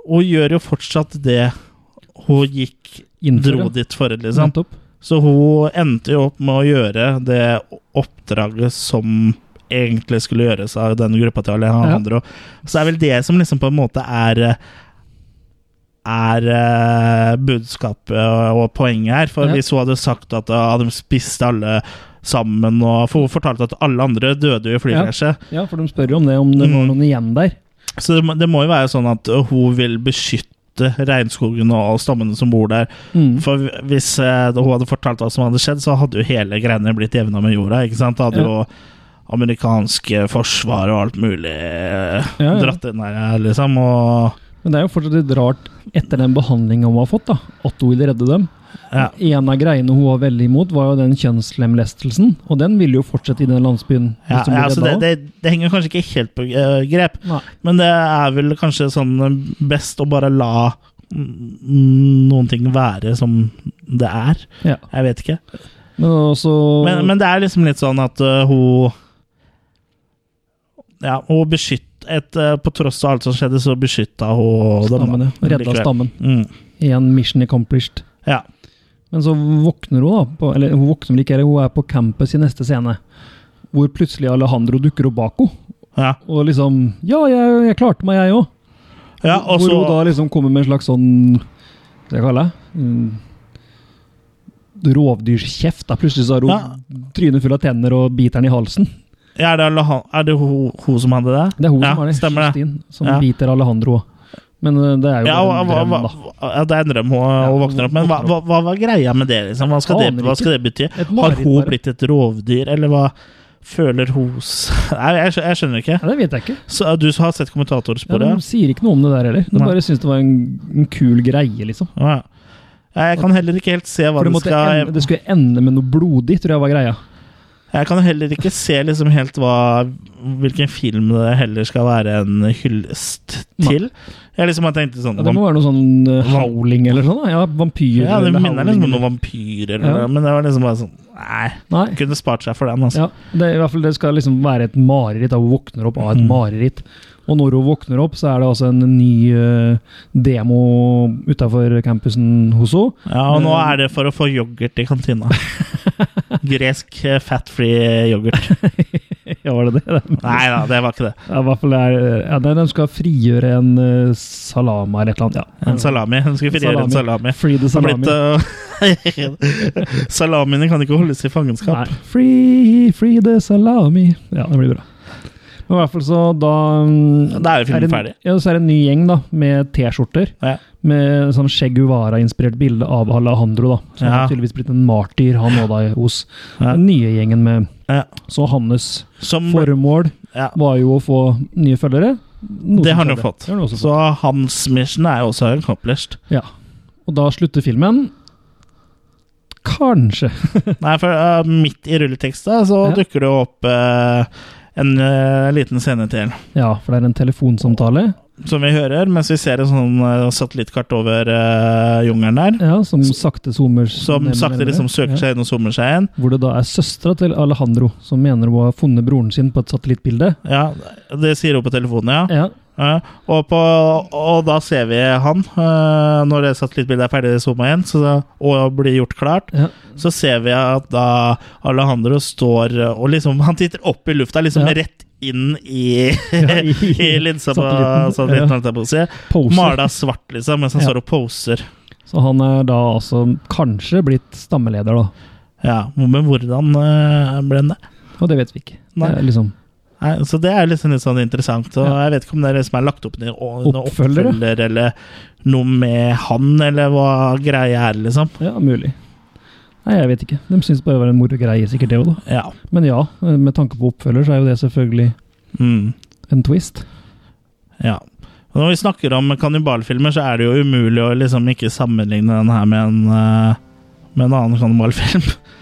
[SPEAKER 1] Hun gjør jo fortsatt det hun gikk
[SPEAKER 2] innføre.
[SPEAKER 1] Dro dit for, liksom.
[SPEAKER 2] Nettopp.
[SPEAKER 1] Så hun endte jo opp med å gjøre det oppdraget som egentlig skulle gjøres av den gruppa til alle
[SPEAKER 2] Ja.
[SPEAKER 1] andre. Og Så det er vel det som liksom på en måte er er eh, budskapet og poenget her. For
[SPEAKER 2] Ja.
[SPEAKER 1] hvis hun hadde sagt at ah, de spiste alle sammen og For hun fortalte at alle andre døde jo i flykrasjet.
[SPEAKER 2] Ja, for de spør jo om det, om det var
[SPEAKER 1] Mm.
[SPEAKER 2] noen igjen der.
[SPEAKER 1] Så det må, det må jo være sånn at hun vil beskytte regnskogen og stammene som bor der.
[SPEAKER 2] Mm.
[SPEAKER 1] For hvis eh, hun hadde fortalt hva som hadde skjedd, så hadde jo hele greiene blitt jevna med jorda. ikke sant? Da hadde
[SPEAKER 2] Ja.
[SPEAKER 1] jo amerikanske forsvar og alt mulig eh,
[SPEAKER 2] Ja, ja.
[SPEAKER 1] dratt inn der, liksom. Og
[SPEAKER 2] Men det er jo fortsatt litt rart, etter den behandlinga hun har fått, da, at hun vil redde dem.
[SPEAKER 1] ja,
[SPEAKER 2] En av greiene hun var veldig imot, var jo den kjønnslemlestelsen. Og den ville jo fortsette i den landsbyen. hvis
[SPEAKER 1] ja,
[SPEAKER 2] de ble
[SPEAKER 1] ja, så det,
[SPEAKER 2] redda
[SPEAKER 1] det, det henger kanskje ikke helt på eh, grep,
[SPEAKER 2] av. Nei.
[SPEAKER 1] men det er vel kanskje sånn eh, best å bare la mm, noen ting være som det er.
[SPEAKER 2] Ja.
[SPEAKER 1] Jeg vet ikke.
[SPEAKER 2] Men også
[SPEAKER 1] Men, men det er liksom litt sånn at øh, hun Ja, hun beskytt et, øh, På tross av alt som skjedde, så beskytta hun dem, da.
[SPEAKER 2] stammen, ja. Redda
[SPEAKER 1] Likevel.
[SPEAKER 2] stammen.
[SPEAKER 1] Mm.
[SPEAKER 2] Igjen mission accomplished.
[SPEAKER 1] Ja.
[SPEAKER 2] Men så våkner hun, da. På, eller hun våkner vel ikke, eller hun er på campus i neste scene. Hvor plutselig Alejandro dukker opp bak henne.
[SPEAKER 1] Ja.
[SPEAKER 2] Og liksom Ja, jeg, jeg klarte meg, jeg òg.
[SPEAKER 1] ja, og
[SPEAKER 2] Hvor hun da
[SPEAKER 1] så
[SPEAKER 2] liksom kommer med en slags sånn Hva skal jeg kalle det? Mm, rovdyrkjeft. da. Plutselig så har hun
[SPEAKER 1] Ja.
[SPEAKER 2] trynet full av tenner og biter den i halsen.
[SPEAKER 1] Ja, er det, Aleha- er det hun, hun som hadde det?
[SPEAKER 2] Det er hun
[SPEAKER 1] ja,
[SPEAKER 2] som har det.
[SPEAKER 1] Stemmer det.
[SPEAKER 2] Justine, som
[SPEAKER 1] Ja.
[SPEAKER 2] biter Alejandro. Men eh, det er jo
[SPEAKER 1] Ja,
[SPEAKER 2] bare
[SPEAKER 1] hva,
[SPEAKER 2] en
[SPEAKER 1] hva,
[SPEAKER 2] drøm, da.
[SPEAKER 1] hva, ja, det er en drøm hun hun våkner opp, men hva, hva, hva var greia med det? liksom? Hva skal,
[SPEAKER 2] Aner
[SPEAKER 1] det, hva
[SPEAKER 2] ikke.
[SPEAKER 1] skal det bety?
[SPEAKER 2] Et
[SPEAKER 1] Har
[SPEAKER 2] mareritt
[SPEAKER 1] hun
[SPEAKER 2] bare.
[SPEAKER 1] blitt et rovdyr, eller hva føler hun s- [laughs] Nei, jeg, skjø- jeg skjønner ikke.
[SPEAKER 2] Ja, det vet jeg ikke.
[SPEAKER 1] Så, uh, du har sett
[SPEAKER 2] Ja, de
[SPEAKER 1] kommentatorsporet?
[SPEAKER 2] sier ikke noe om det der heller. De
[SPEAKER 1] Nei.
[SPEAKER 2] bare syns det var en, en kul greie, liksom.
[SPEAKER 1] Ja. Ja. Jeg kan heller ikke helt se hva
[SPEAKER 2] For det,
[SPEAKER 1] det
[SPEAKER 2] måtte
[SPEAKER 1] skal
[SPEAKER 2] ende, det skulle ende med noe blodig, tror jeg var greia.
[SPEAKER 1] Jeg kan heller ikke se liksom helt hva, hvilken film det heller skal være en hyllest til. Jeg liksom har tenkt sånn
[SPEAKER 2] Ja, det må være noe sånn eh, howling eller sånn. da. Ja, Vampyr
[SPEAKER 1] Ja, det
[SPEAKER 2] eller
[SPEAKER 1] minner liksom om
[SPEAKER 2] howling.
[SPEAKER 1] noen vampyrer, eller
[SPEAKER 2] Ja.
[SPEAKER 1] noe, men det var liksom bare sånn Nei,
[SPEAKER 2] Nei.
[SPEAKER 1] kunne spart seg for den, altså.
[SPEAKER 2] Ja, det, er i hvert fall, det skal liksom være et mareritt. da. Hun våkner opp av
[SPEAKER 1] Mm.
[SPEAKER 2] et mareritt. Og når hun våkner opp, så er det altså en ny eh, demo utafor campusen hos
[SPEAKER 1] [laughs]
[SPEAKER 2] henne.
[SPEAKER 1] Ja, og nå er det for å få yoghurt i
[SPEAKER 2] [laughs]
[SPEAKER 1] kantina. Gresk eh, fat-free
[SPEAKER 2] [laughs]
[SPEAKER 1] yoghurt.
[SPEAKER 2] Ja, var det det?
[SPEAKER 1] Nei da, det var ikke det.
[SPEAKER 2] Ja, i hvert fall det er, ja, nei, de skal frigjøre en eh, salama eller et eller annet. Ja.
[SPEAKER 1] En salami. Hun skulle frigjøre en salami.
[SPEAKER 2] Free the
[SPEAKER 1] Det har
[SPEAKER 2] salami.
[SPEAKER 1] [laughs] blitt, eh, Salamiene kan ikke holdes i fangenskap.
[SPEAKER 2] Nei. Free, free the salami. Ja, det blir bra. Men i hvert fall så da mm,
[SPEAKER 1] Da er jo filmen
[SPEAKER 2] en-
[SPEAKER 1] ferdig.
[SPEAKER 2] Ja, så er det en ny gjeng da, med T-skjorter.
[SPEAKER 1] Ja.
[SPEAKER 2] Med sånn Che Guevara-inspirert bilde av Alejandro. da. Så han
[SPEAKER 1] Ja.
[SPEAKER 2] har tydeligvis blitt en martyr, han òg, da, hos
[SPEAKER 1] Ja.
[SPEAKER 2] den nye gjengen med
[SPEAKER 1] Ja.
[SPEAKER 2] Så hans
[SPEAKER 1] Som,
[SPEAKER 2] formål
[SPEAKER 1] ja.
[SPEAKER 2] var jo å få nye følgere. Noe
[SPEAKER 1] Det
[SPEAKER 2] som
[SPEAKER 1] har han jo
[SPEAKER 2] skjedde.
[SPEAKER 1] fått.
[SPEAKER 2] Det har han også
[SPEAKER 1] Så hans mission er jo også accomplished.
[SPEAKER 2] Ja. Og da slutter filmen. Kanskje. [laughs]
[SPEAKER 1] Nei, for eh, midt i rulleteksta så
[SPEAKER 2] Ja.
[SPEAKER 1] dukker det opp eh, en eh, liten scene til.
[SPEAKER 2] Ja, for det er en telefonsamtale
[SPEAKER 1] Som vi hører, mens vi ser en sånn eh, satellittkart over eh, jungelen der.
[SPEAKER 2] ja, som sakte zoomer
[SPEAKER 1] Som
[SPEAKER 2] ned-
[SPEAKER 1] sakte
[SPEAKER 2] ned-
[SPEAKER 1] liksom søker
[SPEAKER 2] ja.
[SPEAKER 1] seg inn og zoomer seg inn.
[SPEAKER 2] Hvor det da er søstera til Alejandro som mener hun har funnet broren sin på et satellittbilde.
[SPEAKER 1] Ja, Det sier hun på telefonen, ja.
[SPEAKER 2] Ja,
[SPEAKER 1] Ja, og, på, og da ser vi han, eh, når det satellittbildet er ferdig zooma inn så, og blir gjort klart.
[SPEAKER 2] ja.
[SPEAKER 1] Så ser vi at da Alejandro står og liksom Han titter opp i lufta, liksom
[SPEAKER 2] Ja.
[SPEAKER 1] rett inn
[SPEAKER 2] [laughs]
[SPEAKER 1] i,
[SPEAKER 2] i-
[SPEAKER 1] [laughs] i, linsa på satellitten.
[SPEAKER 2] satellitten. Ja.
[SPEAKER 1] holdt jeg på å si.
[SPEAKER 2] Poser.
[SPEAKER 1] Mala svart, liksom, mens han
[SPEAKER 2] Ja.
[SPEAKER 1] står og poser.
[SPEAKER 2] Så han er da altså kanskje blitt stammeleder, da.
[SPEAKER 1] Ja, Men hvordan eh, ble han det?
[SPEAKER 2] Og det vet vi ikke.
[SPEAKER 1] Nei.
[SPEAKER 2] Det er liksom
[SPEAKER 1] Nei, så det er liksom litt sånn interessant. Og
[SPEAKER 2] Ja.
[SPEAKER 1] Jeg vet ikke om det er det som er lagt opp ned oppfølger,
[SPEAKER 2] Oppfølger, ja.
[SPEAKER 1] oppfølger eller noe med han, eller hva greia er, liksom.
[SPEAKER 2] Ja, mulig. Nei, jeg vet ikke. De syns bare det var en moro greie, sikkert det òg, da.
[SPEAKER 1] Ja.
[SPEAKER 2] Men ja, med tanke på oppfølger, så er jo det selvfølgelig
[SPEAKER 1] Mm,
[SPEAKER 2] en twist.
[SPEAKER 1] ja. Og når vi snakker om kannibalfilmer, så er det jo umulig å liksom ikke sammenligne den her med en, eh, med en annen kannibalfilm. [laughs]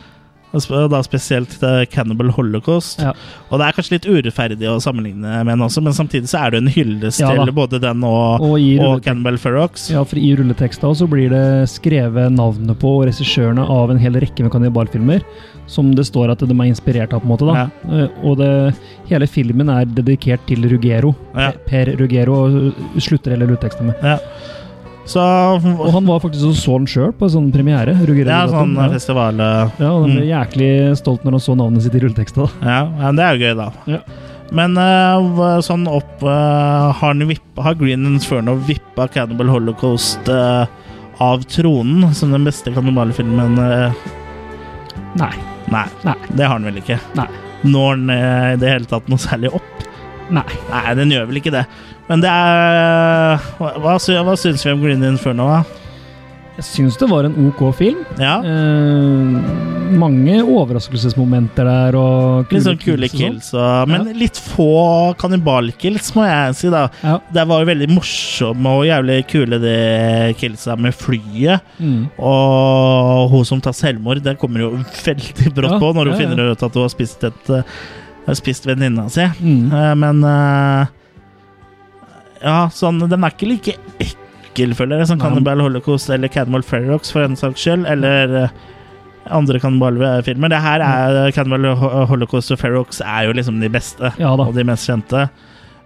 [SPEAKER 1] Og sp- Da spesielt eh, Cannibal Holocaust.
[SPEAKER 2] Ja.
[SPEAKER 1] Og det er kanskje litt urettferdig å sammenligne med den også, men samtidig så er det jo en hyllest
[SPEAKER 2] Ja da.
[SPEAKER 1] til både den og,
[SPEAKER 2] Og i
[SPEAKER 1] og,
[SPEAKER 2] rulletekst-
[SPEAKER 1] Cannibal Ferox.
[SPEAKER 2] Ja, for i rulleteksta så blir det skrevet navnet på og regissørene av en hel rekke med kannibalfilmer, som det står at de er inspirert av, på en måte. da. Eh, Og det, hele filmen er dedikert til Rugero.
[SPEAKER 1] Ja.
[SPEAKER 2] Per Rugero og slutter hele rulleteksten med.
[SPEAKER 1] Ja. Så
[SPEAKER 2] Og han var faktisk og så den sjøl på en sånn premiere. Rugero
[SPEAKER 1] Ja, sånn mm.
[SPEAKER 2] ja.
[SPEAKER 1] festival
[SPEAKER 2] ja, og han ble jæklig stolt når han så navnet sitt i rulleteksta. da.
[SPEAKER 1] Ja, ja, det er jo gøy, da.
[SPEAKER 2] Ja.
[SPEAKER 1] Men eh, hva- sånn opp eh, har, han vipp- har Green Inferno vippa Cannibal Holocaust eh, av tronen som den beste kannibalfilmen? eh,
[SPEAKER 2] Nei.
[SPEAKER 1] nei,
[SPEAKER 2] Nei.
[SPEAKER 1] det har han vel ikke.
[SPEAKER 2] Nei.
[SPEAKER 1] Når den eh, i det hele tatt noe særlig opp?
[SPEAKER 2] Nei.
[SPEAKER 1] Nei, den gjør vel ikke det. Men det er Hva, hva, sy- hva syns vi om Green Inferno, da?
[SPEAKER 2] Jeg syns det var en ok film.
[SPEAKER 1] Ja,
[SPEAKER 2] Eh, mange overraskelsesmomenter der og
[SPEAKER 1] Litt sånn kule
[SPEAKER 2] og sånn.
[SPEAKER 1] kills, og, men litt få kannibalkills, må jeg si, da.
[SPEAKER 2] Ja.
[SPEAKER 1] Det var jo veldig morsomme og jævlig kule de killsa med flyet.
[SPEAKER 2] Mm.
[SPEAKER 1] Og hun som tar selvmord, det kommer jo veldig brått
[SPEAKER 2] Ja,
[SPEAKER 1] på når hun
[SPEAKER 2] ja, ja.
[SPEAKER 1] finner ut at hun har spist, et, eh, har spist venninna si.
[SPEAKER 2] Mm.
[SPEAKER 1] Eh, Men eh, Ja, sånn Den er ikke like ekkel, føler jeg, som
[SPEAKER 2] Nei.
[SPEAKER 1] Cannibal Holocaust eller Cannibal Ferrox, for den saks skyld. Eller eh, andre kannibalfilmer. Det her er
[SPEAKER 2] Mm.
[SPEAKER 1] eh, Cannibal Ho- Holocaust og Ferrox er jo liksom de beste
[SPEAKER 2] Ja da.
[SPEAKER 1] og de mest kjente.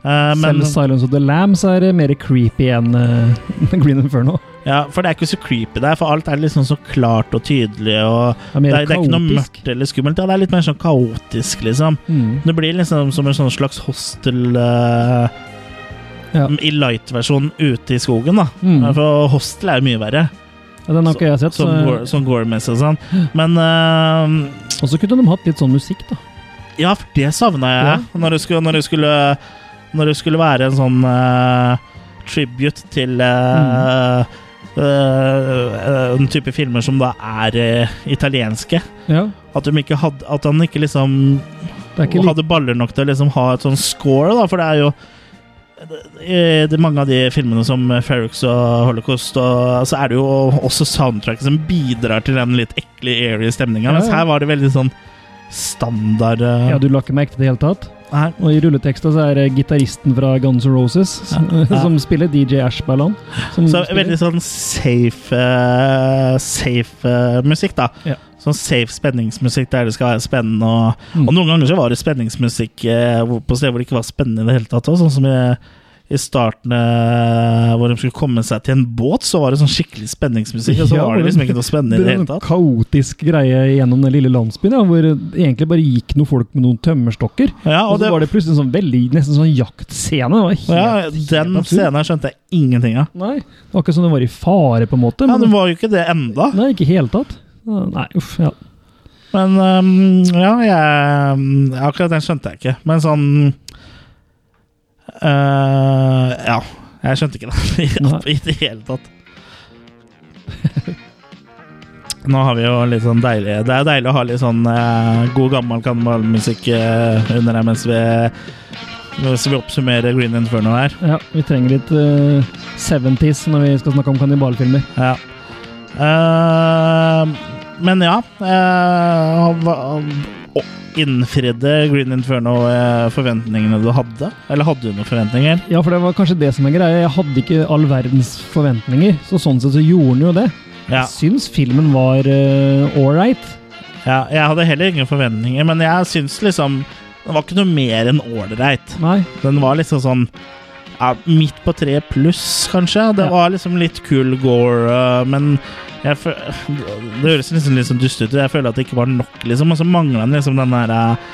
[SPEAKER 1] Eh, men
[SPEAKER 2] Selv Silence of the Lambs er eh, mer creepy enn eh, [laughs] Green Inferno.
[SPEAKER 1] Ja, for det er ikke så creepy der, for alt er liksom så klart og tydelig. Og
[SPEAKER 2] Det er
[SPEAKER 1] det,
[SPEAKER 2] mer
[SPEAKER 1] er, det er ikke noe
[SPEAKER 2] kaotisk.
[SPEAKER 1] mørkt eller skummelt. Ja, det er litt mer sånn kaotisk, liksom.
[SPEAKER 2] Mm.
[SPEAKER 1] Det blir liksom som en sånn slags hostel eh,
[SPEAKER 2] Ja.
[SPEAKER 1] i light-versjon ute i skogen, da.
[SPEAKER 2] Mm.
[SPEAKER 1] For hostel er jo mye verre.
[SPEAKER 2] Ja, Den har ikke jeg sett. Så,
[SPEAKER 1] Som, går, som går med seg sånn.
[SPEAKER 2] [gasps]
[SPEAKER 1] Men eh,
[SPEAKER 2] og så kunne de hatt litt sånn musikk, da.
[SPEAKER 1] Ja, for det savna jeg. Når, det skulle, når, det skulle, når det skulle være en sånn eh, tribute til eh, eh, en type filmer som da er eh, italienske.
[SPEAKER 2] Ja,
[SPEAKER 1] At, de ikke hadde, at han ikke liksom
[SPEAKER 2] det er ikke litt
[SPEAKER 1] hadde baller nok til å liksom ha et sånn score, da, for det er jo i de, mange av de filmene som Ferrox og Holocaust, og, så er det jo også soundtracket som bidrar til den litt ekle, eerie stemninga.
[SPEAKER 2] Ja,
[SPEAKER 1] Mens
[SPEAKER 2] ja.
[SPEAKER 1] her var det veldig sånn standard eh,
[SPEAKER 2] Ja, du la ikke merke til det i hele tatt.
[SPEAKER 1] her.
[SPEAKER 2] Og i rulleteksta så er det gitaristen fra Guns N' Roses
[SPEAKER 1] Ja.
[SPEAKER 2] som [laughs] spiller DJ Ashbaland. Som
[SPEAKER 1] Så
[SPEAKER 2] spiller.
[SPEAKER 1] veldig sånn safe eh, Safe eh, musikk, da.
[SPEAKER 2] Ja.
[SPEAKER 1] Sånn safe spenningsmusikk der det skal være spennende. Og,
[SPEAKER 2] Mm.
[SPEAKER 1] og noen ganger så var det spenningsmusikk eh, hvor- på steder hvor det ikke var spennende i det hele tatt. også, sånn som i, i starten eh, hvor de skulle komme seg til en båt, så var det sånn skikkelig spenningsmusikk. Og så
[SPEAKER 2] [laughs] Ja,
[SPEAKER 1] var det liksom ikke noe spennende i det
[SPEAKER 2] er en
[SPEAKER 1] hele tatt.
[SPEAKER 2] kaotisk greie gjennom den lille landsbyen, ja, hvor det egentlig bare gikk noen folk med noen tømmerstokker.
[SPEAKER 1] Ja,
[SPEAKER 2] og,
[SPEAKER 1] og
[SPEAKER 2] så
[SPEAKER 1] det,
[SPEAKER 2] var det plutselig en sånn veldig, nesten sånn jaktscene. Det var helt,
[SPEAKER 1] ja, den
[SPEAKER 2] helt absurd.
[SPEAKER 1] scenen her skjønte jeg ingenting av.
[SPEAKER 2] Nei, det var ikke sånn det var i fare, på en måte.
[SPEAKER 1] Ja,
[SPEAKER 2] men-
[SPEAKER 1] det var jo ikke det enda.
[SPEAKER 2] Nei, ikke i hele tatt. Nei, uff, ja.
[SPEAKER 1] Men øhm, ja, jeg, øhm, akkurat den skjønte jeg ikke. Men sånn øh, Ja, jeg skjønte ikke det [laughs] i det hele tatt. Nå har vi jo litt sånn deilig Det er deilig å ha litt sånn øh, god gammel kanalmusikk øh, under her mens vi, mens vi oppsummerer Green Inferno her.
[SPEAKER 2] ja. Vi trenger litt eh, 70s når vi skal snakke om kannibalfilmer.
[SPEAKER 1] Ja. Eh, men ja eh, hva- å, Innfridde Green Inferno eh, forventningene du hadde? Eller hadde du noen forventninger?
[SPEAKER 2] Ja, for det var kanskje det som er greia. Jeg hadde ikke all verdens forventninger, så sånn sett så gjorde den jo det.
[SPEAKER 1] Ja,
[SPEAKER 2] Jeg syns filmen var uh, ålreit.
[SPEAKER 1] ja. Jeg hadde heller ingen forventninger, men jeg syns liksom Den var ikke noe mer enn ålreit.
[SPEAKER 2] Nei.
[SPEAKER 1] Den var liksom sånn ja, midt på tre pluss, kanskje. Det
[SPEAKER 2] Ja.
[SPEAKER 1] var liksom litt cool gore, eh, men jeg fø det høres liksom litt sånn dust ut. Jeg føler at det ikke var nok, liksom. Og så mangla den liksom den der eh,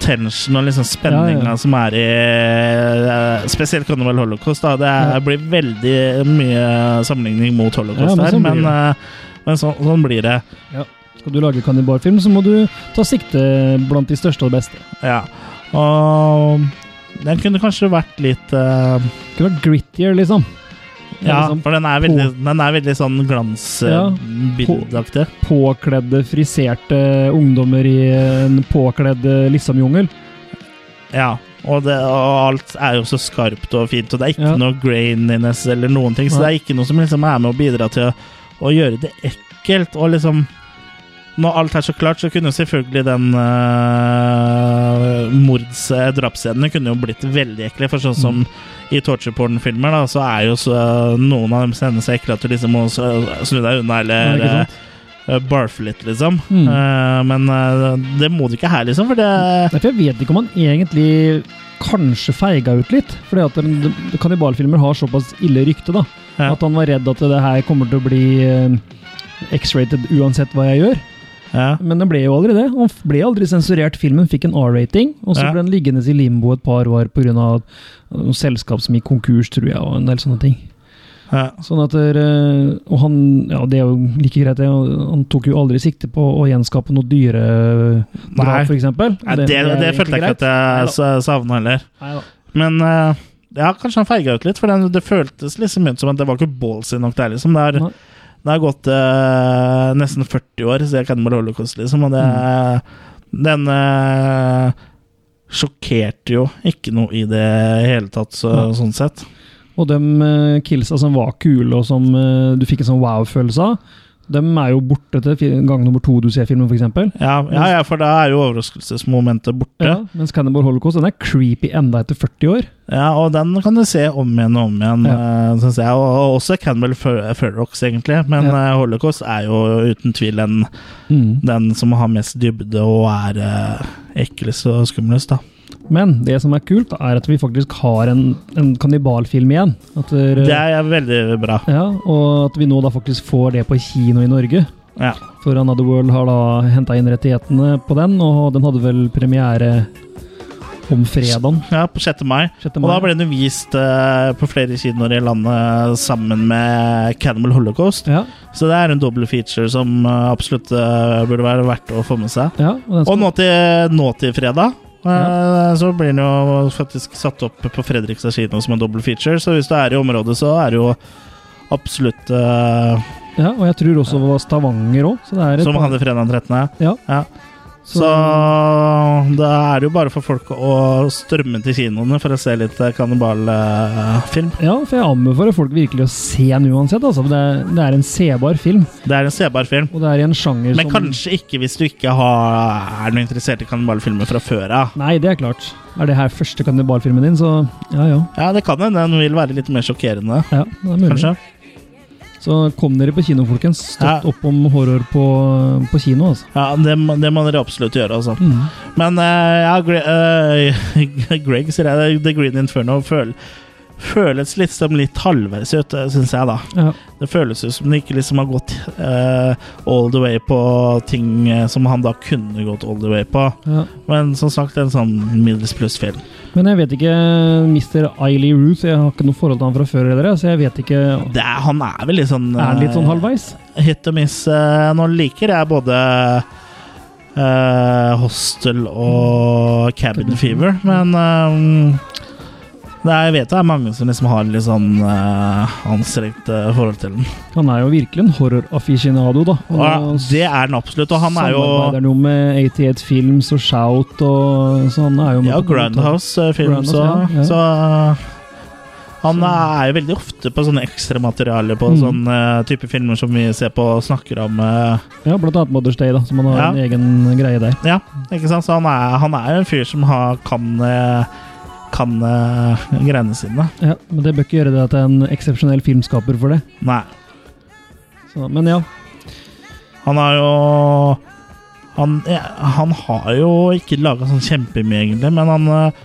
[SPEAKER 1] tension og liksom spenninga
[SPEAKER 2] Ja, ja.
[SPEAKER 1] som er i eh, Spesielt Cannibal Holocaust. da Det er,
[SPEAKER 2] Ja.
[SPEAKER 1] blir veldig mye sammenligning mot Holocaust
[SPEAKER 2] Ja, men
[SPEAKER 1] der,
[SPEAKER 2] sånn blir
[SPEAKER 1] men,
[SPEAKER 2] det.
[SPEAKER 1] eh, men sånn, sånn blir det.
[SPEAKER 2] Skal du lage kannibalfilm, så må du ta sikte blant de største og de beste.
[SPEAKER 1] Ja. Og den kunne kanskje vært litt eh,
[SPEAKER 2] Det kunne vært grittier, liksom. Det er
[SPEAKER 1] Ja,
[SPEAKER 2] liksom
[SPEAKER 1] for den er veldig, den er veldig sånn glansbildaktig.
[SPEAKER 2] Påkledde, friserte ungdommer i en påkledd eh, Lissam-jungel.
[SPEAKER 1] Ja. Og, det, og alt er jo så skarpt og fint, og det er ikke
[SPEAKER 2] Ja.
[SPEAKER 1] noe graininess eller noen ting, så det
[SPEAKER 2] Nei.
[SPEAKER 1] er ikke noe som liksom er med å bidra til å, å gjøre det ekkelt. Og liksom Når alt er så klart, så kunne jo selvfølgelig den uh, mords eh, drapsscenene kunne jo blitt veldig ekle, for sånn
[SPEAKER 2] Mm.
[SPEAKER 1] som i torture porn-filmer, da, så er jo så, noen av dem scenene så ekle at du liksom må s- snu deg unna,
[SPEAKER 2] Ja,
[SPEAKER 1] eller
[SPEAKER 2] ikke sant?
[SPEAKER 1] eh, barfe litt, liksom.
[SPEAKER 2] Mm.
[SPEAKER 1] Eh, men eh, det må du ikke her, liksom, for det
[SPEAKER 2] Derfor jeg vet ikke om han egentlig kanskje feiga ut litt. Fordi at de- de- kannibalfilmer har såpass ille rykte, da.
[SPEAKER 1] Ja.
[SPEAKER 2] At han var redd at det her kommer til å bli eh, X-rated uansett hva jeg gjør.
[SPEAKER 1] ja.
[SPEAKER 2] Men den ble jo aldri det. Han f- ble aldri sensurert. Filmen fikk en R-rating, og så
[SPEAKER 1] Ja.
[SPEAKER 2] ble den liggende i limbo et par år pga. selskap som gikk konkurs, tror jeg, og en del sånne ting.
[SPEAKER 1] ja.
[SPEAKER 2] Sånn at der, eh, Og han Ja, det er jo like greit, det. og Han tok jo aldri sikte på å gjenskape noe eh,
[SPEAKER 1] Nei.
[SPEAKER 2] dyredrap, f.eks.
[SPEAKER 1] Nei, det, det, følte jeg ikke at jeg sa- savna heller. Men eh, ja, kanskje han feiga ut litt, for det, det føltes liksom ut som at det var ikke ballsy nok der, liksom. Det har,
[SPEAKER 2] Nei.
[SPEAKER 1] det har gått eh, nesten 40 år siden Cannibal Holocaust, liksom, og det
[SPEAKER 2] Mm.
[SPEAKER 1] Den eh, sjokkerte jo ikke noe i det hele tatt, så,
[SPEAKER 2] Nei.
[SPEAKER 1] sånn sett.
[SPEAKER 2] Og de eh, killsa som var kule, og som eh, du fikk en sånn wow-følelse av, de er jo borte til fi- gang nummer to du ser filmen, f.eks.
[SPEAKER 1] Ja, ja, ja, for da er jo overraskelsesmomentet borte.
[SPEAKER 2] Ja, mens Cannibal Holocaust den er creepy enda etter 40 år.
[SPEAKER 1] Ja, og den kan du se om igjen og om igjen,
[SPEAKER 2] Ja.
[SPEAKER 1] eh, synes jeg. Og, og også Canwell Furrocks, egentlig. Men
[SPEAKER 2] Ja.
[SPEAKER 1] eh, Holocaust er jo uten tvil den, den som har mest dybde og er eh, eklest og skumlest, da.
[SPEAKER 2] Men det som er kult, da, er at vi faktisk har en, en kannibalfilm igjen. At der, eh,
[SPEAKER 1] Det er veldig bra.
[SPEAKER 2] ja, og at vi nå da faktisk får det på kino i Norge.
[SPEAKER 1] Ja.
[SPEAKER 2] For Another World har da henta inn rettighetene på den, og den hadde vel premiere Om fredagen.
[SPEAKER 1] Ja, på 6. mai.
[SPEAKER 2] 6.
[SPEAKER 1] Og da
[SPEAKER 2] mai.
[SPEAKER 1] ble den vist eh, på flere kinoer i landet eh, sammen med Cannibal Holocaust.
[SPEAKER 2] Ja,
[SPEAKER 1] Så det er en double feature som eh, absolutt eh, burde være verdt å få med seg.
[SPEAKER 2] ja, og
[SPEAKER 1] Og
[SPEAKER 2] den skal,
[SPEAKER 1] nå til, nå til fredag. eh, Så blir den jo faktisk satt opp på Fredrikstad kino som en double feature. Så hvis du er i området, så er det jo absolutt eh,
[SPEAKER 2] ja, og jeg tror også det var Stavanger òg, så det er et
[SPEAKER 1] Som hadde fredag den 13.
[SPEAKER 2] Ja.
[SPEAKER 1] Ja. Så da er det jo bare for folk å strømme til kinoene for å se litt eh, kannibalfilm.
[SPEAKER 2] Ja, for jeg anbefaler folk virkelig å se den uansett. Altså. Det, er, det er en sebar film,
[SPEAKER 1] Det er en sebar film.
[SPEAKER 2] og det er i en sjanger
[SPEAKER 1] Men
[SPEAKER 2] som
[SPEAKER 1] kanskje ikke hvis du ikke har, er noe interessert i kannibalfilmer fra før av.
[SPEAKER 2] Nei, det er klart. Er det her første kannibalfilmen din, så ja ja.
[SPEAKER 1] Ja, det kan hende den vil være litt mer sjokkerende,
[SPEAKER 2] ja det er mulig.
[SPEAKER 1] kanskje.
[SPEAKER 2] Så kom dere på kino, folkens. Støtt
[SPEAKER 1] Ja.
[SPEAKER 2] opp om horror på, på kino, altså.
[SPEAKER 1] Ja, det, må- det må dere absolutt gjøre, altså.
[SPEAKER 2] Mm.
[SPEAKER 1] Men eh, ja, Gre eh, [laughs] Greg, sier jeg, The Green Inferno føl føles litt som litt halvveis ut, syns jeg, da.
[SPEAKER 2] Ja.
[SPEAKER 1] Det føles ut som det ikke liksom har gått eh, all the way på ting eh, som han da kunne gått all the way på.
[SPEAKER 2] Ja.
[SPEAKER 1] Men som sagt, en sånn middels pluss-film.
[SPEAKER 2] Men jeg vet ikke Mr. Eiley Ruth, jeg har ikke noe forhold til han fra før, eller, så jeg vet ikke Er
[SPEAKER 1] Det er- Han er vel litt sånn eh,
[SPEAKER 2] han litt sånn halvveis?
[SPEAKER 1] Hit og miss. eh, nå liker jeg både eh, Hostel og Cabin Fever, men eh, det er, jeg vet det er mange som liksom har litt sånn eh, anstrengt eh, forhold til den.
[SPEAKER 2] Han er jo virkelig en horror-aficionado, da.
[SPEAKER 1] Og, ja, det er den absolutt, og han er jo
[SPEAKER 2] Samarbeider jo med 88 Films og Shout og Så han er jo med
[SPEAKER 1] ja,
[SPEAKER 2] på-
[SPEAKER 1] Groundhouse-film,
[SPEAKER 2] Grindhouse,
[SPEAKER 1] så,
[SPEAKER 2] ja, ja.
[SPEAKER 1] så eh, han er jo veldig ofte på sånne ekstramaterialer på
[SPEAKER 2] Mm.
[SPEAKER 1] sånne eh, type filmer som vi ser på og snakker om. eh,
[SPEAKER 2] Ja, blant annet Mother's Day, da, som han har
[SPEAKER 1] Ja.
[SPEAKER 2] en egen greie der.
[SPEAKER 1] Ja, ikke sant? Så han er, han er jo en fyr som har, kan, eh, kan eh, greiene sine.
[SPEAKER 2] Ja, Men det bør ikke gjøre det at det er en eksepsjonell filmskaper for det.
[SPEAKER 1] Nei.
[SPEAKER 2] Så, men ja.
[SPEAKER 1] Han har jo Han, ja, han har jo ikke laga sånn kjempemye, egentlig, men han eh,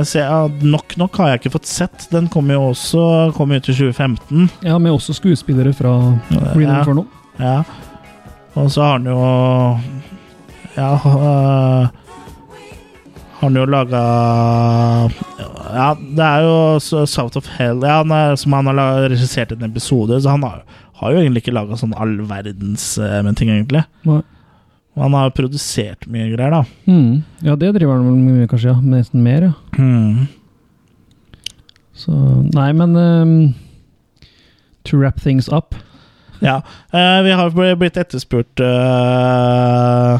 [SPEAKER 1] jeg ser, ja, Nok Nok har jeg ikke fått sett. Den kom jo også kom ut i 2015.
[SPEAKER 2] ja, med også skuespillere fra Green
[SPEAKER 1] Ja.
[SPEAKER 2] Inferno.
[SPEAKER 1] Ja. Og så har han jo Ja øh, Har han jo laga Ja, det er jo så- South of Hell ja, han er, som han har la- regissert en episode, så han har, har jo egentlig ikke laga sånn all verdens eh, med ting, egentlig.
[SPEAKER 2] Nei.
[SPEAKER 1] Men Han har jo produsert mye greier, da.
[SPEAKER 2] Mm. Ja, det driver han vel med, kanskje. ja, med Nesten mer, ja.
[SPEAKER 1] Mm.
[SPEAKER 2] Så Nei, men ehm, To wrap things up.
[SPEAKER 1] Ja. eh, vi har bl- blitt etterspurt eh,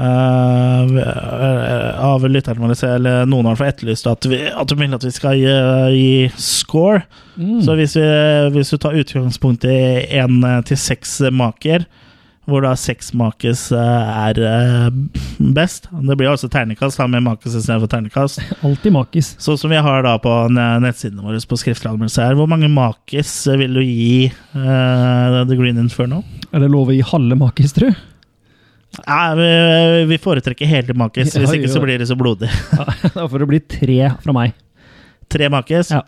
[SPEAKER 1] eh, vi- eh, av lytterne våre, eller noen har fått etterlyst at, vi, at de vil at vi skal gi, gi score. Så hvis, vi, hvis du tar utgangspunkt i én til seks maker, hvor da seks makes eh, er eh, best Det blir altså ternekast da, med makes istedenfor ternekast.
[SPEAKER 2] Alltid makis.
[SPEAKER 1] Sånn som vi har da på n- nettsidene våre på skriftlig anmeldelse her. Hvor mange makis vil du gi eh, The Green Inferno?
[SPEAKER 2] Er det lov å gi halve makis, tru? [laughs]
[SPEAKER 1] Nei, vi, vi foretrekker hele makis, hvis
[SPEAKER 2] [laughs] Ja,
[SPEAKER 1] ikke
[SPEAKER 2] jo.
[SPEAKER 1] så blir det så blodig. [laughs]
[SPEAKER 2] Da får det bli tre fra meg.
[SPEAKER 1] Tre makis?
[SPEAKER 2] Ja.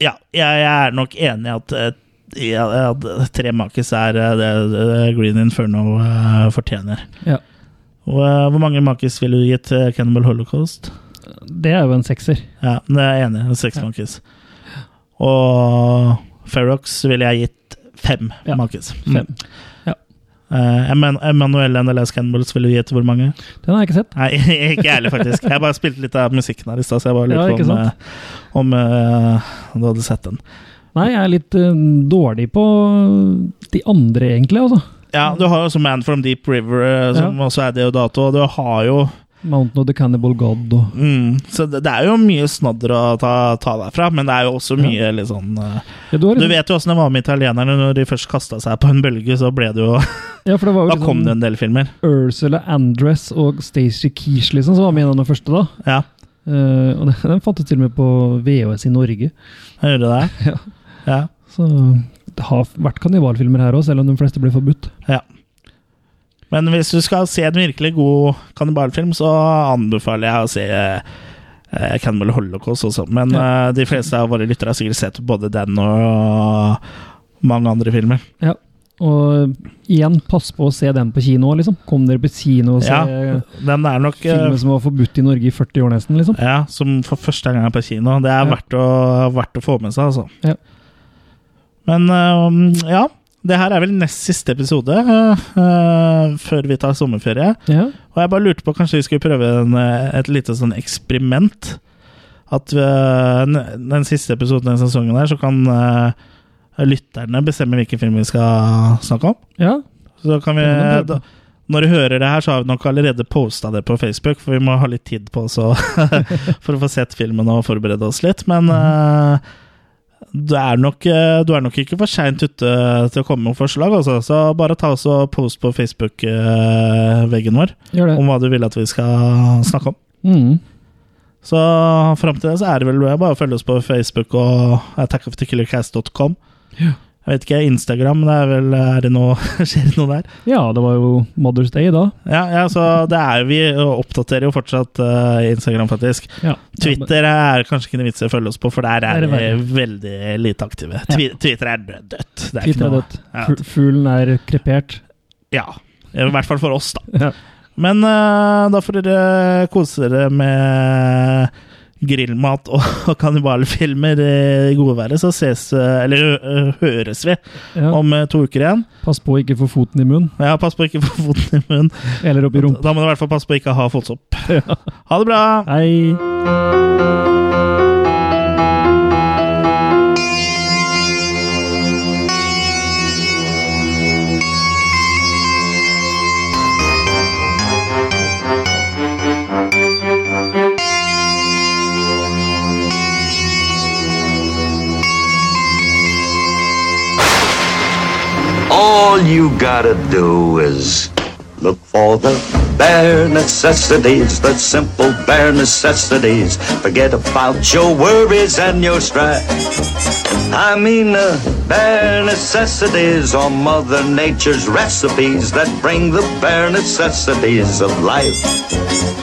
[SPEAKER 1] Ja, jeg, jeg er nok enig i at eh, ja, at tre makis er eh, det, det Green Inferno eh, fortjener.
[SPEAKER 2] Ja.
[SPEAKER 1] Og, eh, hvor mange makis ville du gitt eh, Cannibal Holocaust?
[SPEAKER 2] Det er jo en sekser.
[SPEAKER 1] Ja, men jeg er enig. Seks makis. Og Ferrox ville jeg gitt fem
[SPEAKER 2] Ja,
[SPEAKER 1] makis.
[SPEAKER 2] Fem.
[SPEAKER 1] Eh, Eman- Emanuel and the Last Cannibals ville du gitt hvor mange?
[SPEAKER 2] Den har jeg ikke sett.
[SPEAKER 1] Nei, [laughs] ikke jeg heller, faktisk. Jeg bare spilte litt av musikken her i stad, så jeg bare
[SPEAKER 2] Ja,
[SPEAKER 1] lurte
[SPEAKER 2] ikke
[SPEAKER 1] på om,
[SPEAKER 2] sant?
[SPEAKER 1] eh, om eh, du hadde sett den.
[SPEAKER 2] Nei, jeg er litt eh, dårlig på de andre, egentlig. altså.
[SPEAKER 1] Ja, du har jo også Man from Deep River, eh, som også er deodato, og du har jo
[SPEAKER 2] Mountain of the Cannibal God og
[SPEAKER 1] mm, Så det, det er jo mye snadder å ta, ta derfra, men det er jo også mye litt sånn eh,
[SPEAKER 2] ja, du har
[SPEAKER 1] Du
[SPEAKER 2] liksom-
[SPEAKER 1] vet jo åssen det var med italienerne når de først kasta seg på en bølge, så ble det jo
[SPEAKER 2] ja, for det var jo
[SPEAKER 1] Da kom det
[SPEAKER 2] liksom
[SPEAKER 1] en del filmer.
[SPEAKER 2] Ursula Andress og Stacey Keesh liksom, som var med i den første. da.
[SPEAKER 1] Ja,
[SPEAKER 2] Eh, og [laughs] den, den fantes til og med på VHS i Norge.
[SPEAKER 1] jeg gjorde det.
[SPEAKER 2] [laughs] Ja.
[SPEAKER 1] Ja.
[SPEAKER 2] Så det har vært kannibalfilmer her òg, selv om de fleste ble forbudt.
[SPEAKER 1] ja. Men hvis du skal se en virkelig god kannibalfilm, så anbefaler jeg å se eh, Cannibal Holocaust også. Men eh, de fleste av våre lyttere har sikkert sett både den og mange andre filmer.
[SPEAKER 2] Ja. Og eh, igjen, pass på å se den på kino, liksom. Kom dere på kino og se
[SPEAKER 1] Ja, den er nok eh,
[SPEAKER 2] filmer som var forbudt i Norge i 40 år nesten, liksom.
[SPEAKER 1] ja, som for første gang er på kino. Det er
[SPEAKER 2] Ja.
[SPEAKER 1] verdt, å, verdt å få med seg, altså.
[SPEAKER 2] Ja.
[SPEAKER 1] Men eh, ja, det her er vel nest siste episode eh, eh, før vi tar sommerferie.
[SPEAKER 2] Ja.
[SPEAKER 1] Og jeg bare lurte på, kanskje vi skulle prøve en, eh, et lite sånn eksperiment. At eh, n- den siste episoden i sesongen her, så kan eh, lytterne bestemme hvilken film vi skal snakke om.
[SPEAKER 2] ja.
[SPEAKER 1] Så kan vi, eh,
[SPEAKER 2] Ja, men det er bra.
[SPEAKER 1] da, når du hører det her, så har vi nok allerede posta det på Facebook, for vi må ha litt tid på oss å- [laughs] for å få sett filmen og forberede oss litt. Men eh, du, er nok, eh, du er nok ikke for seint ute til å komme med forslag, altså. Så bare ta oss og post på Facebook-veggen vår
[SPEAKER 2] Gjør det.
[SPEAKER 1] om hva du vil at vi skal snakke om.
[SPEAKER 2] Mm.
[SPEAKER 1] Så fram til det så er det vel bare å følge oss på Facebook og attackofthekillercast.com. Jeg vet ikke, Instagram, det er vel er det noe, [laughs] skjer det noe der?
[SPEAKER 2] Ja, det var jo Mother's Day da.
[SPEAKER 1] Ja, ja så det er jo, vi oppdaterer jo fortsatt eh, Instagram, faktisk.
[SPEAKER 2] Ja.
[SPEAKER 1] Twitter er kanskje ikke noe vits i å følge oss på, for der er
[SPEAKER 2] Der er
[SPEAKER 1] vi
[SPEAKER 2] verre.
[SPEAKER 1] veldig lite aktive. Twi Twitter er dødt. Det er
[SPEAKER 2] Twitter
[SPEAKER 1] ikke
[SPEAKER 2] er
[SPEAKER 1] noe,
[SPEAKER 2] dødt.
[SPEAKER 1] Ja.
[SPEAKER 2] Fu- Fuglen er krepert.
[SPEAKER 1] Ja. I hvert fall for oss, da.
[SPEAKER 2] Ja.
[SPEAKER 1] Men eh, da får dere kose dere med grillmat og, [laughs] og kannibalfilmer i gode været, så ses eh, Eller eh, høres vi
[SPEAKER 2] Ja.
[SPEAKER 1] om eh, to uker igjen.
[SPEAKER 2] Pass på å ikke få foten i munnen,
[SPEAKER 1] Ja, pass på å ikke få foten i munnen.
[SPEAKER 2] eller opp i rumpa.
[SPEAKER 1] Da må du i hvert fall passe på å ikke ha fotsopp. Ha det bra!
[SPEAKER 2] Hei!
[SPEAKER 10] All you gotta do is look for the bare necessities, the simple bare necessities. Forget about your worries and your strife. I mean the bare necessities are Mother Nature's recipes that bring the bare necessities of life.